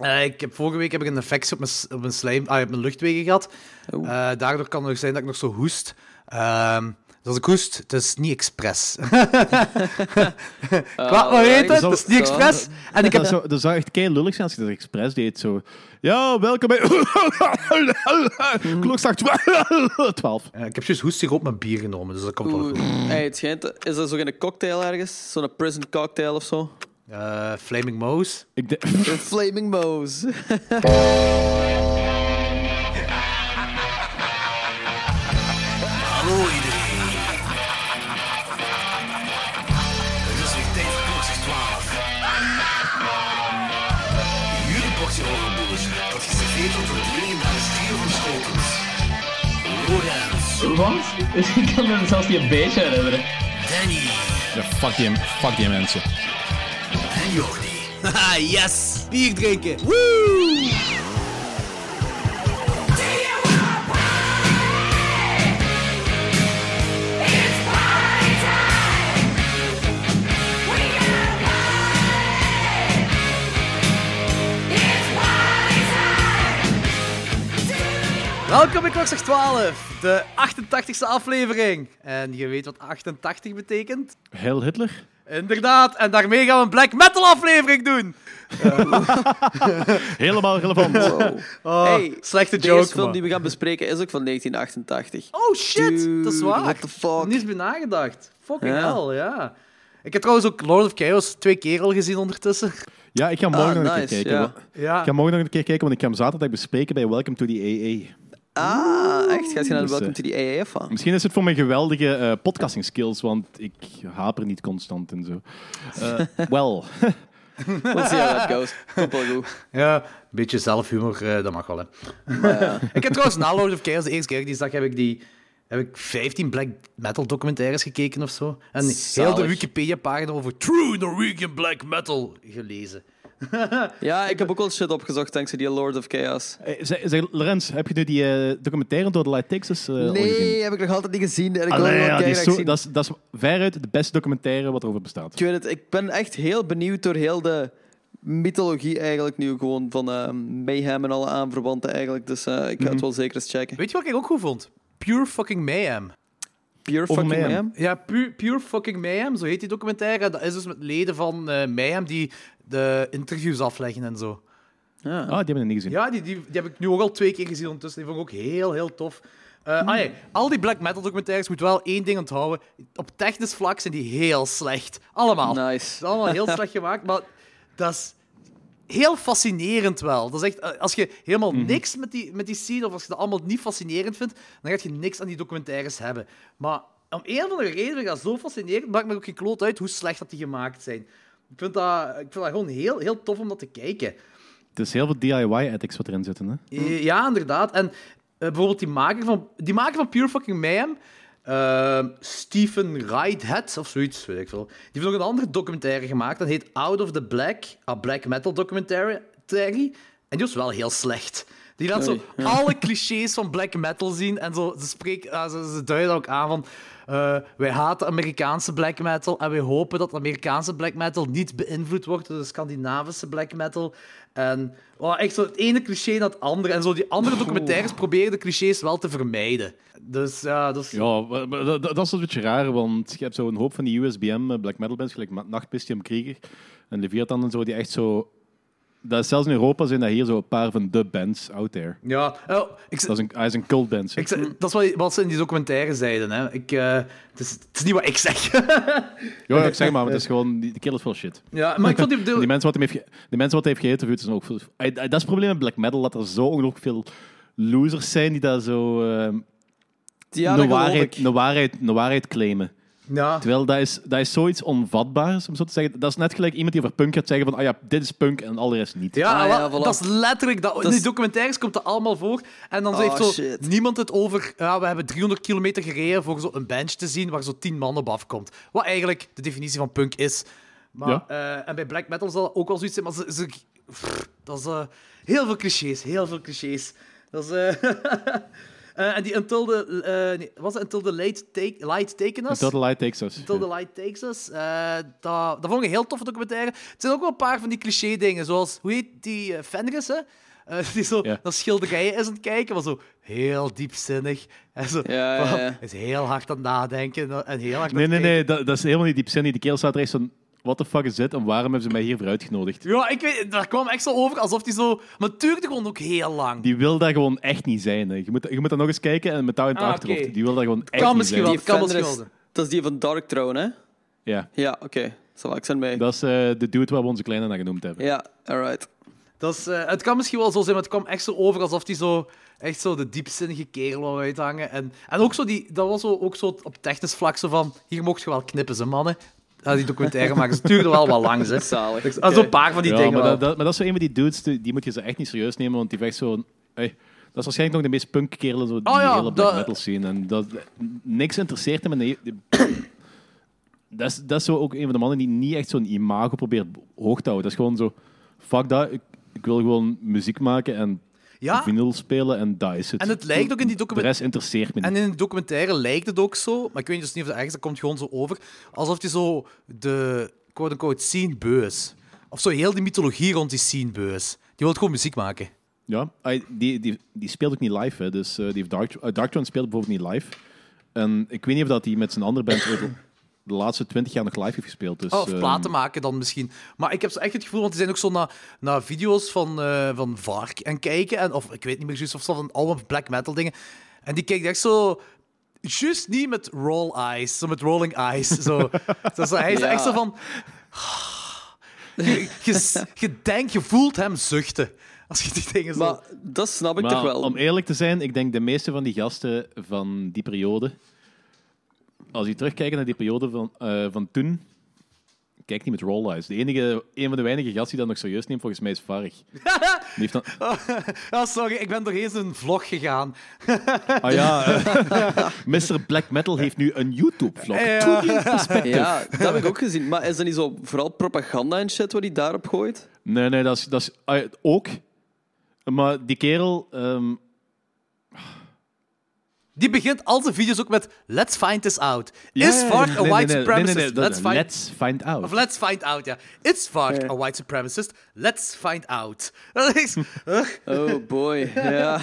Eh, ik heb, vorige week heb ik een infectie op mijn, s- op mijn, slijm, ah, op mijn luchtwegen gehad. Oeh. Eh, daardoor kan het nog zijn dat ik nog zo hoest. Ehm, dus als ik hoest, het is niet expres. Kwaad maar Alright. weten, het is niet Zo. expres. En ik heb Dat zou, dat zou echt kei lullig zijn als je dat expres deed. Zo. Ja, welkom bij. Klokslag 12. Eh, ik heb juist hoestig op mijn bier genomen, dus dat komt wel goed. Oeh. Hey, het schijnt, is er zo'n cocktail ergens? Zo'n prison cocktail of zo? Eh, Flaming Mouse. Ik denk- Een Flaming Moe's. Hallo iedereen. Het is weer tijd voor klokslag 12. Jullie portie overboers, dat geserveerd wordt door jullie naar de stier van Schotens. Lorenz, Wat? Ik kan me zelfs niet een beetje herinneren. Danny Ja, fuck, die, fuck die mensen. en Jordi. Haha, yes! Bier drinken! Welkom bij Klokslag 12, de 88 e aflevering. En je weet wat 88 betekent? Heel Hitler? Inderdaad, en daarmee gaan we een black metal aflevering doen. Helemaal relevant. Oh, Hey, slechte De eerste joke, film die man. we gaan bespreken is ook van 1988. Oh shit, dat is Dude, waar. what the fuck? Niet bij nagedacht. Fucking Ja. hell, ja. Ik heb trouwens ook Lord of Chaos twee keer al gezien ondertussen. Ja, ik ga morgen Ah, nog een nice, keer kijken. ja. wa- Ja. Ik ga morgen nog een keer kijken, want ik ga hem zaterdag bespreken bij Welcome to the AA. Ah, echt? Gaat je naar de Dus, Welcome to eh, the AF van? Misschien is het voor mijn geweldige eh podcasting skills, want ik haper niet constant en zo. Eh, wel. We'll see how that goes. Komt wel goed. Ja, een beetje zelfhumor, eh, dat mag wel, hè. ik heb trouwens na Lord of Chaos, de eerste keer die ik zag, heb ik, die, heb ik 15 black metal documentaires gekeken of zo. En heel de Zalig. Wikipedia-pagina over true Norwegian black metal gelezen. Ja, ik heb ook al shit opgezocht dankzij die Lord of Chaos. Eh, zeg, zeg, Lorenz, heb je nu die eh, documentaire door de Light Texas eh, al gezien? Nee, heb ik nog altijd niet gezien. En ik wil Allee, wel ja, die kijken is zo- dat, is, dat is veruit de beste documentaire wat erover bestaat. Ik weet het, ik ben echt heel benieuwd door heel de mythologie eigenlijk nu gewoon van eh, Mayhem en alle aanverwanten eigenlijk. Dus eh, ik Mhm. ga het wel zeker eens checken. Weet je wat ik ook goed vond? Pure fucking mayhem. Pure Over fucking Mayhem. Mayhem. Ja, Pu- Pure Fucking Mayhem, zo heet die documentaire. Dat is dus met leden van eh Mayhem die de interviews afleggen en zo. Ah, die hebben we niet gezien. Ja, die, die, die heb ik nu ook al twee keer gezien ondertussen. Die vond ik ook heel, heel tof. Eh, ah, nee, al die black metal documentaires moet wel één ding onthouden. Op technisch vlak zijn die heel slecht. Ah. Allemaal. Het Nice. is allemaal heel slecht gemaakt, maar dat is heel fascinerend wel. Dat is echt, eh, als je helemaal niks met die, met die scene, of als je dat allemaal niet fascinerend vindt, dan gaat je niks aan die documentaires hebben. Maar om een of andere reden vind ik dat zo fascinerend, maakt me ook geen kloot uit hoe slecht dat die gemaakt zijn. Ik vind dat, ik vind dat gewoon heel, heel tof om dat te kijken. Het is heel veel DIY-ethics wat erin zitten. Hè? Eh, Ja, inderdaad. En eh, bijvoorbeeld die maker van, die maker van Pure Fucking Mayhem, ehm, Stephen Ridehead of zoiets, weet ik veel. Die heeft nog een andere documentaire gemaakt, dat heet Out of the Black, a black metal documentary. En die was wel heel slecht. Die laat zo Oei, alle clichés van black metal zien en zo, ze, spreek, ah, ze, ze duiden ook aan van... eh, wij haten Amerikaanse black metal en wij hopen dat Amerikaanse black metal niet beïnvloed wordt door de Scandinavische black metal. En oh, echt zo het ene cliché na het andere. En zo die andere documentaires proberen de clichés wel te vermijden. Dus ja, dat is... Ja, maar- maar dat, dat is een beetje raar, want je hebt zo'n hoop van die USBM eh, black metal bands, gelijk Ma- Nachtpistium Krieger en Leviathan en zo, die echt zo... Dat is zelfs in Europa zijn dat hier zo een paar van de bands out there. Ja, oh, ik, Dat is een, hij is een cult band. zeg. ik, dat is wat- wat ze in die documentaire zeiden. Hè. Ik, eh, het, is, het is niet wat ik zeg. Ja, ja, ik zeg maar, want het is gewoon, die, die kerel is wel shit. ja, maar ik vond die... En Die mensen wat hem heeft, ge- die mensen wat hij heeft geïnterviewd zijn ook... veel- Eh, Dat is het probleem met black metal, dat er zo ongelooflijk veel losers zijn die daar zo eh, Ja, een, dat geloof waarheid, ik. een, waarheid, een waarheid claimen. ja. Terwijl dat is, dat is zoiets onvatbaars, om zo te zeggen. Dat is net gelijk iemand die over punk gaat zeggen van, ah ja, dit is punk en al de rest niet. Ja, Ah, ja, wel, voilà. dat is letterlijk. Dat, In is- die documentaires komt dat allemaal voor. En dan Oh, heeft zo shit. niemand het over. Ja, we hebben 300 kilometer gereden voor zo een bench te zien waar zo 10 man op afkomt. Wat eigenlijk de definitie van punk is. Maar, Ja. eh, en bij black metal zal dat ook wel zoiets zijn. Maar ze, ze- pff, dat is eh, heel veel clichés. Heel veel clichés. Dat is, eh, Eh, en die Until the, eh, nee, was het Until the Light, take, light Taken Us? Until the light takes us. Until the Light Takes Us. Eh, dat, dat vond ik een heel toffe documentaire. Het zijn ook wel een paar van die cliché-dingen, zoals, hoe heet die eh, Fenris, hè? Eh, die zo Ja. naar schilderijen is aan het kijken, was zo heel diepzinnig. En zo, Ja, ja, ja. Is heel hard aan het nadenken en heel hard aan Nee, het nee, nee, dat, dat is helemaal niet diepzinnig. Die kerel staat er echt van, what the fuck is dit en waarom hebben ze mij hiervoor uitgenodigd? Ja, ik weet, daar kwam echt zo over alsof die zo. Maar het duurde gewoon ook heel lang. Die wil daar gewoon echt niet zijn. Hè. Je, moet, je moet dat nog eens kijken en met touw in het Ah, achterhoofd. oké. Die wil daar gewoon echt Kan niet misschien zijn. wel. Die Dat kan wel Fenris- schilden. dat is die van Dark Throne, hè? Ja, Ja, oké. Zal ik zijn mee. dat is eh, de dude waar we onze kleine naar genoemd hebben. Ja, alright. Dat is, eh, het kan misschien wel zo zijn, maar het kwam echt zo over alsof die zo. Echt zo de diepzinnige kerel wou uithangen. En, en ook zo die. Dat was zo, ook zo op technisch vlak zo van. Hier mocht je wel knippen, ze mannen. Ja, die documentaire maken. Ze duurde wel wat lang, zeg. Zalig. Ah, Zo'n paar van die Ja, dingen. maar, wel. dat, dat- maar dat is zo een van die dudes, die, die moet je ze echt niet serieus nemen, want die vecht zo... Hey, dat is waarschijnlijk nog de meest punk kerel zo die Ah, ja, hele black dat- metal scene. En dat, niks interesseert hem. En die- die- dat, is, dat is zo ook een van de mannen die niet echt zo'n imago probeert hoog te houden. Dat is gewoon zo, fuck dat, ik, ik wil gewoon muziek maken en Ja. vinyl spelen en dat is het. En het lijkt ook in die document- De rest interesseert me niet. En in de documentaire lijkt het ook zo, maar ik weet dus niet of dat ergens, dat komt gewoon zo over, alsof hij zo de quote-unquote scene beu is. Of zo heel die mythologie rond die scene beu is. Die wil gewoon muziek maken. Ja, hij- die, die, die speelt ook niet live. Hè. Dus eh, die heeft Dark, eh, Dark Throne speelt bijvoorbeeld niet live. En ik weet niet of dat hij met zijn andere band ooit de laatste twintig jaar nog live heeft gespeeld. Dus, Oh, of ehm, platen maken dan misschien. Maar ik heb zo echt het gevoel, want die zijn ook zo naar naar video's van, eh, van Vark en kijken. En, of ik weet niet meer juist, of zo van allemaal black metal dingen. En die kijkt echt zo... Juist niet met roll eyes, zo met rolling eyes. Zo. Dus hij is Ja. echt zo van... Je, je, je denkt, je voelt hem zuchten. Als je die dingen zo... Maar dat snap ik maar toch wel. om eerlijk te zijn, ik denk de meeste van die gasten van die periode... Als je terugkijkt naar die periode van, eh, van toen... Kijk niet met Roll Eyes. De enige, een van de weinige gasten die dat nog serieus neemt, volgens mij, is Varg. Die heeft dan... Ah, sorry, ik ben doorheen een vlog gegaan. Ah ja, eh, Mr. Black Metal heeft nu een YouTube-vlog. Ja. Ja, dat heb ik ook gezien. Maar is dat niet zo vooral propaganda en shit wat hij daarop gooit? Nee, nee, dat is, dat is ah, ook. Maar die kerel, ehm, Die begint al zijn video's ook met... Let's find this out. Is ja, Vark nee, a nee, white nee, nee, supremacist? nee, nee, dat- let's find... let's find out. Of let's find out, ja. Is Vark Ja. a white supremacist? Let's find out. Dat is, Ugh. Oh boy, ja.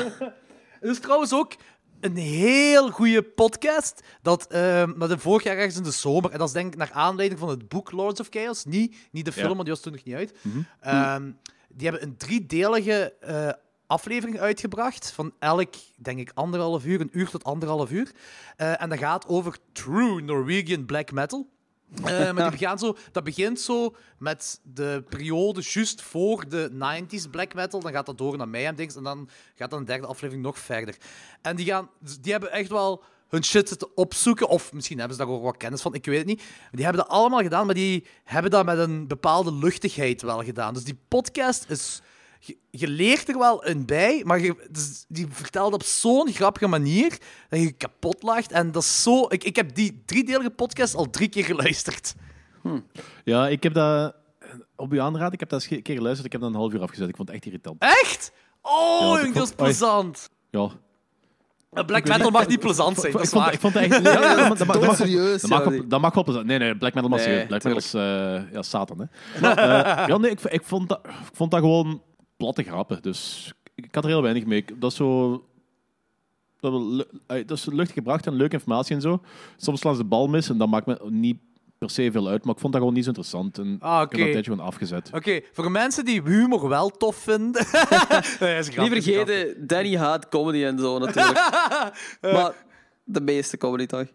Er is trouwens ook een heel goede podcast. Dat, ehm dat in vorig jaar ergens in de zomer. En dat is denk ik naar aanleiding van het boek Lords of Chaos. Niet, niet de film, Ja. want die was toen nog niet uit. Ehm, die hebben een driedelige eh, aflevering uitgebracht. Van elk, denk ik, anderhalf uur. Een uur tot anderhalf uur. Eh, en dat gaat over true Norwegian black metal. Eh, maar die begaan zo, dat begint zo met de periode juist voor de 90s black metal. Dan gaat dat door naar Mayhem Dings. En dan gaat dan de derde aflevering nog verder. En die, gaan, dus die hebben echt wel hun shit zitten opzoeken. Of misschien hebben ze daar ook wat kennis van, ik weet het niet. Maar die hebben dat allemaal gedaan, maar die hebben dat met een bepaalde luchtigheid wel gedaan. Dus die podcast is. Je, je leert er wel een bij, maar je, dus die vertelde op zo'n grappige manier dat je kapot lacht. En dat is zo. Ik, ik heb die driedelige podcast al drie keer geluisterd. ja, ik heb dat op uw aanraad, ik heb dat eens een keer geluisterd, ik heb dat een half uur afgezet. Ik vond het echt irritant. Echt? Oh, Ja, jong, ik dat is vond- oei. plezant. Ja. Eh, Black metal mag niet plezant zijn, Ik, dat is vond, waar. ik vond het echt... nee, nee, dat mag- dat mag- Doe dat mag- serieus, Dat mag, ja, op, dat mag wel plezant- Nee, nee, Black Metal mag Nee, serieus. Black Metal is eh, ja, Satan, hè. Maar, eh, ja, nee, ik, ik, vond dat, ik vond dat gewoon platte grappen. Dus ik, ik had er heel weinig mee. Ik- Dat is zo... Dat, wel lu- eh, dat is luchtig gebracht en leuke informatie en zo. Soms slaan ze de bal mis en dat maakt me niet per se veel uit. Maar ik vond dat gewoon niet zo interessant. En Ah, Ik heb dat oké. een tijdje gewoon afgezet. Oké, voor mensen die humor wel tof vinden. Nee, is een grap, Niet is een grap. vergeten, Danny haat comedy en zo natuurlijk. Eh. Maar de meeste comedy toch?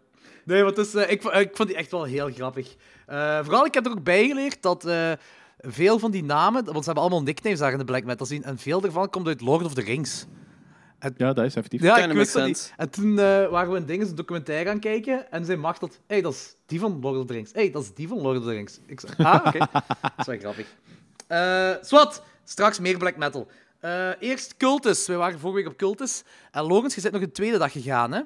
Nee, want het is, eh, ik, vo- eh, ik vond die echt wel heel grappig. Eh, vooral, ik heb er ook bij geleerd dat eh, veel van die namen, want ze hebben allemaal nicknames daar in de black metal zien, en veel daarvan komt uit Lord of the Rings. Ja, dat is effectief. Ja, Kinda ik makes wist dat niet. sense. En toen eh, waren we in dingen een documentaire gaan kijken, en zei Macht dat, hey, dat is die van Lord of the Rings. hey, dat is die van Lord of the Rings. Ik zei, ah, oké. dat is wel grappig. Eh Swat, straks meer black metal. Eh, eerst Cultus. Wij waren vorige week op Cultus. En Logans, je bent nog een tweede dag gegaan, hè?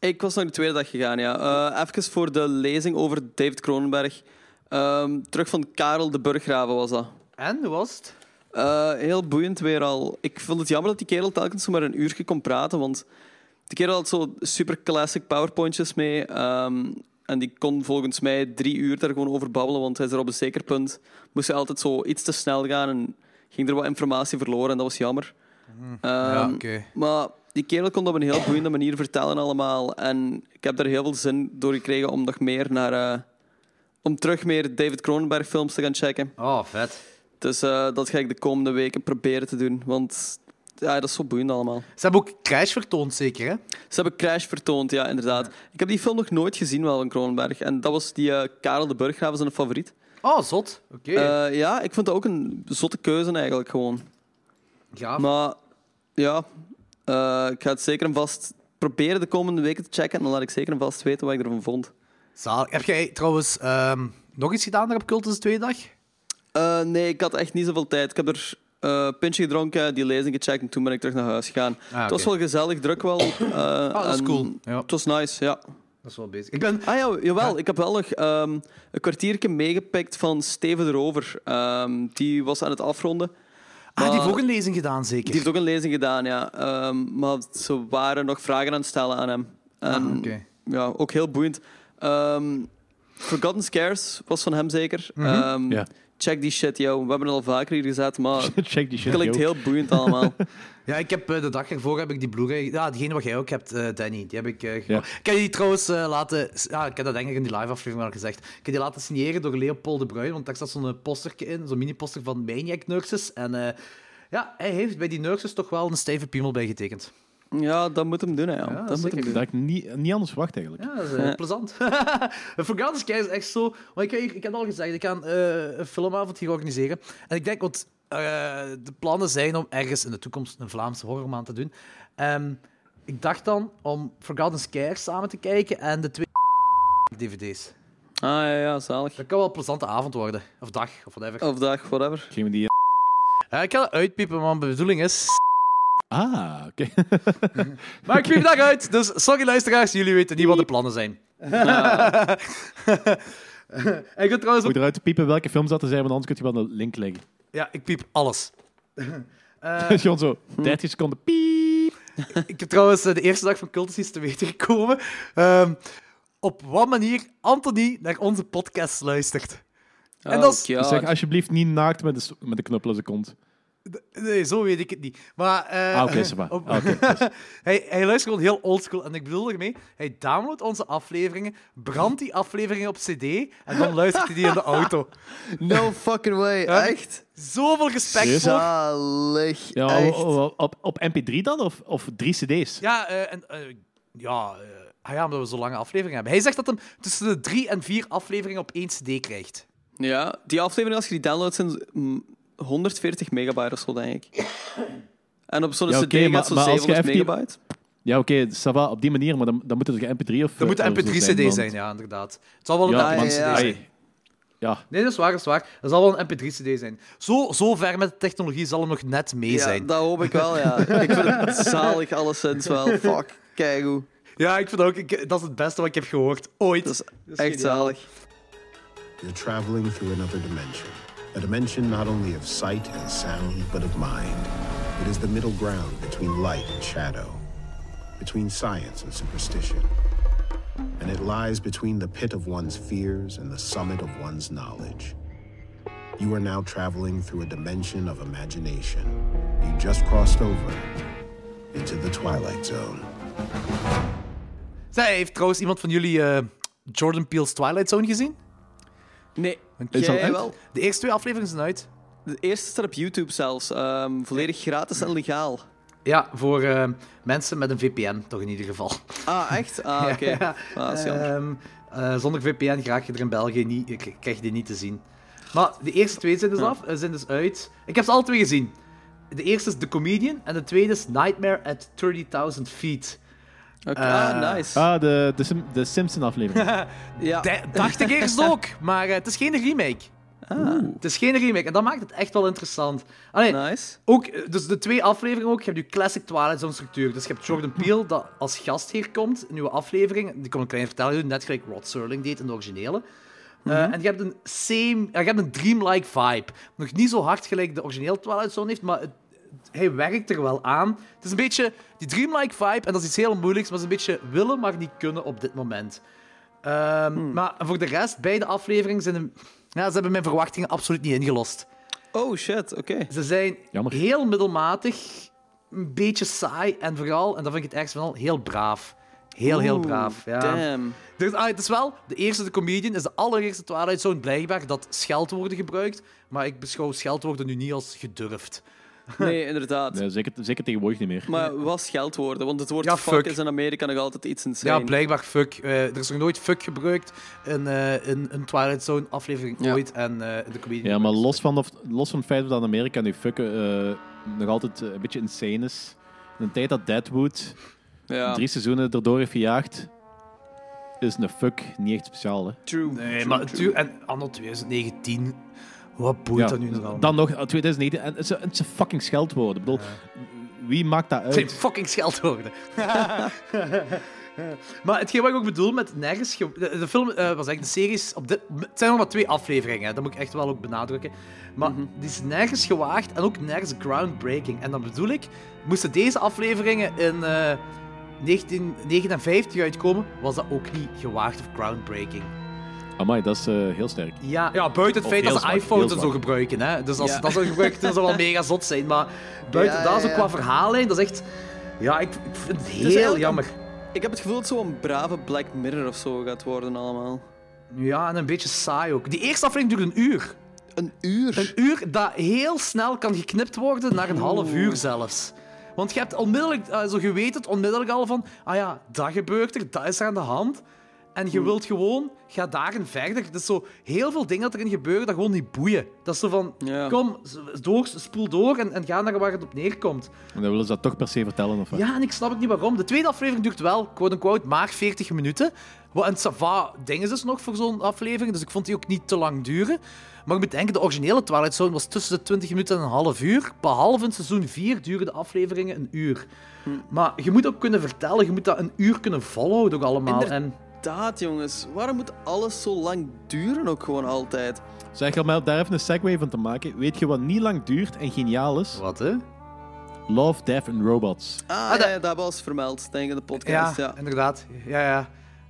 Ik was naar de tweede dag gegaan, ja. Eh, even voor de lezing over David Cronenberg. Ehm, terug van Karel de Burggraven was dat. En, hoe was het? Eh, heel boeiend weer al. Ik vond het jammer dat die kerel telkens maar een uurtje kon praten, want Die kerel had zo super classic powerpointjes mee. ehm, en die kon volgens mij drie uur daar gewoon over babbelen, want hij is er op een zeker punt. Moest hij altijd zo iets te snel gaan en ging er wat informatie verloren en dat was jammer. Ehm, oké. Maar die kerel kon dat op een heel boeiende manier vertellen allemaal. En ik heb daar heel veel zin door gekregen om nog meer naar... eh, om terug meer David Cronenberg films te gaan checken. Oh, vet. Dus eh, dat ga ik de komende weken proberen te doen. Want ja, dat is zo boeiend allemaal. Ze hebben ook Crash vertoond, zeker, hè? Ze hebben Crash vertoond, ja, inderdaad. Ik heb die film nog nooit gezien, wel, in Kronenberg. En dat was die eh, Karel de Burggraaf, zijn favoriet. Oh, zot. Oké. Eh, ja, ik vond dat ook een zotte keuze eigenlijk gewoon. Gaaf. Maar ja, eh, ik ga het zeker en vast proberen de komende weken te checken. En dan laat ik zeker en vast weten wat ik ervan vond. Zalig. Heb jij trouwens ehm, nog iets gedaan daar op Cultus 2 dag? Eh, nee, ik had echt niet zoveel tijd. Ik heb er eh, een pintje gedronken, die lezing gecheckt en toen ben ik terug naar huis gegaan. Ah, oké. Ah, Het was wel gezellig, druk wel. eh, dat is en cool. Ja. Het was nice, ja. Dat is wel bezig. Ik ben... Ah ja, jawel, ik heb wel nog ehm, een kwartiertje meegepikt van Steven de Rover. Ehm, die was aan het afronden. Ah, die heeft Maar- ook een lezing gedaan, zeker? Die heeft ook een lezing gedaan, ja. Ehm, maar ze waren nog vragen aan het stellen aan hem. En, Ah, oké. Ja, ook heel boeiend. Ehm, Forgotten Scares was van hem zeker. Mhm. Ehm, Ja. Check die shit, yo. We hebben het al vaker hier gezet, maar Check die shit. het klinkt yo. heel boeiend allemaal. Ja, ik heb eh, de dag ervoor heb ik die Blu-ray... Ja, degene wat jij ook hebt, eh, Danny. Die heb ik... eh, Ja. Ik heb die trouwens eh, laten... Ja, ik heb dat denk ik in die live-aflevering al gezegd. Ik heb die laten signeren door Leopold de Bruin, want daar zat zo'n eh, postertje in, zo'n mini-poster van Maniac Nurses. En eh, ja, hij heeft bij die Nurses toch wel een stijve piemel bij getekend. ja, dat moet hem doen, hè, ja. Ja, dat moet zeker. hem doen. Dat ik niet, niet anders verwacht eigenlijk. Ja, dat is eh, plezant. Forgotten Sky is echt zo. Want ik, heb hier- ik heb het al gezegd, ik ga eh, een filmavond hier organiseren. En ik denk, want eh, de plannen zijn om ergens in de toekomst een Vlaamse horrormaand te doen. Ehm, ik dacht dan om Forgotten Scares samen te kijken en de twee DVD's. Ah ja, ja, zalig. Dat kan wel een plezante avond worden. Of dag, of whatever. Of dag, whatever. Geen we die... Eh, ik ga dat uitpiepen, want mijn bedoeling is... Ah, oké. Maar ik piep dat uit, dus sorry luisteraars, jullie weten niet wat de plannen zijn. En ik wil trouwens ook Moet eruit piepen welke films dat er zijn, want anders kun je wel een link leggen. Ja, ik piep alles. Dus gewoon zo 30 seconden piep. Ik heb trouwens eh, de eerste dag van Cultus iets te weten gekomen. Ehm, op wat manier Anthony naar onze podcast luistert. En dat is- Oh, God. Zeg alsjeblieft niet naakt met de, s- met de knuppeloze kont. Nee, zo weet ik het niet. Maar, eh, Ah, oké, ça va. op- Ah, oké, hij, hij luistert gewoon heel oldschool. En ik bedoel ermee, hij downloadt onze afleveringen, brandt die afleveringen op cd en dan luistert hij die in de auto. No fucking way, Ja. echt? Zoveel respect Serieus? voor. Zalig, Ja, oh, echt. o- o- op, op MP3 dan? Of, of drie CD's? Ja, eh, en, eh, ja, eh, ah ja, omdat we zo'n lange aflevering hebben. Hij zegt dat hem tussen de drie en vier afleveringen op één cd krijgt. Ja, die aflevering, als je die downloadt, zijn mm, 140 megabyte of zo, denk ik. En op zo'n Ja, CD oké, maar- gaat zo'n maar als je 700 effectief- megabyte. Ja, oké, ça va, op die manier, maar dan, dan moet het een MP3 of... Dat moet eh, een of zo mp3 cd zijn, want- ja, inderdaad. Het zal wel een Ja, mp3 man, cd ja. zijn. ai. Ja, Nee, dat is waar, dat is waar. Dat zal wel een mp3 cd zijn. Zo, zo ver met de technologie zal hem nog net mee Ja, zijn. dat hoop ik wel, ja. ik vind het zalig alleszins wel. Fuck, kijk hoe. Ja, ik vind ook, ik- dat is het beste wat ik heb gehoord ooit. Dat is echt geniaal. zalig. You're traveling through another dimension. A dimension not only of sight and sound, but of mind. It is the middle ground between light and shadow, between science and superstition. And it lies between the pit of one's fears and the summit of one's knowledge. You are now traveling through a dimension of imagination. You just crossed over into the Twilight Zone. Zij heeft trouwens iemand van jullie eh, Jordan Peele's Twilight Zone gezien? Nee, Is dat jij echt? wel. De eerste twee afleveringen zijn uit. De eerste staat op YouTube zelfs. ehm, volledig gratis en legaal. Ja, voor eh, mensen met een VPN, toch in ieder geval. Ah, echt? Ah, oké. Ah, dat is jammer. Ehm, eh, zonder VPN raak je er in België niet, ik- ik krijg je die niet te zien. Maar de eerste twee zijn dus, af, eh, zijn dus uit. Ik heb ze alle twee gezien. De eerste is The Comedian en de tweede is Nightmare at 30.000 Feet. Oké, Eh, ah, nice. ah, de, de, Sim- de Simpson-aflevering. ja. Da- dacht ik eerst ook, maar eh, het is geen remake. Ah. Het is geen remake en dat maakt het echt wel interessant. Allee, Nice. Ook, eh, dus de twee afleveringen ook, je hebt je classic Twilight Zone structuur. Dus je hebt Jordan Peele, dat als gast hier komt, een nieuwe aflevering. Die komt een klein vertellen doen, net gelijk Rod Serling deed in de originele. Eh, En je hebt een same, eh, je hebt een dreamlike vibe. Nog niet zo hard gelijk de originele Twilight Zone heeft, maar het, hij werkt er wel aan. Het is een beetje die dreamlike vibe, en dat is iets heel moeilijks, maar het is een beetje willen, maar niet kunnen op dit moment. Ehm, Maar voor de rest, beide afleveringen zijn... een- Ja, ze hebben mijn verwachtingen absoluut niet ingelost. Oh shit, oké. Ze zijn Jammer. heel middelmatig, een beetje saai en vooral, en dat vind ik het ergst van al, heel braaf. Heel, heel Oeh, braaf. Ja. Damn. Dus, ah, het is wel, de eerste de comedian is de allereerste Twilight Zone blijkbaar dat scheldwoorden gebruikt, maar ik beschouw scheldwoorden nu niet als gedurfd. Nee, inderdaad. Nee, zeker, zeker tegenwoordig niet meer. Maar wat scheldwoorden? Want het woord Ja, fuck. fuck. is in Amerika nog altijd iets insane. Ja, blijkbaar fuck. Eh, er is nog nooit fuck gebruikt in, eh, in een Twilight Zone aflevering Ja. ooit en eh, in de comedian. Ja, maar los van, of, los van het feit dat Amerika nu fucken eh, nog altijd eh, een beetje insane is. In de tijd dat Deadwood Ja. drie seizoenen erdoor heeft gejaagd, is een fuck niet echt speciaal. Hè? True. Nee, maar natuurlijk, en anno 2019, wat boeit dat nu nog allemaal? dan nog, eh, 2019, en het is een- het is een fucking scheldwoord. Ik bedoel, wie maakt dat Het zijn uit? fucking scheldwoorden. maar hetgeen wat ik ook bedoel met nergens... ge- De, de film, eh, was eigenlijk de serie is op dit... Het zijn nog maar twee afleveringen, hè, dat moet ik echt wel ook benadrukken. Maar die is nergens gewaagd en ook nergens groundbreaking. En dan bedoel ik, moesten deze afleveringen in eh, 1959 uitkomen, was dat ook niet gewaagd of groundbreaking. Amai, dat is eh, heel sterk. Ja, ja buiten het Of feit dat heel ze zwak, iPhones heel en zo zwak. gebruiken. Hè? Dus als Ja. ze dat zo gebruiken, dan zou wel mega zot zijn. Maar buiten Ja, dat, ja, zo ja. qua verhaallijn, dat is echt... Ja, ik, ik vind het heel eigenlijk een- jammer. Ik heb het gevoel dat het zo'n brave Black Mirror of zo gaat worden allemaal. Ja, en een beetje saai ook. Die eerste aflevering duurt een uur. Een uur? Een uur dat heel snel kan geknipt worden naar een half uur zelfs. Want je hebt onmiddellijk, eh, zo je weet het onmiddellijk al van, ah ja, dat gebeurt er, dat is er aan de hand. En je wilt gewoon, ga daarin verder. Dat is zo heel veel dingen dat erin gebeuren dat gewoon niet boeien. Dat is zo van, Ja. kom, s- door, spoel door en, en ga naar waar het op neerkomt. En dan willen ze dat toch per se vertellen. Of wat? Ja, en ik snap ook niet waarom. De tweede aflevering duurt wel, quote-unquote, maar 40 minuten. Wat een sava ding is dus nog voor zo'n aflevering, dus ik vond die ook niet te lang duren. Maar ik moet denken, de originele Twilight Zone was tussen de 20 minuten en een half uur. Behalve in seizoen 4 duren de afleveringen een uur. Hm. Maar je moet ook kunnen vertellen, je moet dat een uur kunnen volhouden ook allemaal. Inder- En, Inderdaad, jongens. Waarom moet alles zo lang duren ook gewoon altijd? Zeg, om daar even een segue van te maken. Weet je wat niet lang duurt en geniaal is? wat, hè? Love, Death and Robots. Ah, ja, dat- ja, dat was vermeld, denk ik, in de Ja, podcast. Ja. inderdaad. Ja, ja.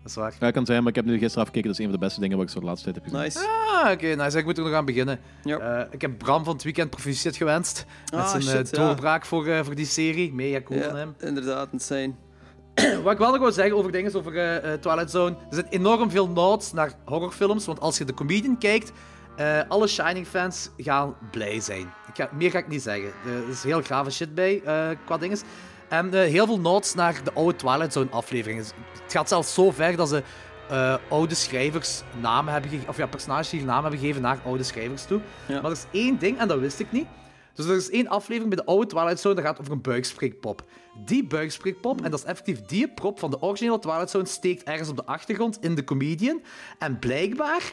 Dat is waar. Ja, kan zijn, maar ik heb nu gisteren afgekeken. Dat is een van de beste dingen wat ik zo de laatste tijd heb gezien. Nice. Ah, oké, nice. Ik moet er nog aan beginnen. Ja. Eh, ik heb Bram van het weekend proficiat gewenst. Met Ah, zijn eh, shit, ja. doorbraak voor, eh, voor die serie. Mega cool van Ja, hem. inderdaad, insane. Wat ik wel nog wil zeggen over dingen, is over eh, eh, Twilight Zone. Er zit enorm veel nods naar horrorfilms. Want als je de comedian kijkt, eh, alle Shining-fans gaan blij zijn. Ik ga, meer ga ik niet zeggen. Eh, Er is heel grave shit bij eh, qua dingen. En eh, heel veel nods naar de oude Twilight Zone-afleveringen. Het gaat zelfs zo ver dat ze eh, oude schrijvers namen hebben gege- of ja, personages die naam hebben gegeven naar oude schrijvers toe. Ja. Maar er is één ding, en dat wist ik niet. Dus er is één aflevering bij de oude Twilight Zone, dat gaat over een buikspreekpop. Die buikspreekpop, en dat is effectief die prop van de originele Twilight Zone, steekt ergens op de achtergrond in de comedian. En blijkbaar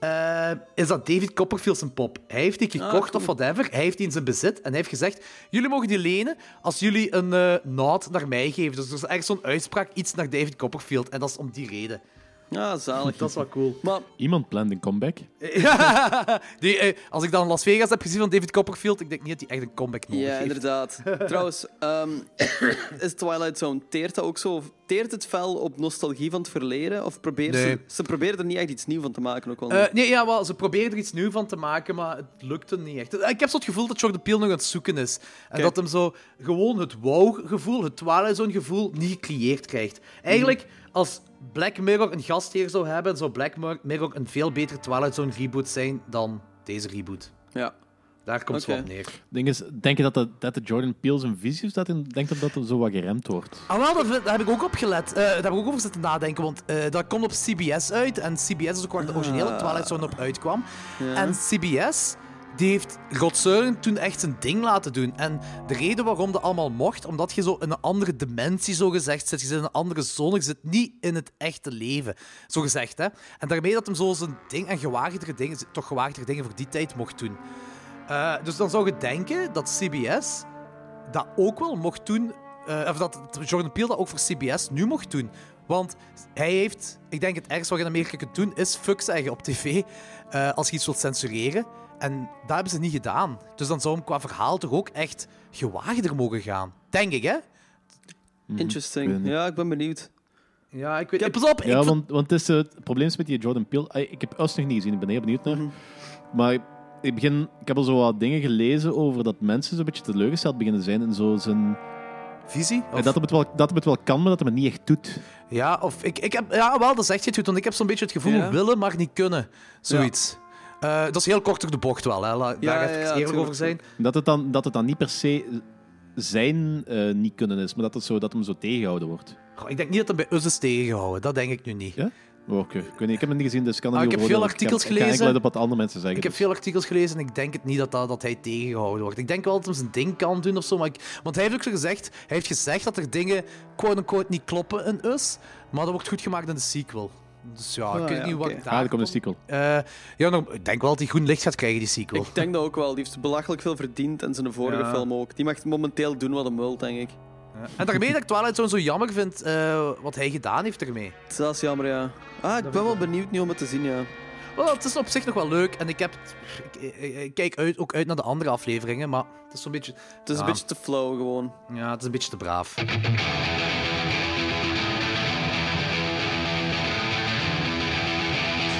eh, is dat David Copperfield zijn pop. Hij heeft die gekocht of whatever. Hij heeft die in zijn bezit. En hij heeft gezegd, jullie mogen die lenen als jullie een eh nod naar mij geven. Dus er is ergens zo'n uitspraak, iets naar David Copperfield. En dat is om die reden. Ja, Ah, zalig. Dat is wel cool. Maar Iemand plant een comeback. Die, eh, als ik dan Las Vegas heb gezien van David Copperfield, ik denk niet dat hij echt een comeback nodig Ja, heeft. inderdaad. Trouwens, ehm, is Twilight Zone, teert dat ook zo? Teert het fel op nostalgie van het verleden? Of probeert ze, Nee. ze proberen er niet echt iets nieuws van te maken? Ook wel. Eh, nee, ja, wel, ze proberen er iets nieuws van te maken, maar het lukte niet echt. Eh, Ik heb zo het gevoel dat Jordan Peele nog aan het zoeken is. En dat hem zo gewoon het wow-gevoel, het Twilight Zone-gevoel, niet gecreëerd krijgt. Eigenlijk, als Black Mirror een gastheer zou hebben, zou Black Mir- Mirror een veel betere Twilight Zone-reboot zijn dan deze reboot. ja. Daar komt Oké. het op neer. Ding is, denk je dat de, dat de Jordan Peele zijn visie is dat en denkt dat dat er zo wat geremd wordt? Ah, wel, daar, daar heb ik ook op gelet. Eh, daar heb ik ook over zitten nadenken, want eh, dat komt op CBS uit. En CBS is ook waar de originele Twilight Zone op uitkwam. En CBS, die heeft Rod Serling toen echt zijn ding laten doen. En de reden waarom dat allemaal mocht, omdat je zo in een andere dimensie zo gezegd zit. Je zit in een andere zone, je zit niet in het echte leven. Zo gezegd, hè. En daarmee dat hem zo zijn ding en gewaagdere dingen, toch gewaagdere dingen voor die tijd mocht doen. Eh, dus dan zou je denken dat CBS dat ook wel mocht doen. eh, of dat Jordan Peele dat ook voor CBS nu mocht doen. Want hij heeft, ik denk het ergste wat je in Amerika kunt doen, is fuck zeggen op tv. eh, als je iets wilt censureren. En dat hebben ze niet gedaan. Dus dan zou hem qua verhaal toch ook echt gewaagder mogen gaan. Denk ik, hè? hmm, Interesting. Ik weet niet. ja, ik ben benieuwd. Ja, ik weet... Pas op, ik Ja, vind- want, want het, is, eh, het probleem is met die Jordan Peele. Ah, Ik heb Us nog niet gezien, ik ben heel benieuwd naar. Mhm. Maar ik, begin, ik heb al zo wat dingen gelezen over dat mensen zo'n beetje teleurgesteld beginnen zijn. En zo zijn, Visie? en Of- dat, hem het wel, dat hem het wel kan, maar dat hem het niet echt doet. Ja, of ik, ik heb, ja, wel, dat is echt iets goed. Want ik heb zo'n beetje het gevoel Ja. willen, maar niet kunnen. Zoiets. Eh, dat is heel kort door de bocht wel, hè. La- Ja, daar ja, even ja, eerlijk tuurlijk, over zijn. Dat het dan, dat het dan niet per se zijn eh, niet kunnen is, maar dat, het zo, dat hem zo tegengehouden wordt. Goh, ik denk niet dat dat bij ons is tegengehouden. Dat denk ik nu niet. Ja? Oh, oké. Ik, weet niet, ik heb hem niet gezien, dus ik kan er Ah, niet ik over heb veel oordelen. artikels ik, Ik gelezen. ga enkel uit op wat andere mensen zeggen. Ik heb dus. veel artikels gelezen en ik denk het niet dat, dat, dat hij tegengehouden wordt. Ik denk wel dat hij zijn ding kan doen of zo. Maar ik, want hij heeft ook zo gezegd, hij heeft gezegd dat er dingen quote-unquote niet kloppen in Us. Maar dat wordt goed gemaakt in de sequel. Dus ja, ik Ah, weet ja, niet wat oké. ik Ah, daar... er komt een sequel. Eh, ja, nog- ik denk wel dat hij groen licht gaat krijgen, die sequel. Ik denk dat ook wel. Die heeft belachelijk veel verdiend en zijn vorige Ja. film ook. Die mag momenteel doen wat hem wil, denk ik. En daarmee dat ik Twilight Zone zo jammer vind, eh, wat hij gedaan heeft ermee. Dat is jammer, ja. Ah, ik ben wel benieuwd nu om het te zien, ja. Wel, het is op zich nog wel leuk en ik, heb het- ik, ik- ik kijk uit, ook uit naar de andere afleveringen, maar het is zo'n beetje, Het is een Ja. beetje te flow gewoon. ja, het is een beetje te braaf.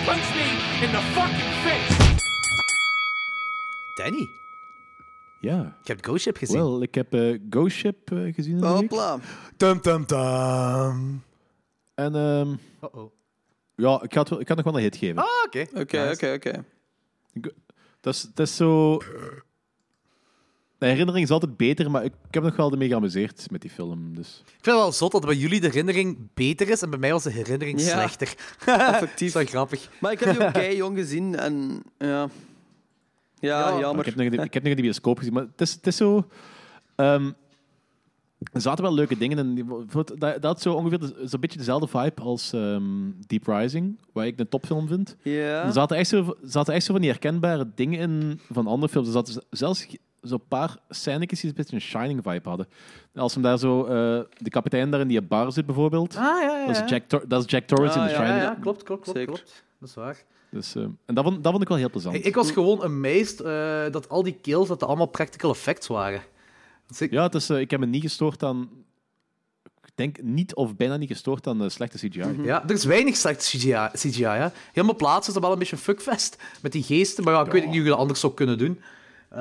Punch me in the fucking face! Danny, Ja. ik heb Ghost Ship gezien. Wel, ik heb eh, Ghost Ship eh, gezien. in de week. Hopla. Tum tum tum. En ehm, Oh oh. ja, ik ga, het, wel- ik ga het nog wel een hit geven. Ah, oké. Oké, oké, oké. Dat is, dat is zo. De herinnering is altijd beter, maar ik, ik heb nog wel ermee geamuseerd met die film. Dus. Ik vind het wel zot dat bij jullie de herinnering beter is en bij mij was de herinnering Ja. slechter. Effectief. Dat is wel grappig. Maar ik heb die ook kei jong gezien en ja. Ja, Ja. Ik jammer. heb nog in de, ik heb nog in de bioscoop gezien, maar het is, het is zo. ehm, er zaten wel leuke dingen in. die- bijvoorbeeld, Dat, dat is zo ongeveer de- zo'n beetje dezelfde vibe als ehm, Deep Rising, waar ik een topfilm vind. Er Ja. zaten echt, zo, zaten echt zo van die herkenbare dingen in van andere films. Er zaten z- zelfs ge- zo'n paar scènetjes die een beetje een Shining vibe hadden. Als hem daar zo, eh, de kapitein daar in die bar zit bijvoorbeeld. Ah, ja, ja. Dat, is Jack Tor- dat is Jack Torrance Ah, in The ja, ja, Shining. ja, klopt, klopt, klopt, Zeker. klopt. Dat is waar. Dus, eh, en dat vond, dat vond ik wel heel plezant. Ik, ik was gewoon amazed eh, dat al die kills dat dat allemaal practical effects waren. Dus ik- Ja, het is, eh, ik heb me niet gestoord aan... Ik denk niet of bijna niet gestoord aan eh, slechte CGI. Ja, er is weinig slecht CGI. CGI hè. Helemaal plaatsen is dat wel een beetje een fuckfest met die geesten. Maar ja, ik weet niet hoe je dat anders zou kunnen doen. Eh,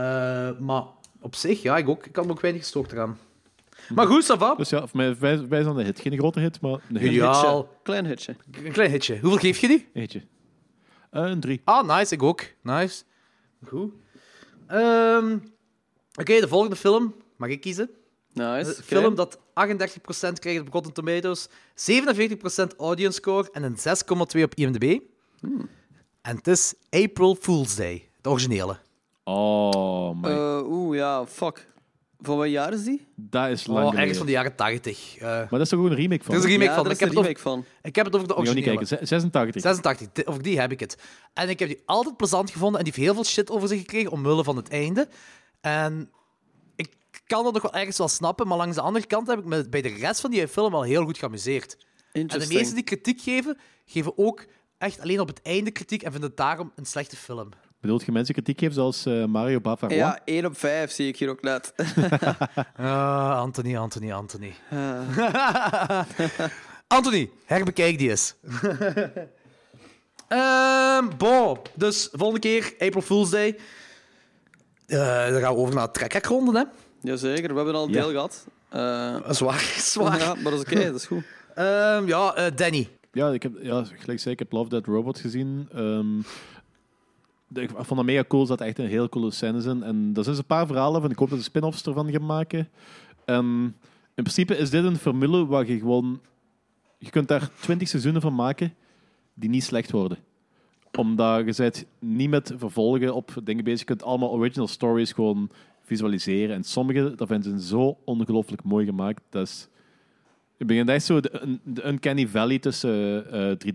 maar op zich, ja, ik, ook, ik had me ook weinig gestoord eraan. Maar goed, Sava. Dus ja, voor mij, wij, wij zijn de hit. Geen grote hit, maar een hit. Geniaal. Klein hitje. Een klein hitje. Hoeveel geef je die? Eentje. Eh, een drie. Ah, nice. Ik ook. Nice. Goed. Ehm, Oké, de volgende film. Mag ik kiezen? Nice. Een oké. film dat 38% kreeg op Rotten Tomatoes, 47% audience score en een 6,2 op IMDb. Hmm. En het is April Fool's Day, de originele. Oh, my. Eh, Oeh, ja, fuck. Van wat jaar is die? dat is lang Oh, geleden. ergens van de jaren 80. Eh, Maar dat is toch ook een remake van? er is een remake ja, van. daar Ik is een heb, het over, remake van. ik heb het over de Moet je ook niet originele. kijken. Ze- 86. 86, di- over die heb ik het. En ik heb die altijd plezant gevonden en die heeft heel veel shit over zich gekregen omwille van het einde. En ik kan dat nog wel ergens wel snappen, maar langs de andere kant heb ik me bij de rest van die film al heel goed geamuseerd. En de Interesting. meesten die kritiek geven, geven ook echt alleen op het einde kritiek en vinden het daarom een slechte film. Bedoelt je mensen kritiek geven zoals eh, Mario Bava? Ja, 1 op 5 zie ik hier ook net. Ah, Anthony, Anthony, Anthony. Anthony, herbekijk die eens. Ehm bon, dus volgende keer, April Fool's Day. Eh, dan gaan we over naar trekkergronden, hè. Jazeker, we hebben al een Ja. deel gehad. Eh, Zwaar, zwaar. ja, maar dat is oké, dat is goed. Ehm, ja, eh, Danny. Ja, ik heb, ja, gelijk zei, ik heb Love That Robot gezien. Ehm, de- ik vond dat mega cool. Er zaten echt een heel coole scènes in. En er zijn dus een paar verhalen van. Ik hoop dat ze spin-offs ervan gaan maken. En in principe is dit een formule waar je gewoon... Je kunt daar twintig seizoenen van maken die niet slecht worden. Omdat je bent niet met vervolgen op dingen bezig. Je kunt allemaal original stories gewoon visualiseren. En sommige, dat vinden ze zo ongelooflijk mooi gemaakt. Dat is... Je begint echt zo de, un- de uncanny valley tussen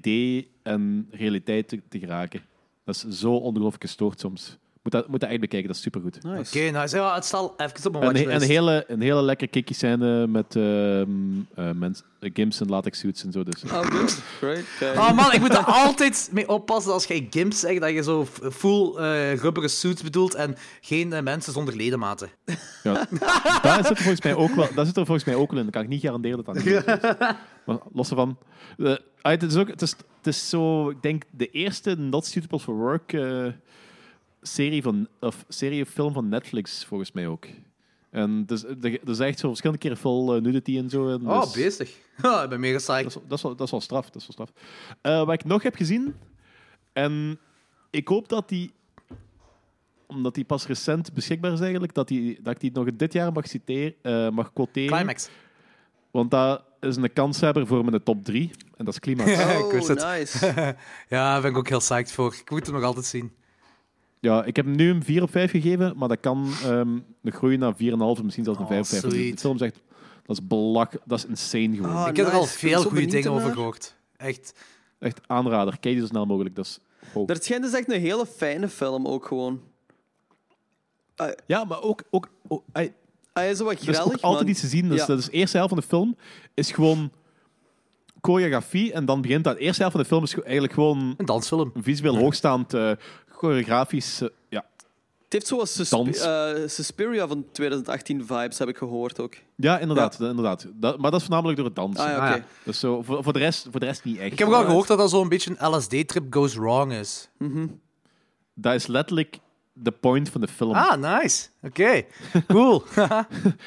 eh, 3D en realiteit te, te geraken. Dat is zo ongelooflijk gestoord soms. Moet dat, moet dat echt bekijken, dat is supergoed. Oké, nice. Ja, het staat even op mijn En, watchlist. he- en een hele, een hele lekkere kikkie scène met ehm eh mens, eh, Gimps en latex suits en zo. Dus. Oh, good. Great. Kijk. Oh man, ik moet er altijd mee oppassen als jij gimps zegt, dat je zo f- full eh rubberen suits bedoelt en geen eh, mensen zonder ledematen. Ja. daar, zit er volgens mij ook wel, daar zit er volgens mij ook wel in. Dat kan ik niet garanderen dat dat niet is. Maar los ervan. eh, ah, het, is ook, het, is, het is zo, ik denk, de eerste Not Suitable for Work eh, serie, van, of serie of film van Netflix, volgens mij ook. En dus, er er is echt zo verschillende keren veel eh, nudity en zo. En Oh, dus- beestig. Ha, ik ben mega dat psyched. is, dat, is wel, dat is wel straf. Dat is wel straf. Eh, wat ik nog heb gezien, en ik hoop dat die, omdat die pas recent beschikbaar is eigenlijk, dat, die, dat ik die nog dit jaar mag, citeren, eh, mag quoteren. Climax. Want dat is een kanshebber voor mijn top 3. En dat is Climax. ik wist het. Oh, nice. Ja, daar ben ik ook heel psyched voor. Ik moet hem nog altijd zien. ja, ik heb hem nu een 4 op 5 gegeven, maar dat kan ehm nog groeien naar 4,5 of misschien zelfs een Oh, 5 op 5. Want die- sweet. die film zegt, dat is belak, dat is insane gewoon. Oh, ik heb er al nice. Ik ben veel zo goede benieuwd dingen over ernaar. gehoord. Echt. Echt aanrader, kijk die zo snel mogelijk. Dat is hoog. Dat schijnt dus echt een hele fijne film ook gewoon. Ja, maar ook, ook, oh, ook hij- Ah, Hij is zo wat Er is grellig, ook altijd man. iets te zien. Dus Ja. dat is de eerste helft van de film is gewoon choreografie. En dan begint dat. De eerste helft van de film is ge- eigenlijk gewoon Een dansfilm. een visueel hoogstaand eh, choreografisch. eh, ja. Het heeft zoals Dans. eh, Suspiria van 2018 vibes, heb ik gehoord ook. ja, inderdaad. inderdaad. Dat, maar dat is voornamelijk door het dansen. Ah ja, oké. Ah, ja. Dus zo, voor, voor, de rest, voor de rest niet echt. Ik heb wel gehoord dat dat zo'n beetje een LSD-trip goes wrong is. Dat is letterlijk de point van de film. Ah, nice. Oké, cool. Oké,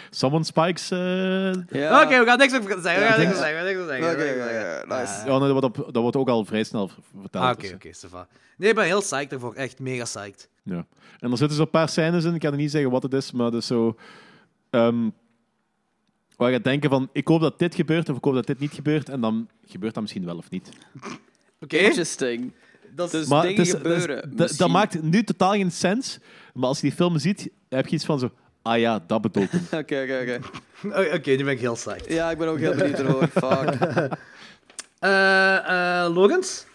Someone spikes... eh, Ja. we gaan niks over zeggen. We gaan niks Ja. over zeggen. We gaan niks over zeggen. we gaan niks Oké, over zeggen. ja, ja, nice. ja, nee, dat, wordt op, dat wordt ook al vrij snel v- verteld. Ah, dus, oké, eh, oké, ça va. Nee, ik ben heel psyched ervoor. Echt mega psyched. Ja. En er zitten zo'n paar scènes in, ik kan er niet zeggen wat het is, maar dat is zo... ehm, waar je denken van, ik hoop dat dit gebeurt of ik hoop dat dit niet gebeurt, en dan gebeurt dat misschien wel of niet. Oké, Interesting. dat is... Dus Maar dingen het is- het is- gebeuren. dat- dat misschien. maakt nu totaal geen sens, maar als je die film ziet, heb je iets van zo... Ah ja, dat bedoelt hem. Oké, oké, oké. Oh, Oké, nu ben ik heel psyched. Ja, ik ben ook heel benieuwd ervoor. Fuck. Eh eh Logans?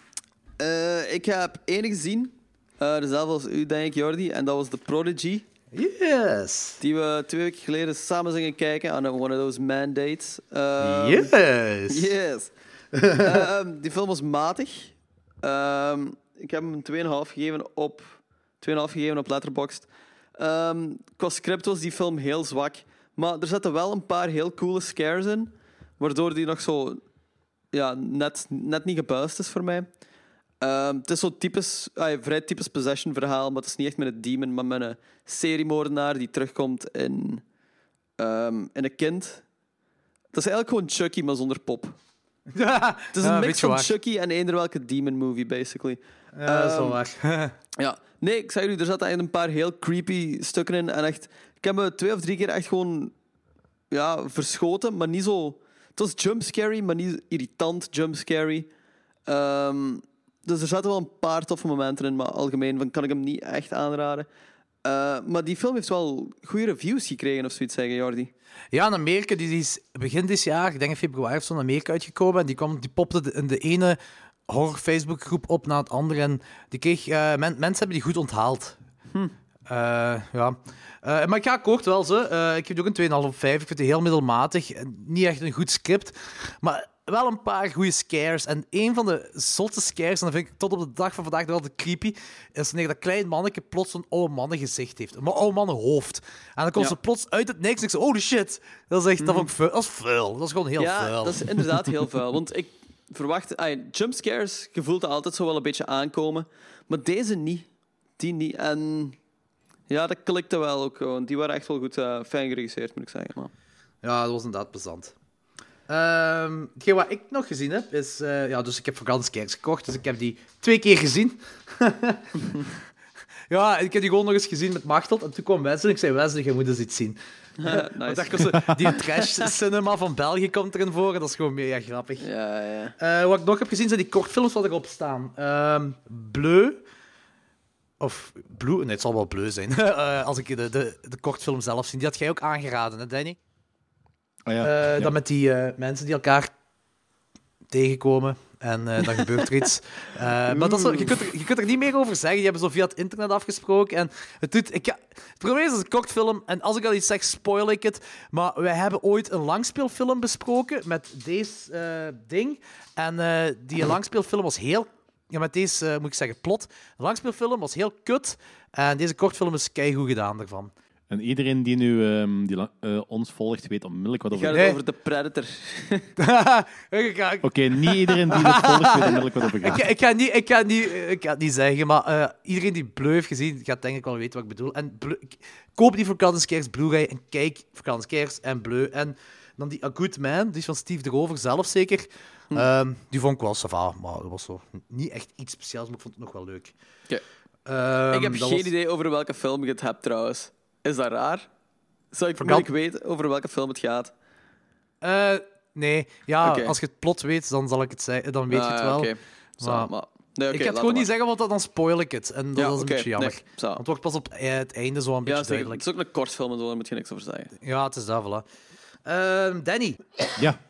Eh, ik heb één gezien, eh, dezelfde als u, denk ik, Jordi. En dat was The Prodigy. Yes. Die we twee weken geleden samen zijn gaan kijken aan one of those mandates. Ehm, Eh, yes. Yes. Eh, ehm, die film was matig. Ehm, ik heb hem een 2,5 gegeven op 2,5 gegeven op Letterboxd. Ehm, qua script was die film heel zwak. Maar er zaten wel een paar heel coole scares in. Waardoor die nog zo ja, net, net niet gebuist is voor mij. Ehm, het is zo typisch, ah, vrij typisch possession verhaal. Maar het is niet echt met een demon, maar met een seriemoordenaar die terugkomt in, ehm, in een kind. Dat is eigenlijk gewoon Chucky, maar zonder pop. Het is een mix van Chucky en eender welke demon movie, basically. Ja, dat is wel Ehm, waar. Ja. Nee, ik zei jullie, er zaten eigenlijk een paar heel creepy stukken in. En echt, ik heb me twee of drie keer echt gewoon ja, verschoten, maar niet zo... Het was jumpscary, maar niet irritant jumpscary. Ehm dus er zaten wel een paar toffe momenten in, maar algemeen van, kan ik hem niet echt aanraden. Eh, maar die film heeft wel goede reviews gekregen of zoiets, zeggen Jordi. Ja, in Amerika, die is begin dit jaar, ik denk in februari of zo, in Amerika uitgekomen. En die, kwam, die popte de- in de ene horror Facebookgroep op na het andere. En die kreeg, eh, men- mensen hebben die goed onthaald. Eh, ja. Eh, maar ik ga kort wel ze. Eh, ik geef die ook een 2,5 op 5. Ik vind die heel middelmatig. Eh, Niet echt een goed script. Maar wel een paar goede scares. En een van de zotte scares, en dat vind ik tot op de dag van vandaag wel de creepy, is wanneer dat klein manneke plots een oude mannen gezicht heeft. Een oude mannen hoofd. En dan komt Ja. Mhm. ze plots uit het niks en ik zo, holy shit. Dat is echt, dat, vond ik vuil. dat is vuil. Dat is gewoon heel ja, vuil. dat is inderdaad heel vuil. Want ik verwacht... ai, jumpscares, je voelt dat altijd zo wel een beetje aankomen. Maar deze niet. Die niet. En ja, dat klikte wel ook gewoon. Die waren echt wel goed eh, fijn geregisseerd, moet ik zeggen. Maar. Ja, dat was inderdaad plezant. Ehm, hetgeen wat ik nog gezien heb, is... eh, ja, dus ik heb vakantiekerks gekocht, dus ik heb die twee keer gezien. ja, ik heb die gewoon nog eens gezien met Machteld. En toen kwam Wesley en ik zei, Wesley, je moet eens iets zien. nice. Want daar komt zo- die trash-cinema van België komt erin voor en dat is gewoon mega grappig. Ja, ja. Eh, wat ik nog heb gezien zijn die kortfilms wat erop staan. Ehm Bleu. Of Blue, nee, het zal wel Bleu zijn. Eh, als ik de, de, de kortfilm zelf zie. Die had jij ook aangeraden, hè, Danny? Ah ja. Eh, ja. Dan met die eh, mensen die elkaar tegenkomen. En eh, dan gebeurt er iets. Eh, maar dat is, wel- je, kunt er, je kunt er niet meer over zeggen. Die hebben zo via het internet afgesproken. En het, doet, ik, ga- het probleem is, het is een kort film. En als ik al iets zeg, spoil ik het. Maar wij hebben ooit een langspeelfilm besproken met deze eh, ding. En eh, die langspeelfilm was heel... Ja, met deze, eh, moet ik zeggen, plot. De langspeelfilm was heel kut. En deze kortfilm is keigoed gedaan daarvan. En iedereen die nu ehm, die la- eh, ons volgt, weet onmiddellijk wat Ik over... ga het Oké, Nee. over de Predator. ik, ga, ik, niet iedereen die het volgt, weet onmiddellijk wat over gaat. ik ga niet, ik, ga niet, ik ga het niet zeggen, maar eh, iedereen die Bleu heeft gezien, gaat denk ik wel weten wat ik bedoel. En Bleu- ik- koop die vakantieskers Blu-ray en kijk vakantieskers en Bleu. En dan die A Good Man, die is van Steve de Rover zelf zeker. Hm. Ehm, die vond ik wel sava, maar dat was zo niet echt iets speciaals, maar ik vond het nog wel leuk. Oké. Ehm, ik heb dat geen was- idee over welke film je het hebt trouwens. Is dat raar? Zou ik Verkant- moeilijk weten over welke film het gaat? Eh, nee, ja, Oké. als je het plot weet, dan zal ik het zeggen, dan weet je het Ah, wel. oké. Zo, Maar- maar- Nee, oké, ik ga het laat gewoon maar. niet zeggen, want dan spoil ik het. En dat Ja, is een oké, beetje jammer. nee, zo. want het wordt pas op eh, het einde zo een beetje Ja, zeker. duidelijk. Het is ook een kort film, en zo, daar moet je niks over zeggen. Ja, het is dat, voilà. Ehm, Danny. Ja,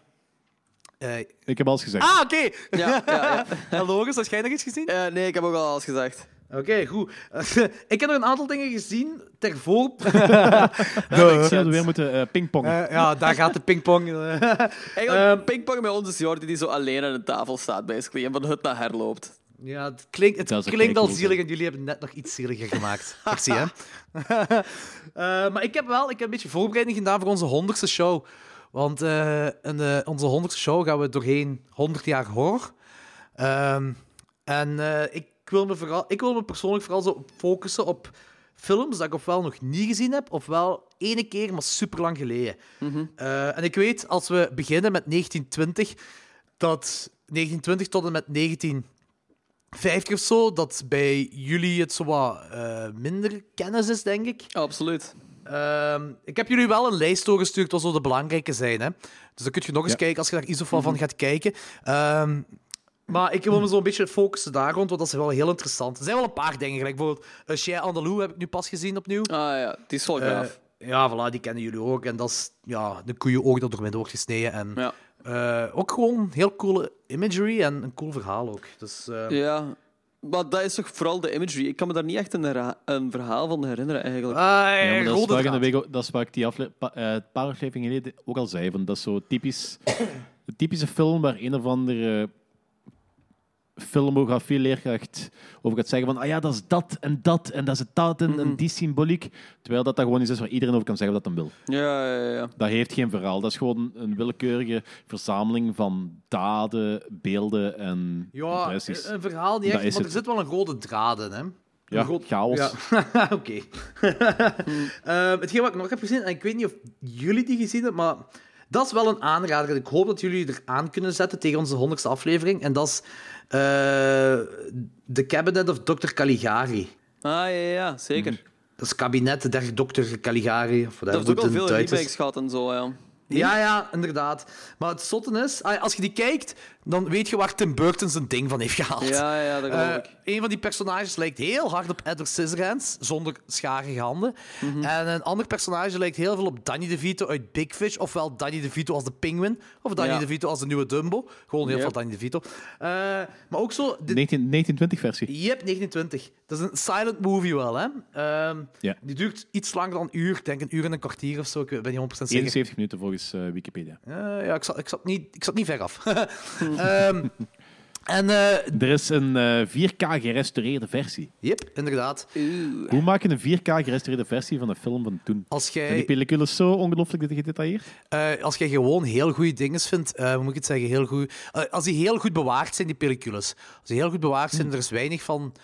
Eh, ik heb alles gezegd. ah, oké. Ja, ja, ja. En Loris, had jij nog iets gezien? Eh, nee, ik heb ook al alles gezegd. Oké, goed. ik heb nog een aantal dingen gezien ter voor... Ah, ik zou sense. weer moeten eh, pingpongen. Eh, ja, daar gaat de pingpong. eh. Eigenlijk pingpong met ons is Jordi die zo alleen aan de tafel staat, basically, en van hut naar her loopt. ja, het klinkt, het Dat is een klinkt al kijkdoel, zielig hè. en jullie hebben net nog iets zieliger gemaakt. Ik zie, hè. Eh, maar ik heb wel ik heb een beetje voorbereiding gedaan voor onze honderdste show. Want eh, in eh, onze honderdste show gaan we doorheen 100 jaar horror. Ehm, en eh, ik, wil me vooral, ik wil me persoonlijk vooral zo op focussen op films dat ik ofwel nog niet gezien heb, ofwel ene keer, maar super lang geleden. Eh, en ik weet, als we beginnen met 1920, dat 1920 tot en met 1950 of zo, dat bij jullie het zo wat eh, minder kennis is, denk ik. Absoluut. Ehm, ik heb jullie wel een lijst doorgestuurd wat zo de belangrijke zijn. Hè? Dus dan kun je nog eens Ja. Mhm. kijken als je daar iets of wat van gaat kijken. Ehm, maar ik wil me zo'n beetje focussen daar rond, want dat is wel heel interessant. Er zijn wel een paar dingen. Gelijk bijvoorbeeld uh, Shia Andalou heb ik nu pas gezien opnieuw. Ah ja, die is wel Eh, gaaf. ja, voilà, die kennen jullie ook. En dat is ja, de koeienoog dat door mijn wordt gesneden. En ja. eh, ook gewoon heel coole imagery en een cool verhaal ook. Dus, eh, ja. Maar dat is toch vooral de imagery. Ik kan me daar niet echt een, herha- een verhaal van herinneren, eigenlijk. ah, Ja, maar dat, is rode waar ik in de draad. week ook- dat is waar ik die afle- pa- eh, een paar afleveringen geleden ook al zei. Van, dat is zo typisch, een typische film waar een of andere filmografie-leerkracht over gaat zeggen van ah ja, dat is dat en dat en dat is het dat en, Mhm. en die symboliek. Terwijl dat, dat gewoon iets is waar iedereen over kan zeggen wat dat hem wil. Ja, ja, ja, ja. Dat heeft geen verhaal. Dat is gewoon een willekeurige verzameling van daden, beelden en Ja, eh, impressies. een verhaal niet Dat echt, is maar er het. zit wel een rode draad in, hè. ja, een groot- chaos. Ja, oké. Ehm, hetgeen wat ik nog heb gezien, en ik weet niet of jullie die gezien hebben, maar dat is wel een aanrader. Ik hoop dat jullie er aan kunnen zetten tegen onze honderdste aflevering. En dat is eh, The Cabinet of Dr. Caligari. Ah ja, ja, ja, zeker. Dat is kabinet der Dr. Caligari. Of Dat whatever heeft ook al het in veel het Duits is. remakes gehad en zo, ja. Ja, ja, inderdaad. Maar het zotte is, ah, als je die kijkt, dan weet je waar Tim Burton zijn ding van heeft gehaald. Ja, ja, dat geloof Eh, ik. Een van die personages lijkt heel hard op Edward Scissorhands, zonder scharige handen. Mhm. En een ander personage lijkt heel veel op Danny DeVito uit Big Fish, ofwel Danny DeVito als de Penguin, of Danny Ja. DeVito als de nieuwe Dumbo. Gewoon heel Yep. veel Danny DeVito. Eh, maar ook zo... de- 1920-versie. Yep, 29. Dat is een silent movie wel, hè. Ehm, Ja. Die duurt iets langer dan een uur. Ik denk een uur en een kwartier of zo. Ik ben niet 100% zeker. 71 minuten volgens eh, Wikipedia. Eh, ja, ik zat, ik, zat niet, ik zat niet ver af. Ehm, en, eh, Er is een eh, 4K gerestaureerde versie. yep, inderdaad. Hoe maak je een 4K gerestaureerde versie van een film van toen? Als Zijn die jij, pellicule zo ongelooflijk gedetailleerd? eh, als jij gewoon heel goede dingen vindt, eh, hoe moet ik het zeggen, heel goed, eh, als die heel goed bewaard zijn, die pellicules. Als die heel goed bewaard zijn, er is weinig van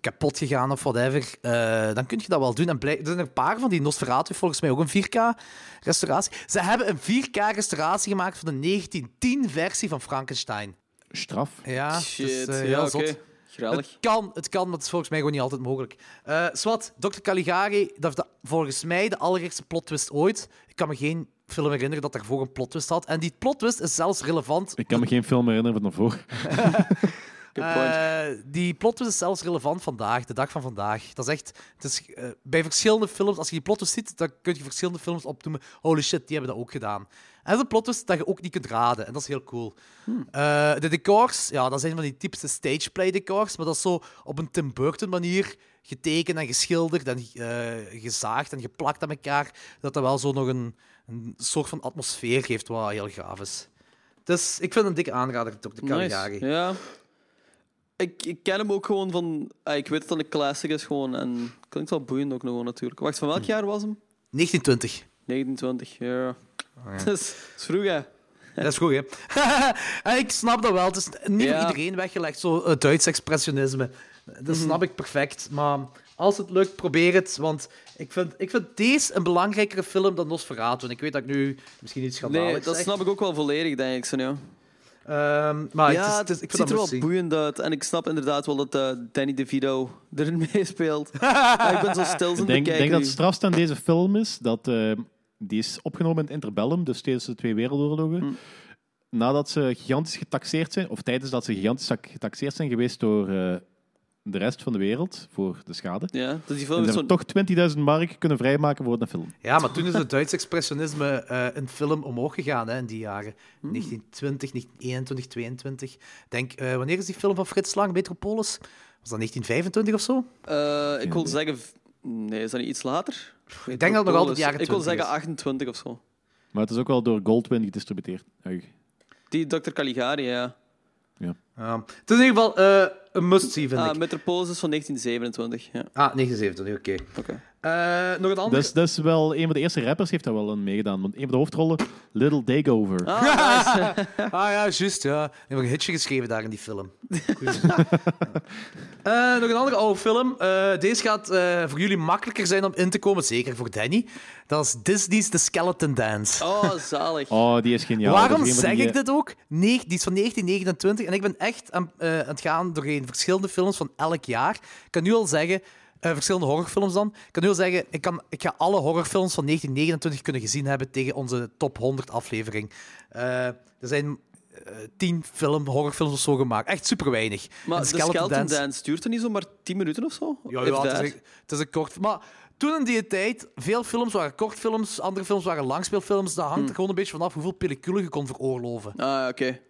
kapot gegaan of whatever, eh, dan kun je dat wel doen. En blij- er zijn er een paar van die Nosferatu, volgens mij ook een 4K-restauratie. Ze hebben een 4K-restauratie gemaakt van de 1910-versie van Frankenstein. Straf. Ja, Shit, dat is, eh, ja, heel oké. zot. Het Geweldig. kan, het kan, maar het is volgens mij gewoon niet altijd mogelijk. Eh Swat, Dr. Caligari, dat is de- volgens mij de allerergste plot twist ooit. Ik kan me geen film herinneren dat daarvoor een plot twist had. En die plot twist is zelfs relevant. Ik kan me geen film herinneren van daarvoor. Good point. Eh, die plot twist is zelfs relevant vandaag, de dag van vandaag. Dat is echt, het is, eh, dus bij verschillende films, als je die plot twist ziet, dan kun je verschillende films opdoemen. Holy shit, die hebben dat ook gedaan. En de plot is dat je ook niet kunt raden. En dat is heel cool. Hmm. Eh, de decors, ja, dat zijn van die typische stageplay decors. Maar dat is zo op een Tim Burton manier getekend en geschilderd en eh, gezaagd en geplakt aan elkaar. Dat dat wel zo nog een, een soort van atmosfeer geeft, wat heel gaaf is. Dus ik vind het een dikke aanrader, Dr. Caligari. Nice. Ja. Ik, ik ken hem ook gewoon van... ah, ik weet dat dat een classic is gewoon. En klinkt wel boeiend ook nog wel, natuurlijk. Wacht, van Hm. welk jaar was hem? 1920. 1920, Oh, ja. Dat is, dat is vroeg, hè? Dat is goed, hè? en ik snap dat wel. Het is niet Ja. Mhm. voor iedereen weggelegd, zo het Duits expressionisme. Dat snap ik perfect. Maar als het lukt, probeer het. Want ik vind, ik vind deze een belangrijkere film dan Nosferatu. En ik weet dat ik nu misschien iets Nee, schandaligs dat zeg. snap ik ook wel volledig, denk ik. Zo, ja, Ehm, maar ja Ah, het is, het, het is- ik ziet vind dat er wel moest zien. boeiend uit. En ik snap inderdaad wel dat eh, Danny DeVito erin meespeelt. Maar ik ben zo stil Ik zijn denk, te ik kijken denk dat nu. het strafst aan deze film is dat eh, die is opgenomen in het interbellum, dus tijdens de Twee Wereldoorlogen. Nadat ze gigantisch getaxeerd zijn, of tijdens dat ze gigantisch tak- getaxeerd zijn geweest door eh, de rest van de wereld voor de schade. Ja, dat die film En ze is dus zo'n... hebben toch 20.000 mark kunnen vrijmaken voor een film. Ja, maar toen is het Duits expressionisme eh in film omhoog gegaan hè, in die jaren. Mhm. 1920, 1921, 22. Denk, eh, wanneer is die film van Frits Lang, Metropolis? Was dat 1925 of zo? Eh, ik wil zeggen... v- Nee, is dat niet iets later? Ik denk dat het nog altijd jaren Ik wil 20 zeggen is. 28 of zo. Maar het is ook wel door Goldwyn gedistributeerd. Ui. Die Dr. Caligari, ja. Ja. Ehm, het is in ieder geval eh, een must-see, vind Ah, ik. Metropolis is van 1927, ja. Ah, 79, oké. Oké. Eh, nog een andere? Dat is, dat is wel een van de eerste rappers heeft daar wel aan meegedaan. Want een van de hoofdrollen, Little Dagover. Ah ja, juist, ja. Ik heb een hitje geschreven daar in die film. Goed. Eh, nog een andere oude film. Eh, deze gaat eh, voor jullie makkelijker zijn om in te komen, zeker voor Danny. Dat is Disney's The Skeleton Dance. Oh, zalig. Oh, die is geniaal. Dat Waarom is een van zeg die, eh, ik dit ook? Nee, die is van 1929 en ik ben echt aan, eh, aan het gaan doorheen verschillende films van elk jaar. Ik kan nu al zeggen, eh, verschillende horrorfilms dan. Ik kan nu al zeggen, ik, kan, ik ga alle horrorfilms van 1929 kunnen gezien hebben tegen onze top 100 aflevering. Eh, er zijn eh, tien film, horrorfilms of zo gemaakt. Echt super weinig. Maar En de Skeleton, Dance. duurt er niet zo maar 10 minuten of zo? ja, If ja, het, that. is een, het is een kort. Maar toen in die tijd, veel films waren kortfilms, andere films waren langspeelfilms. Dat Hmm. hangt er gewoon een beetje vanaf hoeveel pelliculen je kon veroorloven. Ah, oké.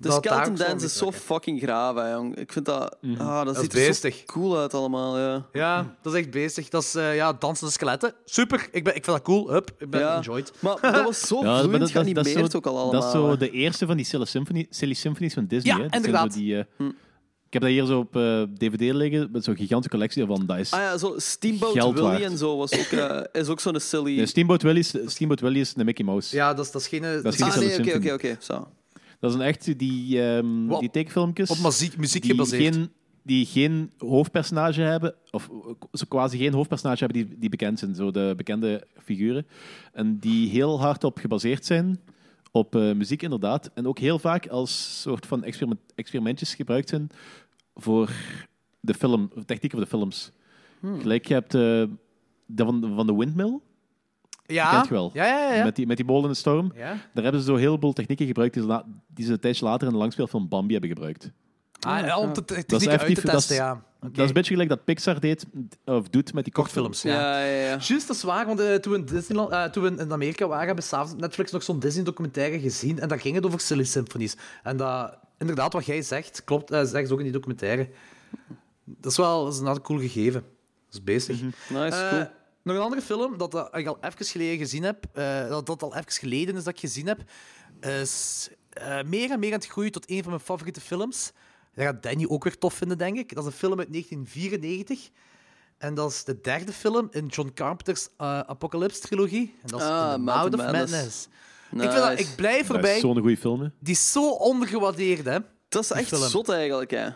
De Dat Skeleton daarom zou Dance ik is zo zeggen. fucking graaf, hè, jong. Ik vind dat... Ah, dat, is ziet er beestig. zo cool uit allemaal, ja. Ja, dat is echt bezig. Dat is eh, ja, dansende skeletten. Super, ik, ben, ik vind dat cool. Hup, ik ben ja. enjoyed. Maar dat was zo eh, Ja, maar vloeiend dat, dat, dat, is zo, geanimeerd ook al allemaal. dat is zo hè. de eerste van die Silly, Symphony, Silly Symphonies van Disney. eh. Ja, hè? Dat zijn inderdaad. Hm. zo die, eh, Ik heb dat hier zo op eh, DVD liggen met zo'n gigantische collectie van Dice. Ah ja, zo Steamboat Geld Willie waard. en zo was ook, eh, is ook zo'n silly... Steamboat Willie is, Steamboat Willie is de Mickey Mouse. Ja, dat is, dat is geen... eh, Dat is geen ah, nee, Symphony. oké, oké, oké. Zo. Dat zijn echt die, ehm Wat? die tekenfilmpjes. op muziek, muziek die gebaseerd. geen, die geen hoofdpersonage hebben, of zo quasi geen hoofdpersonage hebben die, die bekend zijn, zo de bekende figuren. En die heel hard op gebaseerd zijn, op eh, muziek inderdaad. En ook heel vaak als soort van experiment, experimentjes gebruikt zijn voor de film, de techniek van de films. Hmm. Gelijk, je hebt eh, de van, van de Windmill, Ja. kent je wel. Ah. Ja, ja, ja. ja. met, die, met die molen in de storm. Ja? Daar hebben ze zo een heleboel technieken gebruikt die ze, la- die ze een tijdje later in de langspeelfilm Bambi hebben gebruikt. Ah, ja, om de te- Dat is technieken uit te effectief, dat is- testen, ja. Dat is een beetje gelijk dat Pixar deed, of doet met die Kortfilms, ja. Ja, ja, ja. Juist, dat is waar, want eh, toen, we in Disneyland, eh, toen we in Amerika waren, hebben we s'avonds op Netflix nog zo'n Disney-documentaire gezien. En daar ging het over Silly Symphonies. En dat, inderdaad, wat jij zegt, klopt, eh zegt ze ook in die documentaire. Dat is wel dat is een cool gegeven. Dat is bezig. Mhm. Nice, Eh, cool. nog een andere film dat, eh, ik al even geleden gezien heb, eh, dat, dat al even geleden is dat ik gezien heb, is eh, meer en meer aan het groeien tot een van mijn favoriete films. Dat gaat Danny ook weer tof vinden, denk ik. Dat is een film uit 1994. En dat is de derde film in John Carpenter's eh, Apocalypse-trilogie. En dat is Ah, In the Mouth Mouth of of Madness. Madness. Ik, vind dat, Nice. ik blijf Dat is erbij. zo'n goede film, hè. Die is zo ondergewaardeerd, hè. Dat is echt film. zot eigenlijk, hè.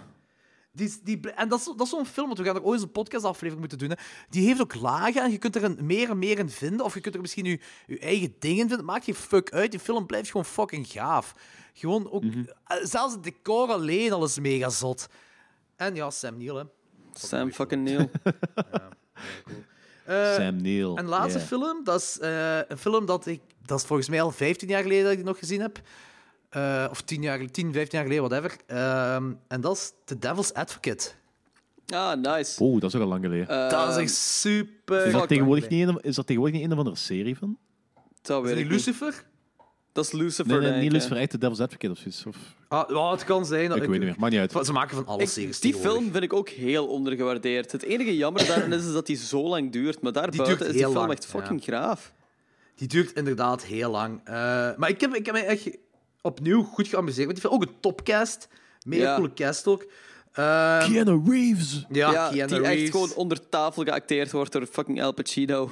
Die, die, en dat is, dat is zo'n film, want we gaan er ooit eens een podcastaflevering moeten doen. Hè. Die heeft ook lagen en je kunt er een, meer en meer in vinden. Of je kunt er misschien je, je eigen dingen vinden. Maakt geen fuck uit. Die film blijft gewoon fucking gaaf. Gewoon ook, eh, Zelfs het decor alleen al is mega zot. En ja, Sam Neill. Hè. Sam fucking Neil. Eh, Sam Neill. En laatste Ja. film, dat is eh, een film dat ik... Dat is volgens mij al 15 jaar geleden dat ik die nog gezien heb. Eh, of 10, jaar, 10, 15 jaar geleden, whatever. Ehm, en dat is The Devil's Advocate. Ah, nice. Oeh, dat is ook al lang geleden. Eh, dat is echt super... is, fuck, dat tegenwoordig niet een, is dat tegenwoordig niet een of andere serie van? dat weet Is ik die niet. Lucifer? Dat is Lucifer. Nee, nee, denk niet ik, Lucifer, hè. echt de Devil's Advocate of zoiets. Of, Ah, ja, het kan zijn. dat ik weet niet meer, maakt niet uit. Ze maken van alles Ik- series die tegenwoordig. film vind ik ook heel ondergewaardeerd. Het enige jammer daarin is, is dat die zo lang duurt. Maar daarbuiten duurt is die heel film lang, echt fucking graaf. Die duurt inderdaad heel lang. Eh, maar ik heb, ik heb mij echt opnieuw goed geamuseerd. Want ik vind ook een topcast. Mega Ja. coole cast ook. Eh, Keanu Reeves! ja, Ja, Keanu die Reeves. echt gewoon onder tafel geacteerd wordt door fucking Al Pacino.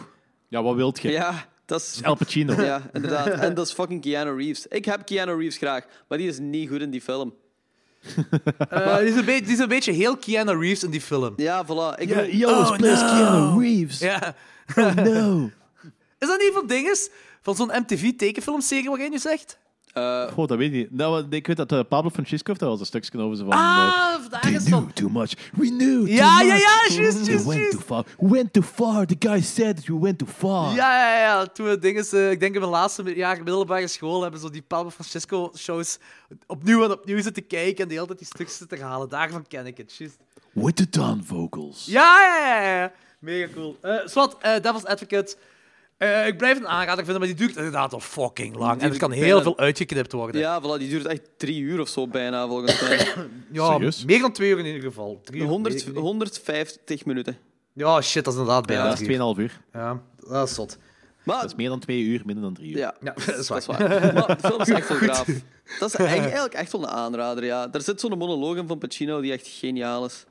Ja, wat wilt je? Ja, dat is... Al Pacino. Ja, inderdaad. En dat is fucking Keanu Reeves. Ik heb Keanu Reeves graag, maar die is niet goed in die film. Eh, die, is een beetje, die is een beetje heel Keanu Reeves in die film. Ja, voilà. Ik Ja, bedoel- he always plays Keanu Reeves. Oh, Ja. Oh no. Is dat niet van dinges? Van zo'n MTV-tekenfilmserie wat jij nu zegt? Eh, Goh, dat weet ik niet. Nou, ik weet dat eh, Pablo Francisco daar was een stukje over ze van... eh, Ah, vandaag They is knew van... too much. We knew Ja, too ja, much. ja, juist, We juist, went juist. too far. We went too far. The guy said that we went too far. Ja, ja, ja. Toen we dinges, eh, ik denk in mijn laatste jaar middelbare school hebben zo die Pablo Francisco-shows opnieuw en opnieuw zitten kijken en de hele tijd die stukjes te herhalen. Daarvan ken ik het, juist. With the dawn vocals. Ja, ja, ja, ja. Mega cool. Eh Swat, eh, Devil's Advocate. Eh, ik blijf het een aanrader vinden, maar die duurt inderdaad al fucking lang. En er kan heel bijna- veel uitgeknipt worden. ja, voilà. Die duurt echt drie uur of zo bijna, volgens mij. Ja, Serieus? meer dan twee uur in ieder geval. Drie uur, 100, negen uur. 150 minuten. Ja, shit, dat is inderdaad bijna Dat drie is uur. 2,5 uur. Ja, dat is zot. Maar, Dat is meer dan 2 uur, minder dan 3 uur. ja, Ja, dat is waar. Maar de film is echt wel graaf. Dat is eigenlijk- eigenlijk echt wel een aanrader, ja. Daar zit zo'n monoloog in van Pacino die echt geniaal is.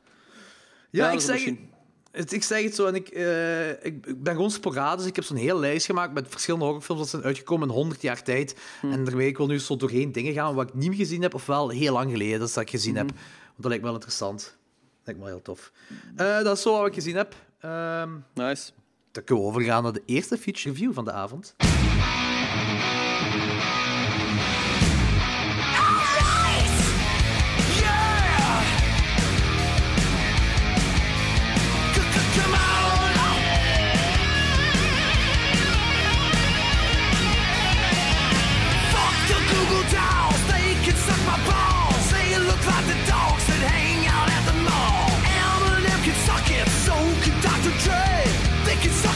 Ja, ik dat is zeg, misschien- het, ik zeg het zo. En ik, eh, ik, ik ben gewoon sporadisch. Ik heb zo'n heel lijst gemaakt met verschillende horrorfilms dat zijn uitgekomen in 100 jaar tijd. Hmm. En daarmee ik wil nu zo doorheen dingen gaan wat ik niet meer gezien heb, of wel heel lang geleden dat, is dat ik Hmm. gezien heb. Want dat lijkt me wel interessant. Dat lijkt me wel heel tof. Eh, dat is zo wat ik gezien heb. Ehm, Nice. dan kunnen we overgaan naar de eerste feature review van de avond.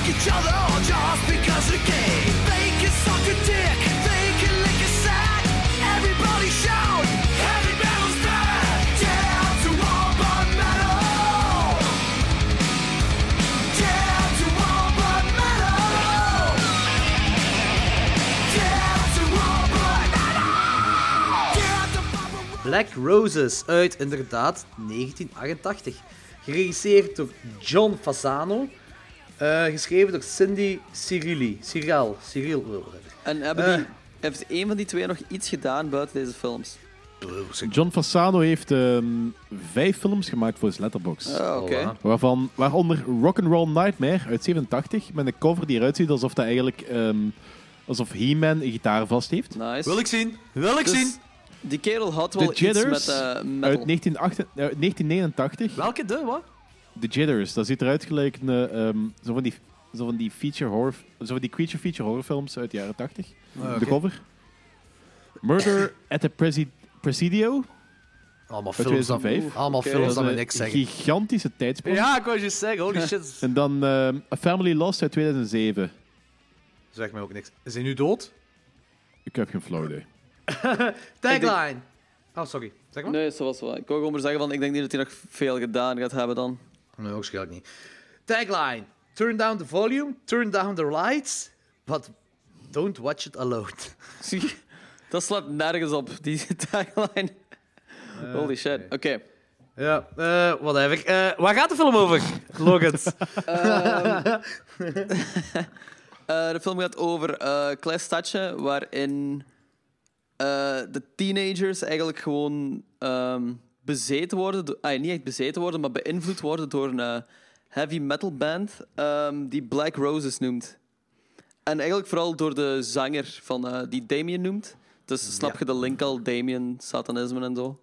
Each other just because they're gay. They can suck a dick, they can lick a sack. Everybody shout, heavy metal's back. Yeah, to all but metal. Yeah, to all but metal. Yeah, to all but metal. Yeah, to Papa Roach. Black Roses uit inderdaad 1988. Geregisseerd door John Fasano. Eh, geschreven door Cindy Cirilli. Cyril. Cyril. En hebben Eh. die, heeft een van die twee nog iets gedaan buiten deze films? John Fasano heeft ehm, vijf films gemaakt voor zijn letterbox. Ah, oké. Voilà. Waarvan, waaronder Rock'n'Roll Nightmare uit 87. Met een cover die eruit ziet alsof dat eigenlijk... ehm, alsof He-Man een gitaar vast heeft. Nice. Wil ik zien. Wil ik Dus zien. Die kerel had The wel iets met Jitters eh metal. uit 1988 uit 1989. Welke de, wat? The Jitters, dat ziet eruit gelijk een, eh, ehm, zo, van die, zo van die feature horror, zo van die creature feature horrorfilms uit de jaren 80. Ah, De cover. Murder at the Presi- Presidio. Allemaal Uit films dan, 2005? allemaal Oké, films dat dan is we een niks zeggen. gigantische tijdspan. Ja, ik wou je zeggen. Holy shit. En dan ehm, A Family Lost uit 2007. Zeg mij ook niks. Is hij nu dood? Ik heb geen flauw idee. Tagline. Oh, sorry. Zeg maar. Nee, zo was het wel. Ik wou gewoon maar zeggen, van, ik denk niet dat hij nog veel gedaan gaat hebben dan. Nee, waarschijnlijk niet. Tagline. Turn down the volume, turn down the lights, but don't watch it alone. Zie, dat slaat nergens op, die tagline. Eh, Holy shit. Oké. Ja, eh whatever. Eh waar gaat de film over, Logan? Eh, de film gaat over eh, een klein stadje waarin eh, de teenagers eigenlijk gewoon ehm, bezeten worden. do- ah, niet echt bezeten worden, maar beïnvloed worden door een eh, heavy metal band ehm, die Black Roses noemt. En eigenlijk vooral door de zanger van, eh, die Damien noemt. Dus snap je de link al, Damien, satanisme en zo.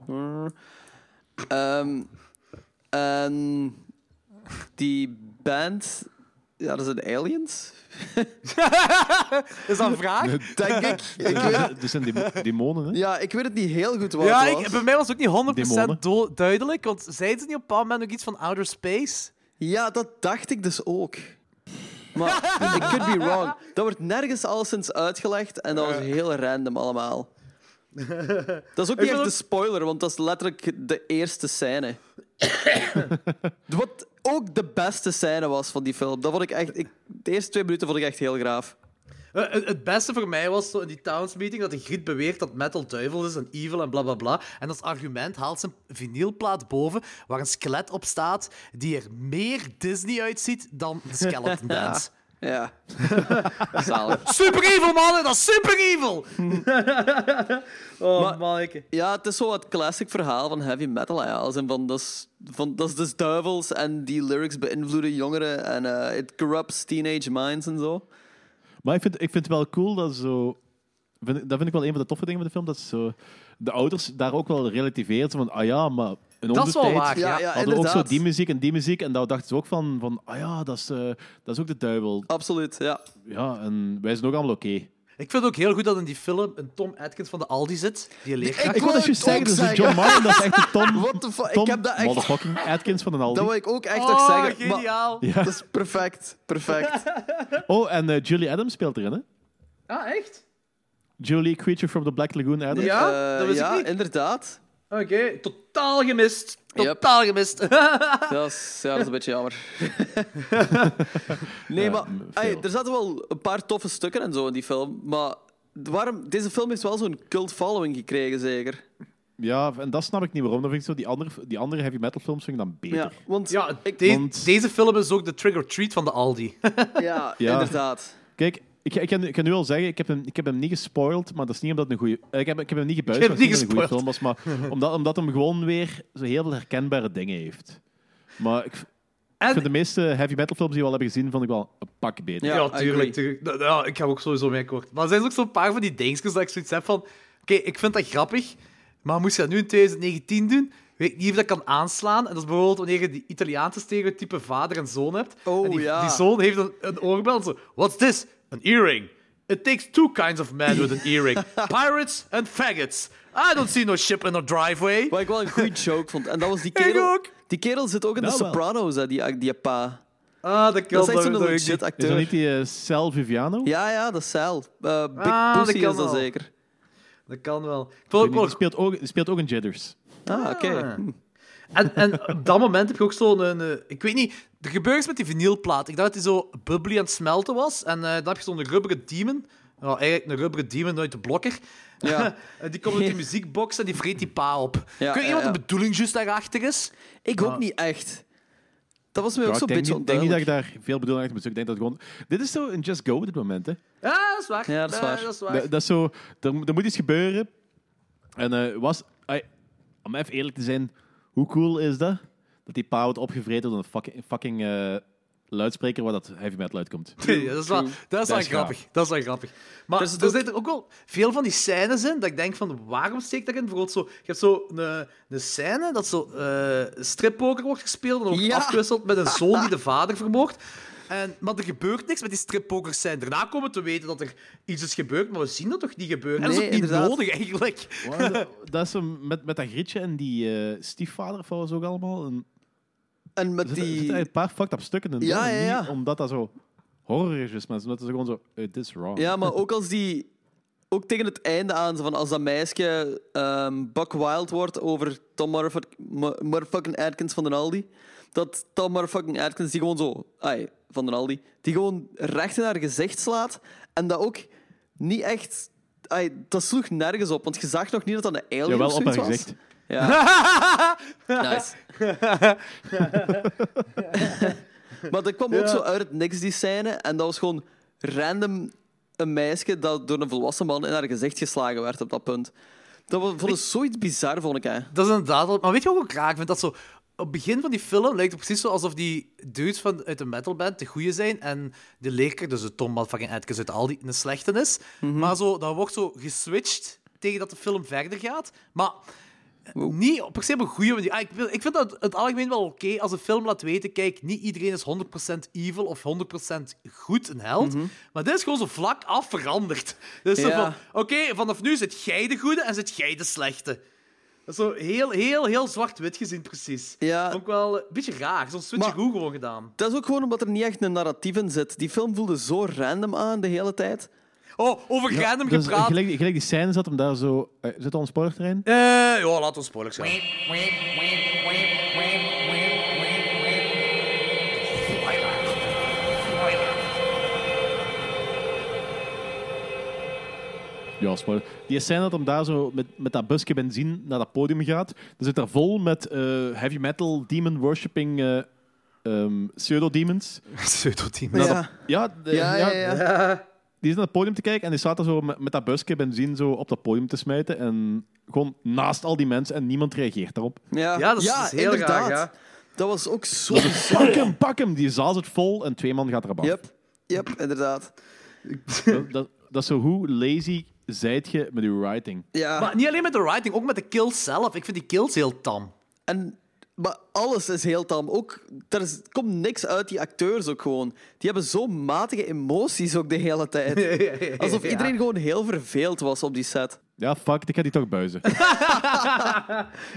Ehm, en die band, ja, dat zijn aliens. Is dat een vraag? Denk ik. ik weet, Er zijn demo- demonen, hè? ja, ik weet het niet heel goed waar Ja, het was. ik, bij mij was het ook niet 100% Demonen. do- duidelijk, want zeiden ze niet op een bepaald moment ook iets van outer space? Ja, dat dacht ik dus ook. Maar I could be wrong. Dat wordt nergens alleszins uitgelegd en dat was heel random allemaal. Dat is ook niet echt wil de ook- spoiler, want dat is letterlijk de eerste scène. Wat ook de beste scène was van die film. Dat vond ik echt, ik, de eerste twee minuten vond ik echt heel graaf. Eh, Het, het beste voor mij was zo in die Towns meeting dat de Griet beweert dat metal duivel is en evil en bla bla bla. En als argument haalt ze een vinylplaat boven waar een skelet op staat die er meer Disney uitziet dan de Skeleton Dance. Ja. Zalig. Super evil, mannen, dat is super evil! oh, Maar- manneke. Ja, het is zo het classic verhaal van heavy metal. Ja. Als in van, dat is, van, dat is dus duivels en die lyrics beïnvloeden jongeren en eh, it corrupts teenage minds en zo. Maar ik vind, ik vind het wel cool dat zo. Vind, ik- dat vind ik wel een van de toffe dingen van de film. Dat zo, de ouders daar ook wel relativeert. Van, ah ja, maar in Dat onze is wel tijd waar, ja. Ja, ja, hadden we ook zo inderdaad. die muziek en die muziek. En daar dachten ze ook van, van ah ja, dat is, eh, dat is ook de duivel. Absoluut, ja. Ja, en wij zijn ook allemaal oké. Ik vind het ook heel goed dat in die film een Tom Atkins van de Aldi zit, die een leerkracht. Ik wil dat je zeggen, dat is een John Martin, dat is echt een Tom, What the fuck, ik Tom heb dat echt- motherfucking Atkins van een Aldi. Dat wil ik ook echt nog Oh, zeggen. maar- geniaal! Ja. Dat is perfect, perfect. Oh, en eh, Julie Adams speelt erin, hè? Ah, echt? Julie Creature from the Black Lagoon Adams. Ja, Eh, dat wist ik ja, niet. inderdaad. Oké, totaal gemist. Yep. Totaal gemist. Dat is, ja, dat is een beetje jammer. nee, maar m- ey, veel. er zaten wel een paar toffe stukken en zo in die film. Maar waarom, deze film heeft wel zo'n cult following gekregen, zeker. Ja, en dat snap ik niet waarom. Dan vind ik zo, die andere, die andere heavy metal films vind ik dan beter. Ja, want Ja, ik, de- want- deze film is ook de trigger-treat van de Aldi. ja, Ja. inderdaad. Kijk, ik, ik, kan, ik kan nu al zeggen, ik heb, hem, ik heb hem niet gespoild, maar dat is niet omdat het een goede... Ik heb, ik heb hem niet gebuist, Ik maar heb dat is hem niet niet omdat het een goede film was, maar omdat, omdat hem gewoon weer zo heel veel herkenbare dingen heeft. Maar ik, ik vind En de meeste heavy metal films die we al hebben gezien, vond ik wel een pak beter. Ja, Ja, agree. tuurlijk. tuurlijk. Nou, nou, ik ga ook sowieso mee akkoord. Maar er zijn ook zo'n paar van die dingetjes dat ik zoiets heb van... Oké, ik vind dat grappig, maar moest je dat nu in 2019 doen? Weet ik niet of dat kan aanslaan. En dat is bijvoorbeeld wanneer je die Italiaanse stereotype vader en zoon hebt. Oh, en die, ja. die zoon heeft een, een oorbel en zo... What's this? An earring. It takes two kinds of men with an earring. Pirates and faggots. I don't see no ship in our driveway. Wat ik wel een goede joke vond. En dat was die kerel... ook. Die kerel zit ook in Nou de wel. Sopranos, hè, die, die pa. Ah, dat kan Dat is echt wel, zo'n dat weet ik niet. legit Is dat acteur. niet die eh, Sal Viviano? Ja, ja, dat is Sal. Eh, Big Ah, dat Pussy kan is dat wel. zeker. Dat kan wel. Ik vond ook Die wel speelt ook, die speelt ook in Jitters. Ah, oké. En, en op dat moment heb je ook zo'n... eh, ik weet niet, er gebeurt iets met die vinylplaat. Ik dacht dat die zo bubbly aan het smelten was. En eh, dan heb je zo'n rubberen demon. Nou, eigenlijk een rubberen demon uit de blokker. Ja. En die komt uit die muziekbox en die vreet die pa op. Ja, ik weet niet ja, wat ja. de bedoeling juist daarachter is. Ik ook niet echt. Dat was mij Ah. Ja, ook zo'n ik beetje denk, niet, ik denk niet dat onduidelijk. ik daar veel bedoeling achter moet zoeken. Ik denk dat het gewoon... Dit is zo een Just Go op dit moment, hè. Ja, dat is waar. Ja, dat is Eh, waar. dat is waar. Dat, dat is zo, er, er moet iets gebeuren. En eh, was, ai, om even eerlijk te zijn, hoe cool is dat? Dat die pa wordt opgevreten door een fucking, fucking eh, luidspreker waar dat heavy metal uitkomt. Ja, dat is wel, dat is wel is grappig. Dat is wel grappig. Maar Er er, zit ook- zitten ook wel veel van die scènes in dat ik denk van, waarom steekt dat in? Bijvoorbeeld zo, je hebt zo een, een scène dat zo eh strippoker wordt gespeeld en dan wordt Ja. afgewisseld met een zoon die de vader vermoordt. En, maar er gebeurt niks met die strippoker scène. Daarna komen we te weten dat er iets is gebeurd, maar we zien dat toch niet gebeuren. en dat is Nee, ook niet inderdaad. nodig, eigenlijk. Maar dat- dat is een, met, met dat grietje en die eh, stiefvader of wat was ook allemaal. En, En met er zitten- er die... zitten een paar fucked up stukken in. Ja, hè. ja, ja. Niet omdat dat zo horror is, maar omdat het gewoon zo, eh, this is wrong. Ja, maar ook als die... Ook tegen het einde aan, zo van als dat meisje ehm Buck Wild wordt over Tom motherfuck- mo- motherfucking Atkins van den Aldi. Dat Tom motherfucking Atkins die gewoon zo... Ai, van den Aldi. Die gewoon recht in haar gezicht slaat. En dat ook niet echt... Ai, dat sloeg nergens op, want je zag nog niet dat dat een alien Jawel, of op haar zoiets was. gezicht. Ja. nice. maar dat kwam ook zo uit het niks, die scène. En dat was gewoon random een meisje dat door een volwassen man in haar gezicht geslagen werd op dat punt. Dat was, vond ik zoiets bizar, vond ik. Hè. Dat is inderdaad... wel- Maar weet je wat ik ook raar vind? Dat zo... Op het begin van die film lijkt het precies zo alsof die dudes van, uit de metalband de goeie zijn en de leerkracht, dus de Tom fucking Atkins uit al die een slechte is. Maar zo, dat wordt zo geswitcht tegen dat de film verder gaat. Maar niet op- per se op een goede manier. Ah, ik, wil- ik vind dat het algemeen wel oké als een film laat weten: kijk, niet iedereen is 100% evil of 100% goed en held. Maar dit is gewoon zo vlak af veranderd. Dus zo Ja. van: oké, vanaf nu zit jij de goede en zit jij de slechte. is zo heel, heel, heel zwart-wit gezien, precies. Ja. Vond ik wel een beetje raar. Zo'n switch Maar- goed gewoon gedaan. Dat is ook gewoon omdat er niet echt een narratief in zit. Die film voelde zo random aan de hele tijd. Oh, over random Dus gepraat. gelijk, gelijk die scène zat hem daar zo... eh, zit al een spoilerterrein? Eh, ja, laten we spoilers gaan. Ja, spoiler. Die scène dat hem daar zo met, met dat busje benzine naar dat podium gaat. Dan zit daar vol met eh, heavy metal, demon worshipping eh, ehm, pseudo-demons. Pseudo-team. Ja, Ja. ja, Ja, de- ja. ja, die is naar het podium te kijken en die staat daar zo met, met dat busje benzine zo op dat podium te smijten. En gewoon naast al die mensen en niemand reageert daarop. Ja. Ja, dat is- dat is heel raar, inderdaad. ja. Dat was ook zo Pak hem, pak hem! Die zaal zit vol en twee man gaat erop af. Yep. Yep, inderdaad. Dat, dat, dat is zo hoe lazy zijt je met je writing. Ja. Maar niet alleen met de writing, ook met de kills zelf. Ik vind die kills heel tam. En, maar alles is heel tam. Ook, er is- komt niks uit die acteurs ook gewoon. Die hebben zo matige emoties ook de hele tijd. Alsof iedereen gewoon heel verveeld was op die set. Ja, fuck, ik ga die toch buizen.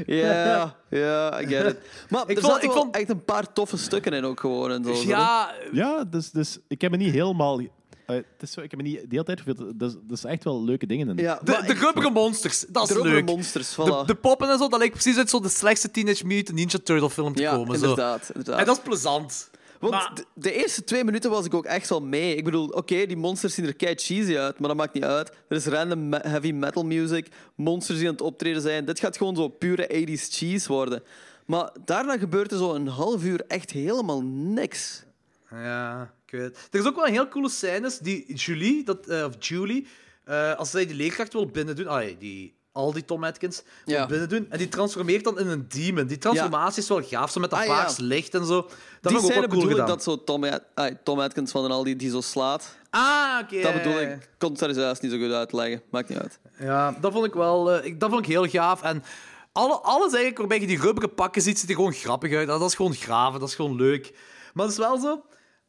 Ja, ja, I get it. Maar er vond- zaten ik wel vond- echt een paar toffe stukken in ook gewoon. En zo, Ja, Ja, dus, dus ik heb me niet helemaal. eh, het is zo, ik heb me niet de hele tijd verveeld. Dus, dus echt wel leuke dingen in. ja de, de rubberen monsters, dat is rubberen leuk. monsters, voilà. De, de poppen en zo, dat lijkt precies uit zo de slechtste Teenage Mutant Ninja Turtle film te ja, komen. Zo. inderdaad. inderdaad. En dat is plezant. Want maar- de, de eerste twee minuten was ik ook echt wel mee. Ik bedoel, oké, die monsters zien er kei cheesy uit, maar dat maakt niet uit. Er is random me- heavy metal music, monsters die aan het optreden zijn. Dit gaat gewoon zo pure 80s cheese worden. Maar daarna gebeurt er zo een half uur echt helemaal niks. Ja, ik weet het. Er is ook wel een heel coole scènes die Julie, dat, eh, of Julie eh, als zij die leerkracht wil binnen doen, allee, die, al die Tom Atkins, wil Ja. binnen doen, en die transformeert dan in een demon. Die transformatie is wel gaaf, zo met dat Ah, ja. paars licht en zo. Dat die vond ik ook scène wel cool bedoel ik gedaan. dat zo Tom, ai, Tom Atkins van den Aldi die zo slaat. Ah, oké. Dat bedoel ik. Ik kon het daar zelfs niet zo goed uitleggen. Maakt niet uit. Ja, dat vond ik wel eh, ik- dat vond ik heel gaaf. En alle, alles eigenlijk waarbij je die rubberen pakken ziet, ziet er gewoon grappig uit. Dat is gewoon graven, dat is gewoon leuk. Maar het is wel zo,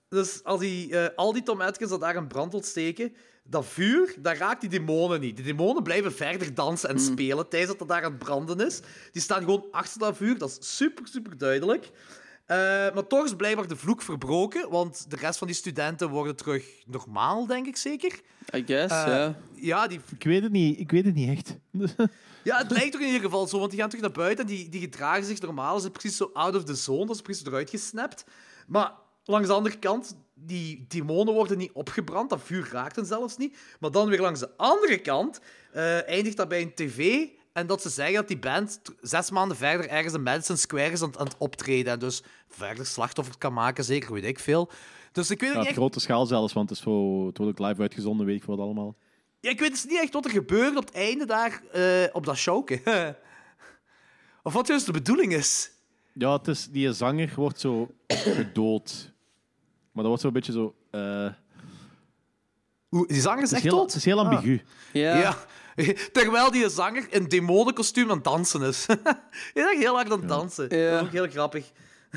dus als die, eh, al die Tom Atkins dat daar in brand wil steken, dat vuur, dat raakt die demonen niet. Die demonen blijven verder dansen en spelen tijdens dat dat daar aan het branden is. Die staan gewoon achter dat vuur, dat is super, super duidelijk. Eh, maar toch is blijkbaar de vloek verbroken, want de rest van die studenten worden terug normaal, denk ik zeker. I guess, Eh, ja. ja, die Ik weet het niet, ik weet het niet echt. ja, het lijkt ook in ieder geval zo, want die gaan terug naar buiten en die, die gedragen zich normaal. Ze zijn precies zo out of the zone, dat is precies eruit gesnapt. Maar langs de andere kant, die demonen worden niet opgebrand, dat vuur raakt hen zelfs niet. Maar dan weer langs de andere kant eh, eindigt dat bij een tv en dat ze zeggen dat die band t- zes maanden verder ergens in Madison Square is aan, het- aan het optreden en dus verder slachtoffers kan maken, zeker weet ik veel. Dus ik weet ook Ja, niet op echt grote schaal zelfs, want het, is zo, het wordt ook live uitgezonden, weet ik wat allemaal. Ja, ik weet dus niet echt wat er gebeurde op het einde daar eh, op dat showke. of wat juist de bedoeling is. Ja, het is, die zanger wordt zo gedood. Maar dat wordt zo een beetje zo. eh, Oeh, die zanger is het, is echt heel, dood. het is heel Ah. ambigu. Ja. Ja. Terwijl die zanger in demonenkostuum aan het dansen is. Hij is echt heel hard aan het dansen. Ja. Dat is ook heel grappig.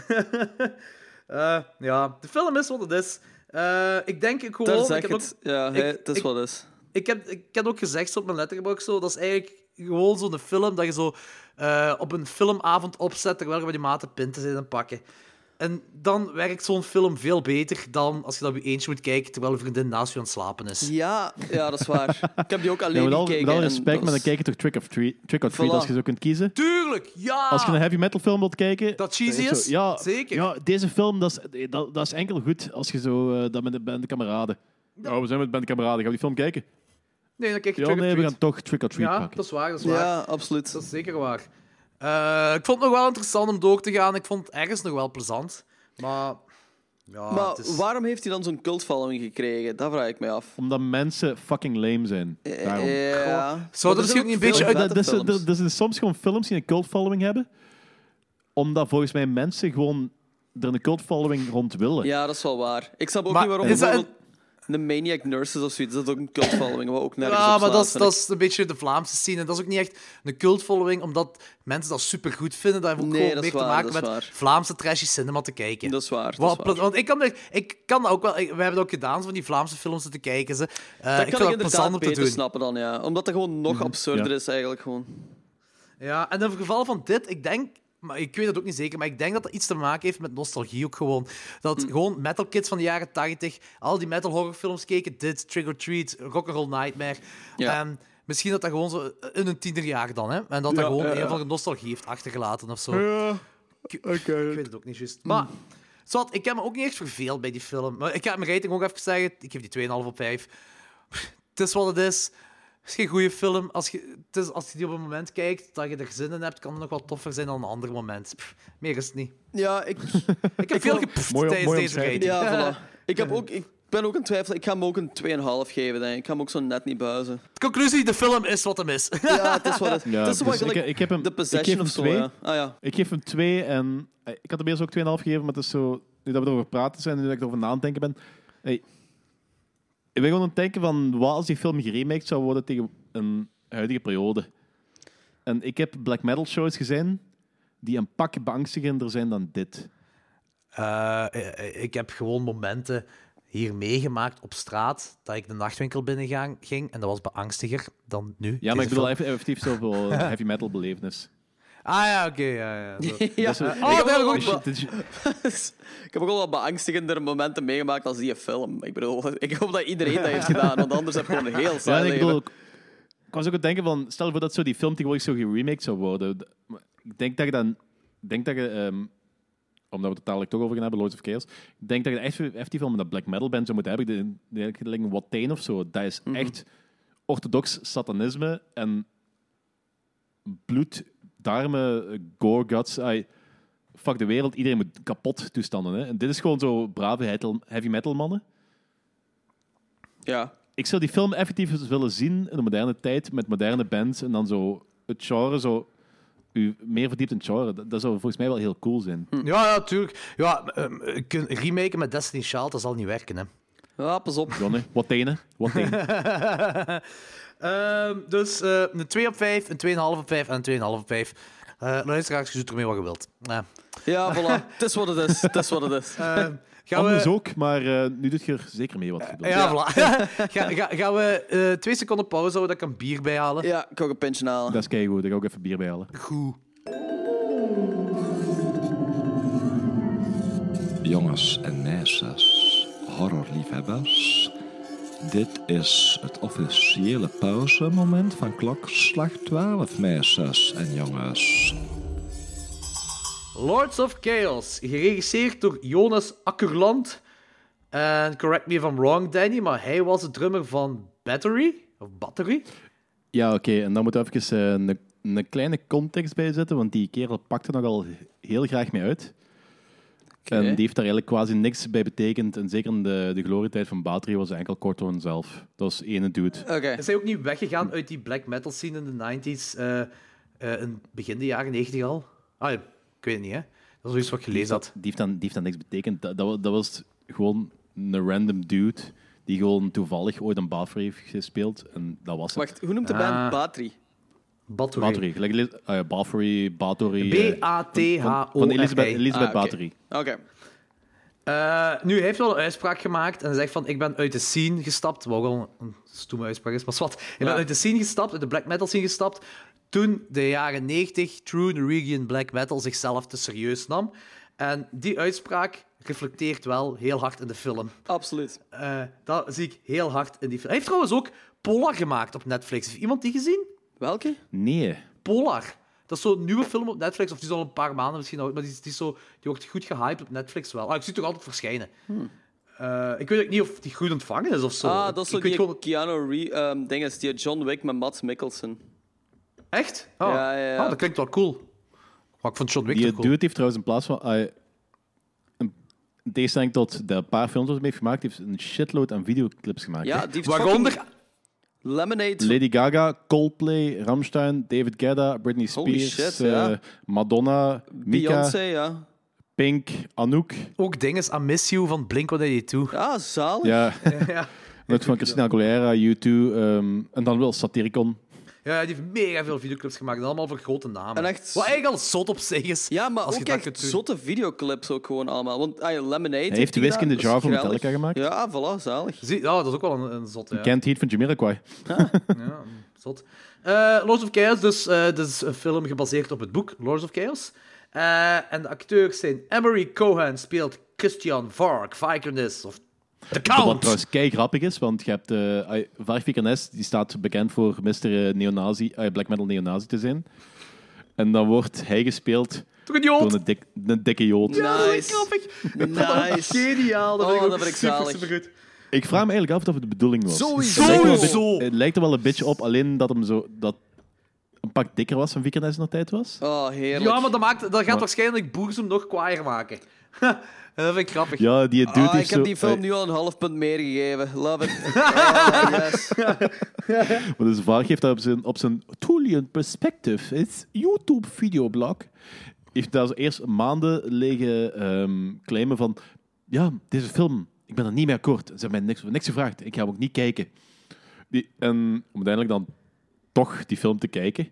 Eh, ja, de film is wat het is. Eh, ik denk ik gewoon... Daar ik zeg heb het. ook- Ja, hè, ik- het is ik- wat is. Ik heb, ik heb ook gezegd zo op mijn letterbox zo, dat is eigenlijk gewoon zo'n film dat je zo eh, op een filmavond opzet terwijl je bij die maten pinten zit en pakken. En dan werkt zo'n film veel beter dan als je dat op je eentje moet kijken terwijl een vriendin naast je aan het slapen is. Ja, ja, dat is waar. Ik heb die ook Ja, alleen met, al, gekeken. met al en respect, dat maar dan was- kijk je toch Trick of Treat, trick or treat Voilà. als je zo kunt kiezen. Tuurlijk, ja! Als je een heavy metal film wilt kijken. eh, Dat cheesy zo- is? Ja, Zeker. Ja, deze film dat is, eh, dat, dat is enkel goed als je zo eh, dat met de band kameraden. Oh, we zijn met de band kameraden. Gaan we die film kijken? Nee, dan kijk je Ja, Trick or nee, we Treat. gaan toch Trick or Treat Ja, pakken. dat is waar, dat is waar. Ja, absoluut. Dat is zeker waar. Eh, ik vond het nog wel interessant om door te gaan. Ik vond het ergens nog wel plezant. Maar... Ja, Maar het is- waarom heeft hij dan zo'n cultfollowing gekregen? Dat vraag ik mij af. Omdat mensen fucking lame zijn. Daarom. eh, Dus, eh, Ja. Zou Maar dat er misschien zijn ook niet een beetje veel uit- vette Dat, dat, is- films. dat- dat zijn soms gewoon films die een cult following hebben. Omdat volgens mij mensen gewoon er een cult following rond willen. Ja, dat is wel waar. Ik snap ook Maar niet waarom is dat bijvoorbeeld de Maniac Nurses of zoiets, dat is ook een cultfollowing, wat ook nergens Ja, op maar slaat, dat is, vind dat ik. is een beetje de Vlaamse scene. En dat is ook niet echt een cult-following, omdat mensen dat supergoed vinden. Dat heeft ook Nee, gewoon dat meer is te waar, maken dat met is waar. Vlaamse trashy cinema te kijken. Dat is waar, dat Wat is waar. pla- Want ik kan, er- ik kan dat ook wel... ik- we hebben dat ook gedaan, zo van die Vlaamse films te kijken. Ze. Eh, Dat ik kan vind dat ik plezant inderdaad om te beter doen. Mhm, snappen dan, ja. Omdat dat gewoon nog absurder ja. is eigenlijk gewoon. Ja, en in het geval van dit, ik denk... Maar ik weet dat ook niet zeker, maar ik denk dat dat iets te maken heeft met nostalgie ook gewoon. Dat Mm. gewoon metal kids van de jaren 80 al die metal horrorfilms keken. Dit, Trick or Treat, Rock'n'Roll Nightmare. Ja. En misschien dat dat gewoon zo in een tienerjaar dan, hè. En dat dat Ja, gewoon ja, een ja. van de nostalgie heeft achtergelaten of zo. Ja, Mm. Ik weet het ook niet juist. Maar, zwart, ik heb me ook niet echt verveeld bij die film. Maar ik ga mijn rating ook even zeggen. Ik geef die 2,5 op 5. Het is wat het is. Het is geen goede film. Als je, het is, als je die op een moment kijkt dat je er zin in hebt, kan het nog wel toffer zijn dan een ander moment. Pff, meer is het niet. ja ik, Ik heb veel vond- gepft Mooi- tijdens mooi deze rating. omschrijving. ja voilà. ik, heb ook, ik ben ook in twijfel. Ik ga hem ook een 2,5 geven, denk ik. Ik ga hem ook zo net niet buizen. Conclusie, de film is wat hem is. Ja, het is wat het, Ja, het is. zo wat dus ik- gelijk ik heb hem- The ik geef Possession hem of zo, twee. ja. Ah ja. Ik geef hem 2 en eh, ik had hem eerst ook 2,5 gegeven, maar het is zo, nu dat we erover praten zijn en nu dat ik erover na aan het denken ben. hey, ik ben gewoon aan het denken van wat als die film geremaked zou worden tegen een huidige periode. En ik heb black metal shows gezien die een pak beangstigender zijn dan dit. Eh, eh, ik heb gewoon momenten hier meegemaakt op straat dat ik de nachtwinkel binnengang ging en dat was beangstiger dan nu. Ja, maar Deze ik bedoel eff- effectief zoveel heavy metal belevenis. film. Ah ja, oké. ja, ja, zo. ja. Dus, eh, Oh, ik, heb daar ook ook wel- dit is- Dus ik heb ook wel wat beangstigender momenten meegemaakt als die film. Ik bedoel, ik hoop dat iedereen dat heeft gedaan, want anders heb je gewoon een heel Ja, saai en ik leven. bedoel, ik ik was ook aan het denken van, stel voor dat zo die film tegenwoordig zo geremaked zou worden. D- maar Ik denk dat je dan, ik denk dat je, ehm, omdat we het dadelijk toch over gaan hebben, Lords of Chaos, ik denk dat je echt effectief wel met een black metal band zou moeten hebben. De, de, de, like een Watain of zo, dat is echt orthodox satanisme en bloed, darmen, gore, guts, ai, fuck de wereld, iedereen moet kapot toestanden. Hè? En dit is gewoon zo brave hetel- heavy metal mannen Ja. ik zou die film effectief eens willen zien in de moderne tijd met moderne bands en dan zo het genre zo u meer verdiept in het genre. Dat, dat zou volgens mij wel heel cool zijn. Ja, ja, tuurlijk. Ja, ehm, eh, kun- remaken met Destiny Child, dat zal niet werken, hè. ja, pas op. Jonne, wat tenen, wat tenen. Ehm, dus eh, een 2 op 5, een 2,5 op 5 en een 2,5 op 5. Eh luisteraars, je doet ermee wat je wilt. Eh, Ja, voilà. Het is wat het is. Het is wat het is. ehm, gaan we... Anders ook, maar eh, nu doet je er zeker mee wat je Ja, wilt. voilà. ga, ga, gaan we eh, twee seconden pauze houden, dat ik een bier bijhalen? Ja, ik ga ook een pintje halen. Dat is keigoed, daar ga ik ook even bier bij halen. Goed. Jongens en meisjes, horrorliefhebbers. Dit is het officiële pauzemoment van klokslag 12, meisjes en jongens. Lords of Chaos, geregisseerd door Jonas Akkerland. En correct me if I'm wrong, Danny, maar hij was de drummer van Battery. Of Battery? Ja, oké, en dan moeten we even eh, een een kleine context bij zetten, want die kerel pakte nogal heel graag mee uit. En die heeft daar eigenlijk quasi niks bij betekend. En zeker in de, de glorietijd van Battery was hij enkel Corto zelf. Dat was ene dude. Oké. Is hij ook niet weggegaan uit die black metal scene in de 90s? eh, eh, in begin de jaren 90 al? Ah, ja, ik weet het niet, hè? Dat is iets wat ik gelezen had. Die heeft dan, die heeft dan niks betekend. Dat, dat, wa- dat was gewoon een random dude die gewoon toevallig ooit een buffer heeft gespeeld. En dat was het. Wacht, hoe noemt de band Ah. Batri? Battery. Bathory. Gelijk Elis- eh, Bathory, Bathory. eh, B-A-T-H-O-R-I. Van Elisabeth, Ah, Elisabeth oké. Bathory. Oké. Eh, nu, hij heeft wel een uitspraak gemaakt en zegt van, ik ben uit de scene gestapt. Wat wel een stoeme uitspraak is, maar zwart. Ik ben Ja. uit de scene gestapt, uit de black metal scene gestapt, toen de jaren 90 True Norwegian Black Metal zichzelf te serieus nam. En die uitspraak reflecteert wel heel hard in de film. Absoluut. Eh, dat zie ik heel hard in die film. Hij heeft trouwens ook Polar gemaakt op Netflix. Heeft iemand die gezien? Welke? Nee. Polar. Dat is zo'n nieuwe film op Netflix, of die is al een paar maanden misschien oud, maar die, is- die, is zo, die wordt goed gehyped op Netflix wel. Ah, ik zie het toch altijd verschijnen. Eh, ik weet ook niet of die goed ontvangen is of zo. Hmm. Ah, dat is Ik- zo ik weet die gewoon- Keanu Reeves ding is, die John Wick met Matt Mikkelsen. Echt? Oh. Ja, ja, ja. Oh, dat klinkt wel cool. Maar ik vond John Wick Die toch cool. dude heeft trouwens in plaats van... eh, een- in tegenstelling tot de paar films die hij heeft gemaakt, heeft een shitload aan videoclips gemaakt. Ja, die heeft Waaronder... fucking Lemonade. Lady Gaga, Coldplay, Rammstein, David Guetta, Britney Holy Spears, shit, eh, ja. Madonna, Mika, Beyoncé, ja. Pink, Anouk. Ook dinges aan Miss You van Blink-182. Ah, zalig. Ja. Net van Christina Aguilera, U2, ehm, en dan wel Satyricon. Ja, Ja, die heeft mega veel videoclips gemaakt. En allemaal voor grote namen. En echt- Wat eigenlijk al zot op zich is. Ja, maar als je ook dat echt kunt doen. zotte videoclips ook gewoon allemaal. Want ah, ja, Lemonade... Hij heeft de die Whisk in the gedaan, Jar dat is van geweldig. Metallica gemaakt. Ja, voilà, zalig. Zie- Ja, dat is ook wel een, een zot. Ja. Kent Heat van Jamiroquai. Ja, zot. Eh, Lords of Chaos, dus. eh dit is een film gebaseerd op het boek Lords of Chaos. Eh, en de acteurs zijn Emery Cohen speelt Christian Vark, Vikernes of The Wat Count. trouwens kei grappig is, want je hebt eh Varg Nest, die staat bekend voor Mr. eh, Neonazi, eh, Black Metal Neonazi te zijn. En dan wordt hij gespeeld Toch een jood? door een, dik, een dikke jood. Ja, dat is Nice. grappig. Nice. Geniaal, dat Oh, vind ik ook dat vind ik super, zalig. supergoed. Ik vraag me eigenlijk af of het de bedoeling was. Sowieso. Het lijkt, er wel een Sowieso. beetje- het lijkt er wel een beetje op, alleen dat hem zo dat een pak dikker was van Vikernes in de tijd was. Oh, heerlijk. Ja, maar dat, maakt, dat gaat waarschijnlijk Boersum nog kwaaier maken. en dat vind ik grappig. Ja, die dude Ah, heeft ik heb zo- die film eh, nu al een half punt meer gegeven. Love it. Oh, yes. Want dus Varg heeft dat op zijn, op zijn Thulian Perspective, it's YouTube videoblog, heeft daar zo eerst maanden liggen ehm, claimen van, ja, deze film, ik ben er niet meer akkoord. Ze hebben mij niks, niks gevraagd, ik ga hem ook niet kijken. Die, en om uiteindelijk dan toch die film te kijken.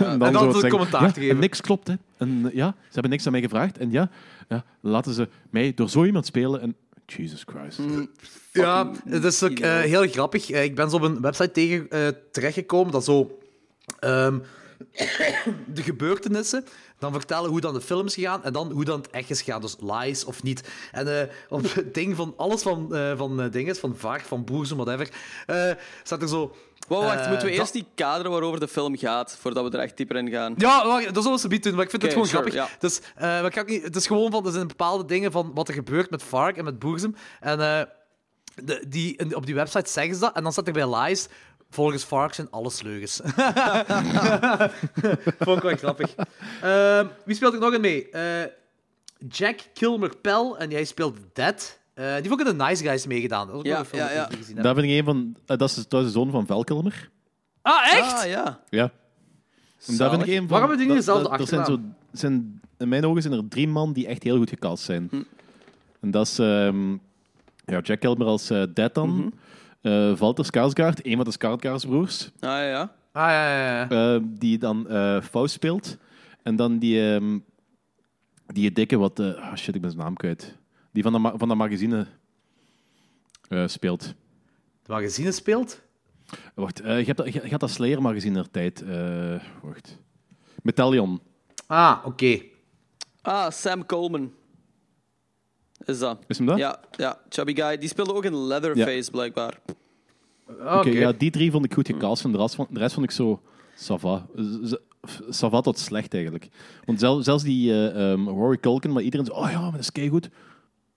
en dan zo het te zeggen, commentaar ja, te geven. En niks klopt, hè. En eh, ja, ze hebben niks aan mij gevraagd. En ja, ja laten ze mij door zo iemand spelen en... Jesus Christ. Ja, het is ook eh, idioot. heel grappig. Eh, ik ben zo op een website tegen, eh, terechtgekomen dat zo ehm, de gebeurtenissen dan vertellen hoe dan de film is gegaan en dan hoe dan het echt is gegaan. Dus lies of niet. En eh, op het ding van alles van, eh, van eh, dingen, van Varg, van Boerzoen, whatever, eh, staat er zo... Wow, wacht, eh, moeten we dat- eerst die kaderen waarover de film gaat, voordat we er echt dieper in gaan? Ja, wacht, dat zullen we ze niet doen, maar ik vind Oké, het sure, gewoon grappig. ja. Dus, eh, maar ik ga ook niet, het is gewoon van, er zijn bepaalde dingen van wat er gebeurt met Vark en met Boerzem. En eh, de, die, en op die website zeggen ze dat, en dan staat er bij Lies, volgens Vark zijn alles leugens. Vond ik wel grappig. Ehm, wie speelt er nog in mee? Eh, Jack Kilmer Pell, en jij speelt Dead. Eh, die heeft ook in The Nice Guys meegedaan. Dat is ook Ja, nog een film ja, dat ik ja. niet gezien heb. Daar vind ik een van... eh, dat, is, dat is de zoon van Velkelmer. Ah, echt? Ah, ja. Ja. En Daar vind ik een van, Waarom hebben die niet dat- dezelfde dat- er zijn zo, zijn, In mijn ogen zijn er drie man die echt heel goed gecast zijn. Hm. En dat is ehm, ja, Jack Kilmer als eh Dead dan. Mhm. Eh, Walter Skarsgård, een van de Skarsgårdsbroers, Ah, ja, ja. Ah, ja, ja, ja. eh, die dan eh Faust speelt. En dan die, ehm, die dikke wat... eh, ah, shit, ik ben zijn naam kwijt. Die van dat ma- van dat magazine eh, speelt. De magazine speelt. Wacht, eh, je, hebt, dat- je, je had dat Slayer magazine er tijd. eh, wacht. Metallion. Ah, oké. Ah, Sam Coleman. Is dat? Is hem dat? Ja, ja, Chubby Guy. Die speelde ook in Leatherface, blijkbaar. Oké. Oké, ja, die drie vond ik goed gecast en de rest, van, de rest vond ik zo sava. Sava tot slecht eigenlijk. Want zel- zelfs die eh, ehm, Rory Culkin, maar iedereen zo, oh ja, maar dat is keigoed.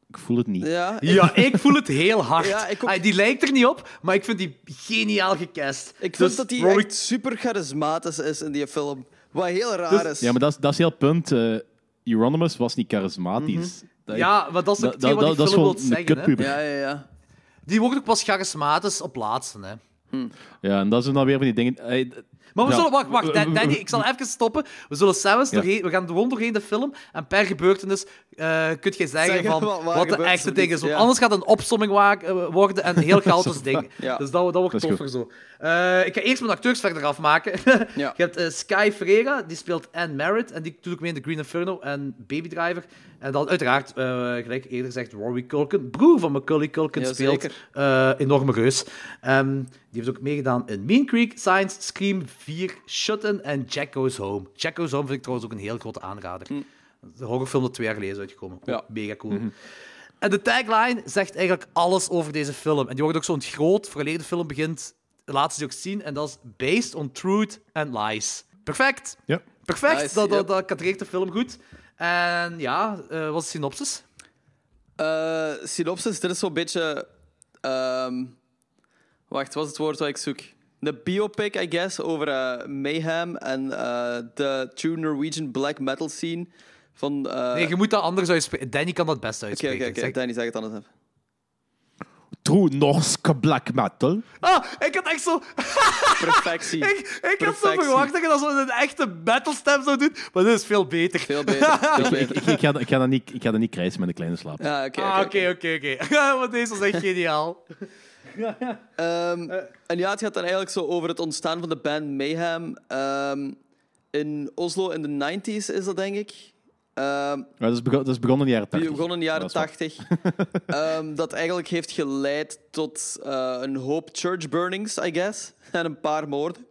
Ik voel het niet. Ja, ik, Ja, ik voel het heel hard. Ja, ik ook. Ah, die lijkt er niet op, maar ik vind die geniaal gecast. ik vind Dus dat hij Rory- echt super charismatisch is in die film. Wat heel raar is. Dus- Ja, maar dat is, dat is heel het punt. eh Euronymous was niet charismatisch. Dat- Ja, maar dat is ook dat, hetgeen dat, wat dat die is film gewoon wil een zeggen. hè. kutpuber. ja, Ja. ja, ja. Die wordt ook pas charismatisch op laatste. Hè. en dat zijn dan weer van die dingen... eh, Maar we Ja. Eh, zullen... Wacht, wacht. Dan- Danny, ik zal even stoppen. We zullen zelfs Ja. doorheen... We gaan gewoon doorheen de film en per gebeurtenis eh kun je zeggen Zeggen van wat- wat, waar de gebeurt echte er ding niet, is. Want ja. anders gaat het een opsomming wa- eh, worden en een heel chaotisch ding. Ja. Dus dat, dat wordt Dat is toffer zo. Eh, ik ga eerst mijn acteurs verder afmaken. Ja. Je hebt eh, Sky Ferreira, die speelt Anne Merritt. En die doet ook mee in The Green Inferno en Baby Driver. En dan uiteraard, eh, gelijk eerder gezegd, Rory Culkin. Broer van Macaulay Culkin Ja, speelt zeker. eh, enorme reus. Ehm, die heeft ook meegedaan in Mean Creek, Science, Scream 4, Shut-In en Jack Goes Home. Jack Goes Home vind ik trouwens ook een heel grote aanrader. Dat is een horrorfilm dat twee jaar geleden is uitgekomen. Mm. Ja. Mhm. Mega cool. En de tagline zegt eigenlijk alles over deze film. En die wordt ook zo'n groot, verleden film begint, de laatste die ook zien, en dat is Based on Truth and Lies. Perfect! ja. Perfect! Nice, dat, dat, yep. dat kadreert de film goed. En ja, eh, wat is de synopsis? Eh, synopsis, dit is zo'n beetje. ehm, wacht, wat is het woord wat ik zoek? De biopic, I guess, over eh, Mayhem en eh, de true Norwegian black metal scene. Van. eh, Nee, je moet dat anders uitspreken. Danny kan dat best Oké, uitspreken. oké, oké. Zeg- Danny, zeg het anders even. True Norske black metal. Ah, ik had echt zo... Perfectie. Ik, ik had zo Perfectie. verwacht dat je dat zo in een echte battlestem zou doen, maar dit is veel beter. Veel beter. Veel Ik, beter. ik, ik ga, ik, ga dat niet, ik ga dat niet krijsen met een kleine slaap. Ja, oké. Ah, oké, oké. oké, oké, oké. Want deze was echt geniaal. Ehm, En ja, het gaat dan eigenlijk zo over het ontstaan van de band Mayhem. Ehm, in Oslo in de 90s is dat, denk ik. Ehm, Ja, dat, is begon, dat is begonnen in de jaren die 80. begon in de jaren Dat is waar. 80. Ehm, dat eigenlijk heeft geleid tot eh, een hoop church burnings, I guess. En een paar moorden.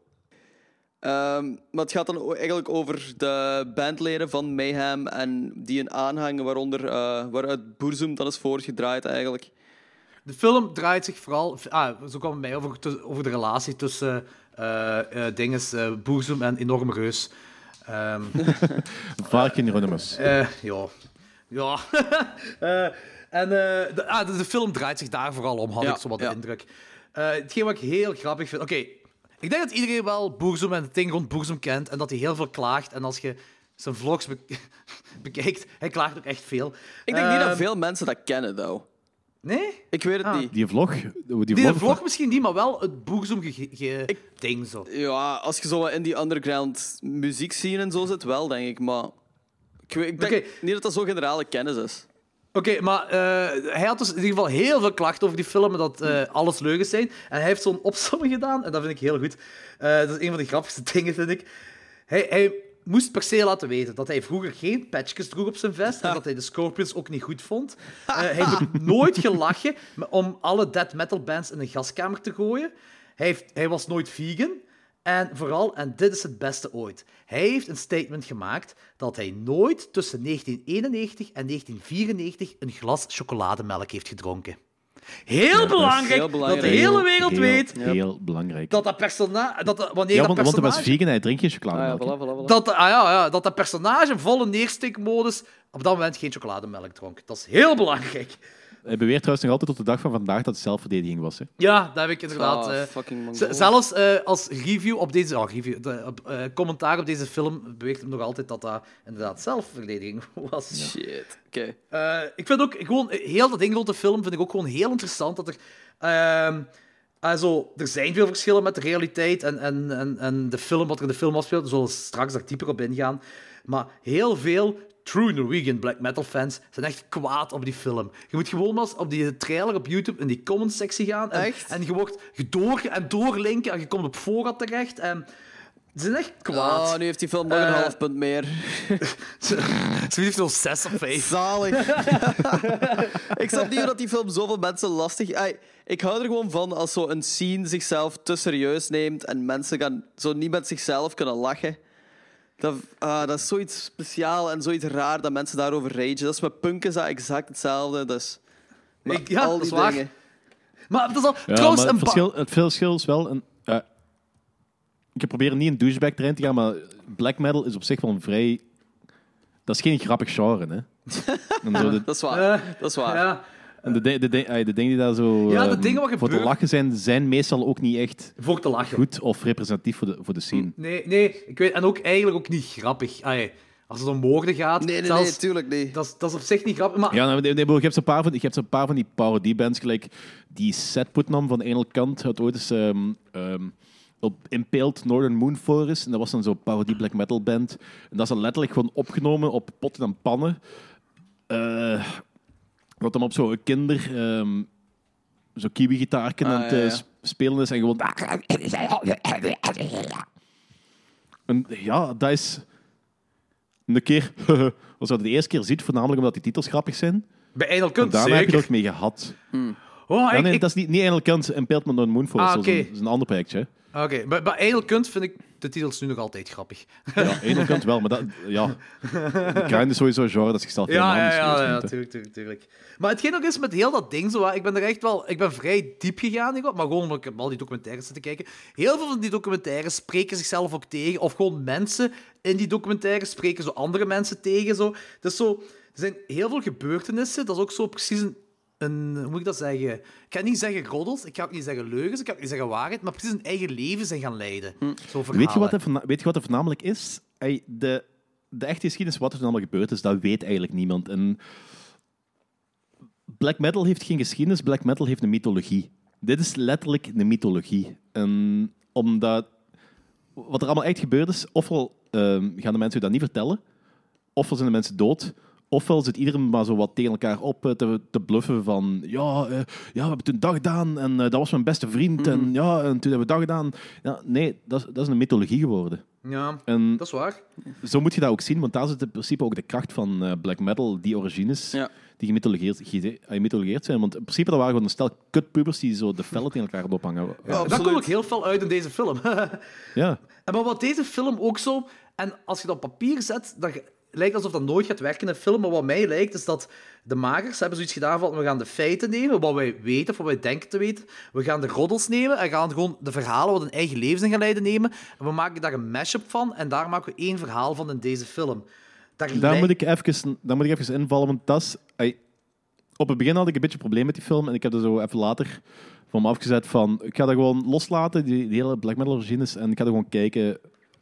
Ehm, maar het gaat dan o- eigenlijk over de bandleden van Mayhem en die een aanhang waaronder, eh, waaruit Boerzoem dan is voortgedraaid eigenlijk. De film draait zich vooral, ah, zo kwam het mij over, tu- over de relatie tussen eh eh dinges, eh, Boerzoem en Enorme Reus. Ehm, Vaak in Hieronymus. eh, ja. Ja. Eh, en eh, de, ah, de, de film draait zich daar vooral om, had Ja, ik zo wat ja. de indruk. Eh, hetgeen wat ik heel grappig vind... Oké, ik denk dat iedereen wel Boerzoem en het ding rond Boerzoem kent en dat hij heel veel klaagt. En als je zijn vlogs be- bekijkt, hij klaagt ook echt veel. Ik denk niet dat Ehm, veel mensen dat kennen, though. Nee? Ik weet het Ah. niet. Die vlog. Die, Die vlog, vlog misschien niet, maar wel het Boerzoem ge- ge- ding zo. Ja, als je zo wat in die underground muziek zien en zo zit, wel, denk ik. Maar ik, weet, ik denk Oké. niet dat dat zo generale kennis is. Oké, maar eh, hij had dus in ieder geval heel veel klachten over die film en dat eh, alles leugens zijn. En hij heeft zo'n opsomming gedaan en dat vind ik heel goed. Eh, dat is een van de grappigste dingen, vind ik. Hij, hij moest per se laten weten dat hij vroeger geen patchjes droeg op zijn vest en dat hij de Scorpions ook niet goed vond. Eh, hij heeft nooit gelachen om alle death metal bands in een gaskamer te gooien. Hij, heeft, hij was nooit vegan. En vooral, en dit is het beste ooit, hij heeft een statement gemaakt dat hij nooit tussen 1991 en 1994 een glas chocolademelk heeft gedronken. Heel, belangrijk, heel belangrijk. dat de hele wereld heel, weet Heel belangrijk. dat dat personage... Dat, dat- wanneer dat ja, want, want hij was personage... vegan, hij drinkt geen Ah, Ah, chocolademelk. hè. Dat, ah ja, ja, dat dat personage volle neerstikmodus op dat moment geen chocolademelk dronk. Dat is heel belangrijk. Hij beweert trouwens nog altijd tot de dag van vandaag dat het zelfverdediging was. Hè. Ja, dat heb ik inderdaad. Ah, eh, fucking z- Mongool. zelfs eh, als review op deze. Oh, review, de, op, eh, commentaar op deze film beweegt hem nog altijd dat dat inderdaad zelfverdediging was. Shit. Oké. Eh, ik vind ook gewoon eh, heel dat ding rond de film vind ik ook gewoon heel interessant dat er. ehm, ah, zo, er zijn veel verschillen met de realiteit en, en, en, en de film, wat er in de film afspeelt. Daar zullen we straks daar dieper op ingaan. Maar heel veel true Norwegian black metal fans zijn echt kwaad op die film. Je moet gewoon maar eens op die trailer op YouTube in die comments sectie gaan. En, Echt? en je wordt door en doorlinken en je komt op voorraad terecht. En ze zijn echt kwaad. Oh, nu heeft die film nog een Eh. half punt meer. Ze ze heeft nog zes of vijf. Zalig. ik snap niet hoe dat die film zoveel mensen lastig... Ai, ik hou er gewoon van als zo'n scene zichzelf te serieus neemt en mensen gaan zo niet met zichzelf kunnen lachen. Dat, ah, dat is zoiets speciaal en zoiets raar dat mensen daarover ragen. Dat is met punk is dat exact hetzelfde. Dus, maar Ik- ja, al dat die is waar. dingen. Maar dat is al, Ja, trouwens, maar een het, ba- verschil, het verschil is wel een. eh, ik probeer niet een douchebag trein te gaan, maar black metal is op zich wel een vrij. Dat is geen grappig genre, hè? En zo de, Dat is waar. Eh, dat is waar. Ja, en de, de, de, de- eh, de dingen die daar zo Ja, de ehm, dingen wat voor te gebeuren- lachen zijn, zijn meestal ook niet echt voor te lachen. goed of representatief voor de, voor de scene. Nee, nee, ik weet, en ook eigenlijk ook niet grappig. Ai, als het om woorden gaat, Nee, nee, nee, zelfs, tuurlijk niet. dat, is, dat is op zich niet grappig. Maar Ja, nou, nee, nee, je, hebt zo'n paar van, je hebt zo'n paar van die parodiebands, gelijk die Seth Putnam van Enel Kant had ooit eens ehm, ehm, op Impaled Northern Moon Forest. En dat was dan zo'n parodie black metal band. En dat is dan letterlijk gewoon opgenomen op potten en pannen. Eh, wat hem op zo'n kinder... ehm zo'n kiwi-gitaar aan het Ah, ja, ja. eh, sp- spelen is en gewoon... En ja, dat is... Een keer... Als je dat de eerste keer ziet, voornamelijk omdat die titels grappig zijn. bij Eindel En Kunt daarna heb je zeker. er ook mee gehad. Oh, Ja, ik- nee, ik- dat is niet, niet Animal Kant en Peltman door Moon Forest. Ah, dat oké. is, een, dat is een ander projectje. hè. Oké, bij, bij Eindel Kunt vind ik de titels nu nog altijd grappig. Ja, Animal Kant wel, maar dat, ja. De Grind is sowieso een genre dat zichzelf Ja, helemaal ja, niet ja, serieus ja, neemt, hè. tuurlijk, tuurlijk, tuurlijk. Maar hetgeen ook is met heel dat ding, zo, hè, ik ben er echt wel... Ik ben vrij diep gegaan, hierop, maar gewoon omdat ik heb al die documentaires zitten kijken. Heel veel van die documentaires spreken zichzelf ook tegen, of gewoon mensen in die documentaires spreken zo andere mensen tegen. Zo. Dus zo, er zijn heel veel gebeurtenissen, dat is ook zo precies een... een- hoe moet ik dat zeggen? Ik ga niet zeggen roddels, ik ga ook niet zeggen leugens, ik ga ook niet zeggen waarheid, maar precies een eigen leven zijn gaan leiden. Zo Hm. Weet je, verhalen. wat er voorna- weet je wat er voornamelijk is? Ey, De, de echte geschiedenis, wat er allemaal gebeurd is, dat weet eigenlijk niemand. En black metal heeft geen geschiedenis, black metal heeft een mythologie. Dit is letterlijk een mythologie. En omdat wat er allemaal echt gebeurd is, ofwel ehm, gaan de mensen je dat niet vertellen, ofwel zijn de mensen dood, Ofwel zit iedereen maar zo wat tegen elkaar op eh, te, te bluffen van... Ja, eh, ja, we hebben toen dag gedaan en eh, dat was mijn beste vriend. En, ja, en toen hebben we dag gedaan. Ja, nee, dat, is- dat is een mythologie geworden. Ja, En dat is waar. zo moet je dat ook zien, want daar zit in principe ook de kracht van eh, black metal, die origines, Ja. die gemythologeerd, gide- eh, gemythologeerd zijn. Want in principe dat waren gewoon een stel kutpubers die zo de fellen tegen elkaar ophangen. Ja. dat komt ook heel veel uit in deze film. ja. En maar wat deze film ook zo... En als je dat op papier zet, dan ge- lijkt alsof dat nooit gaat werken in een film. Maar wat mij lijkt, is dat de makers hebben zoiets gedaan van... We gaan de feiten nemen, wat wij weten of wat wij denken te weten. We gaan de roddels nemen en gaan gewoon de verhalen wat hun eigen levens in gaan leiden nemen. En we maken daar een mashup van. En daar maken we één verhaal van in deze film. Daar Daar lijkt- moet, ik even, daar moet ik even invallen, want dat is... ey, op het begin had ik een beetje een probleem met die film en ik heb er zo even later van me afgezet van... Ik ga dat gewoon loslaten, die, die hele black metal origines, en ik ga er gewoon kijken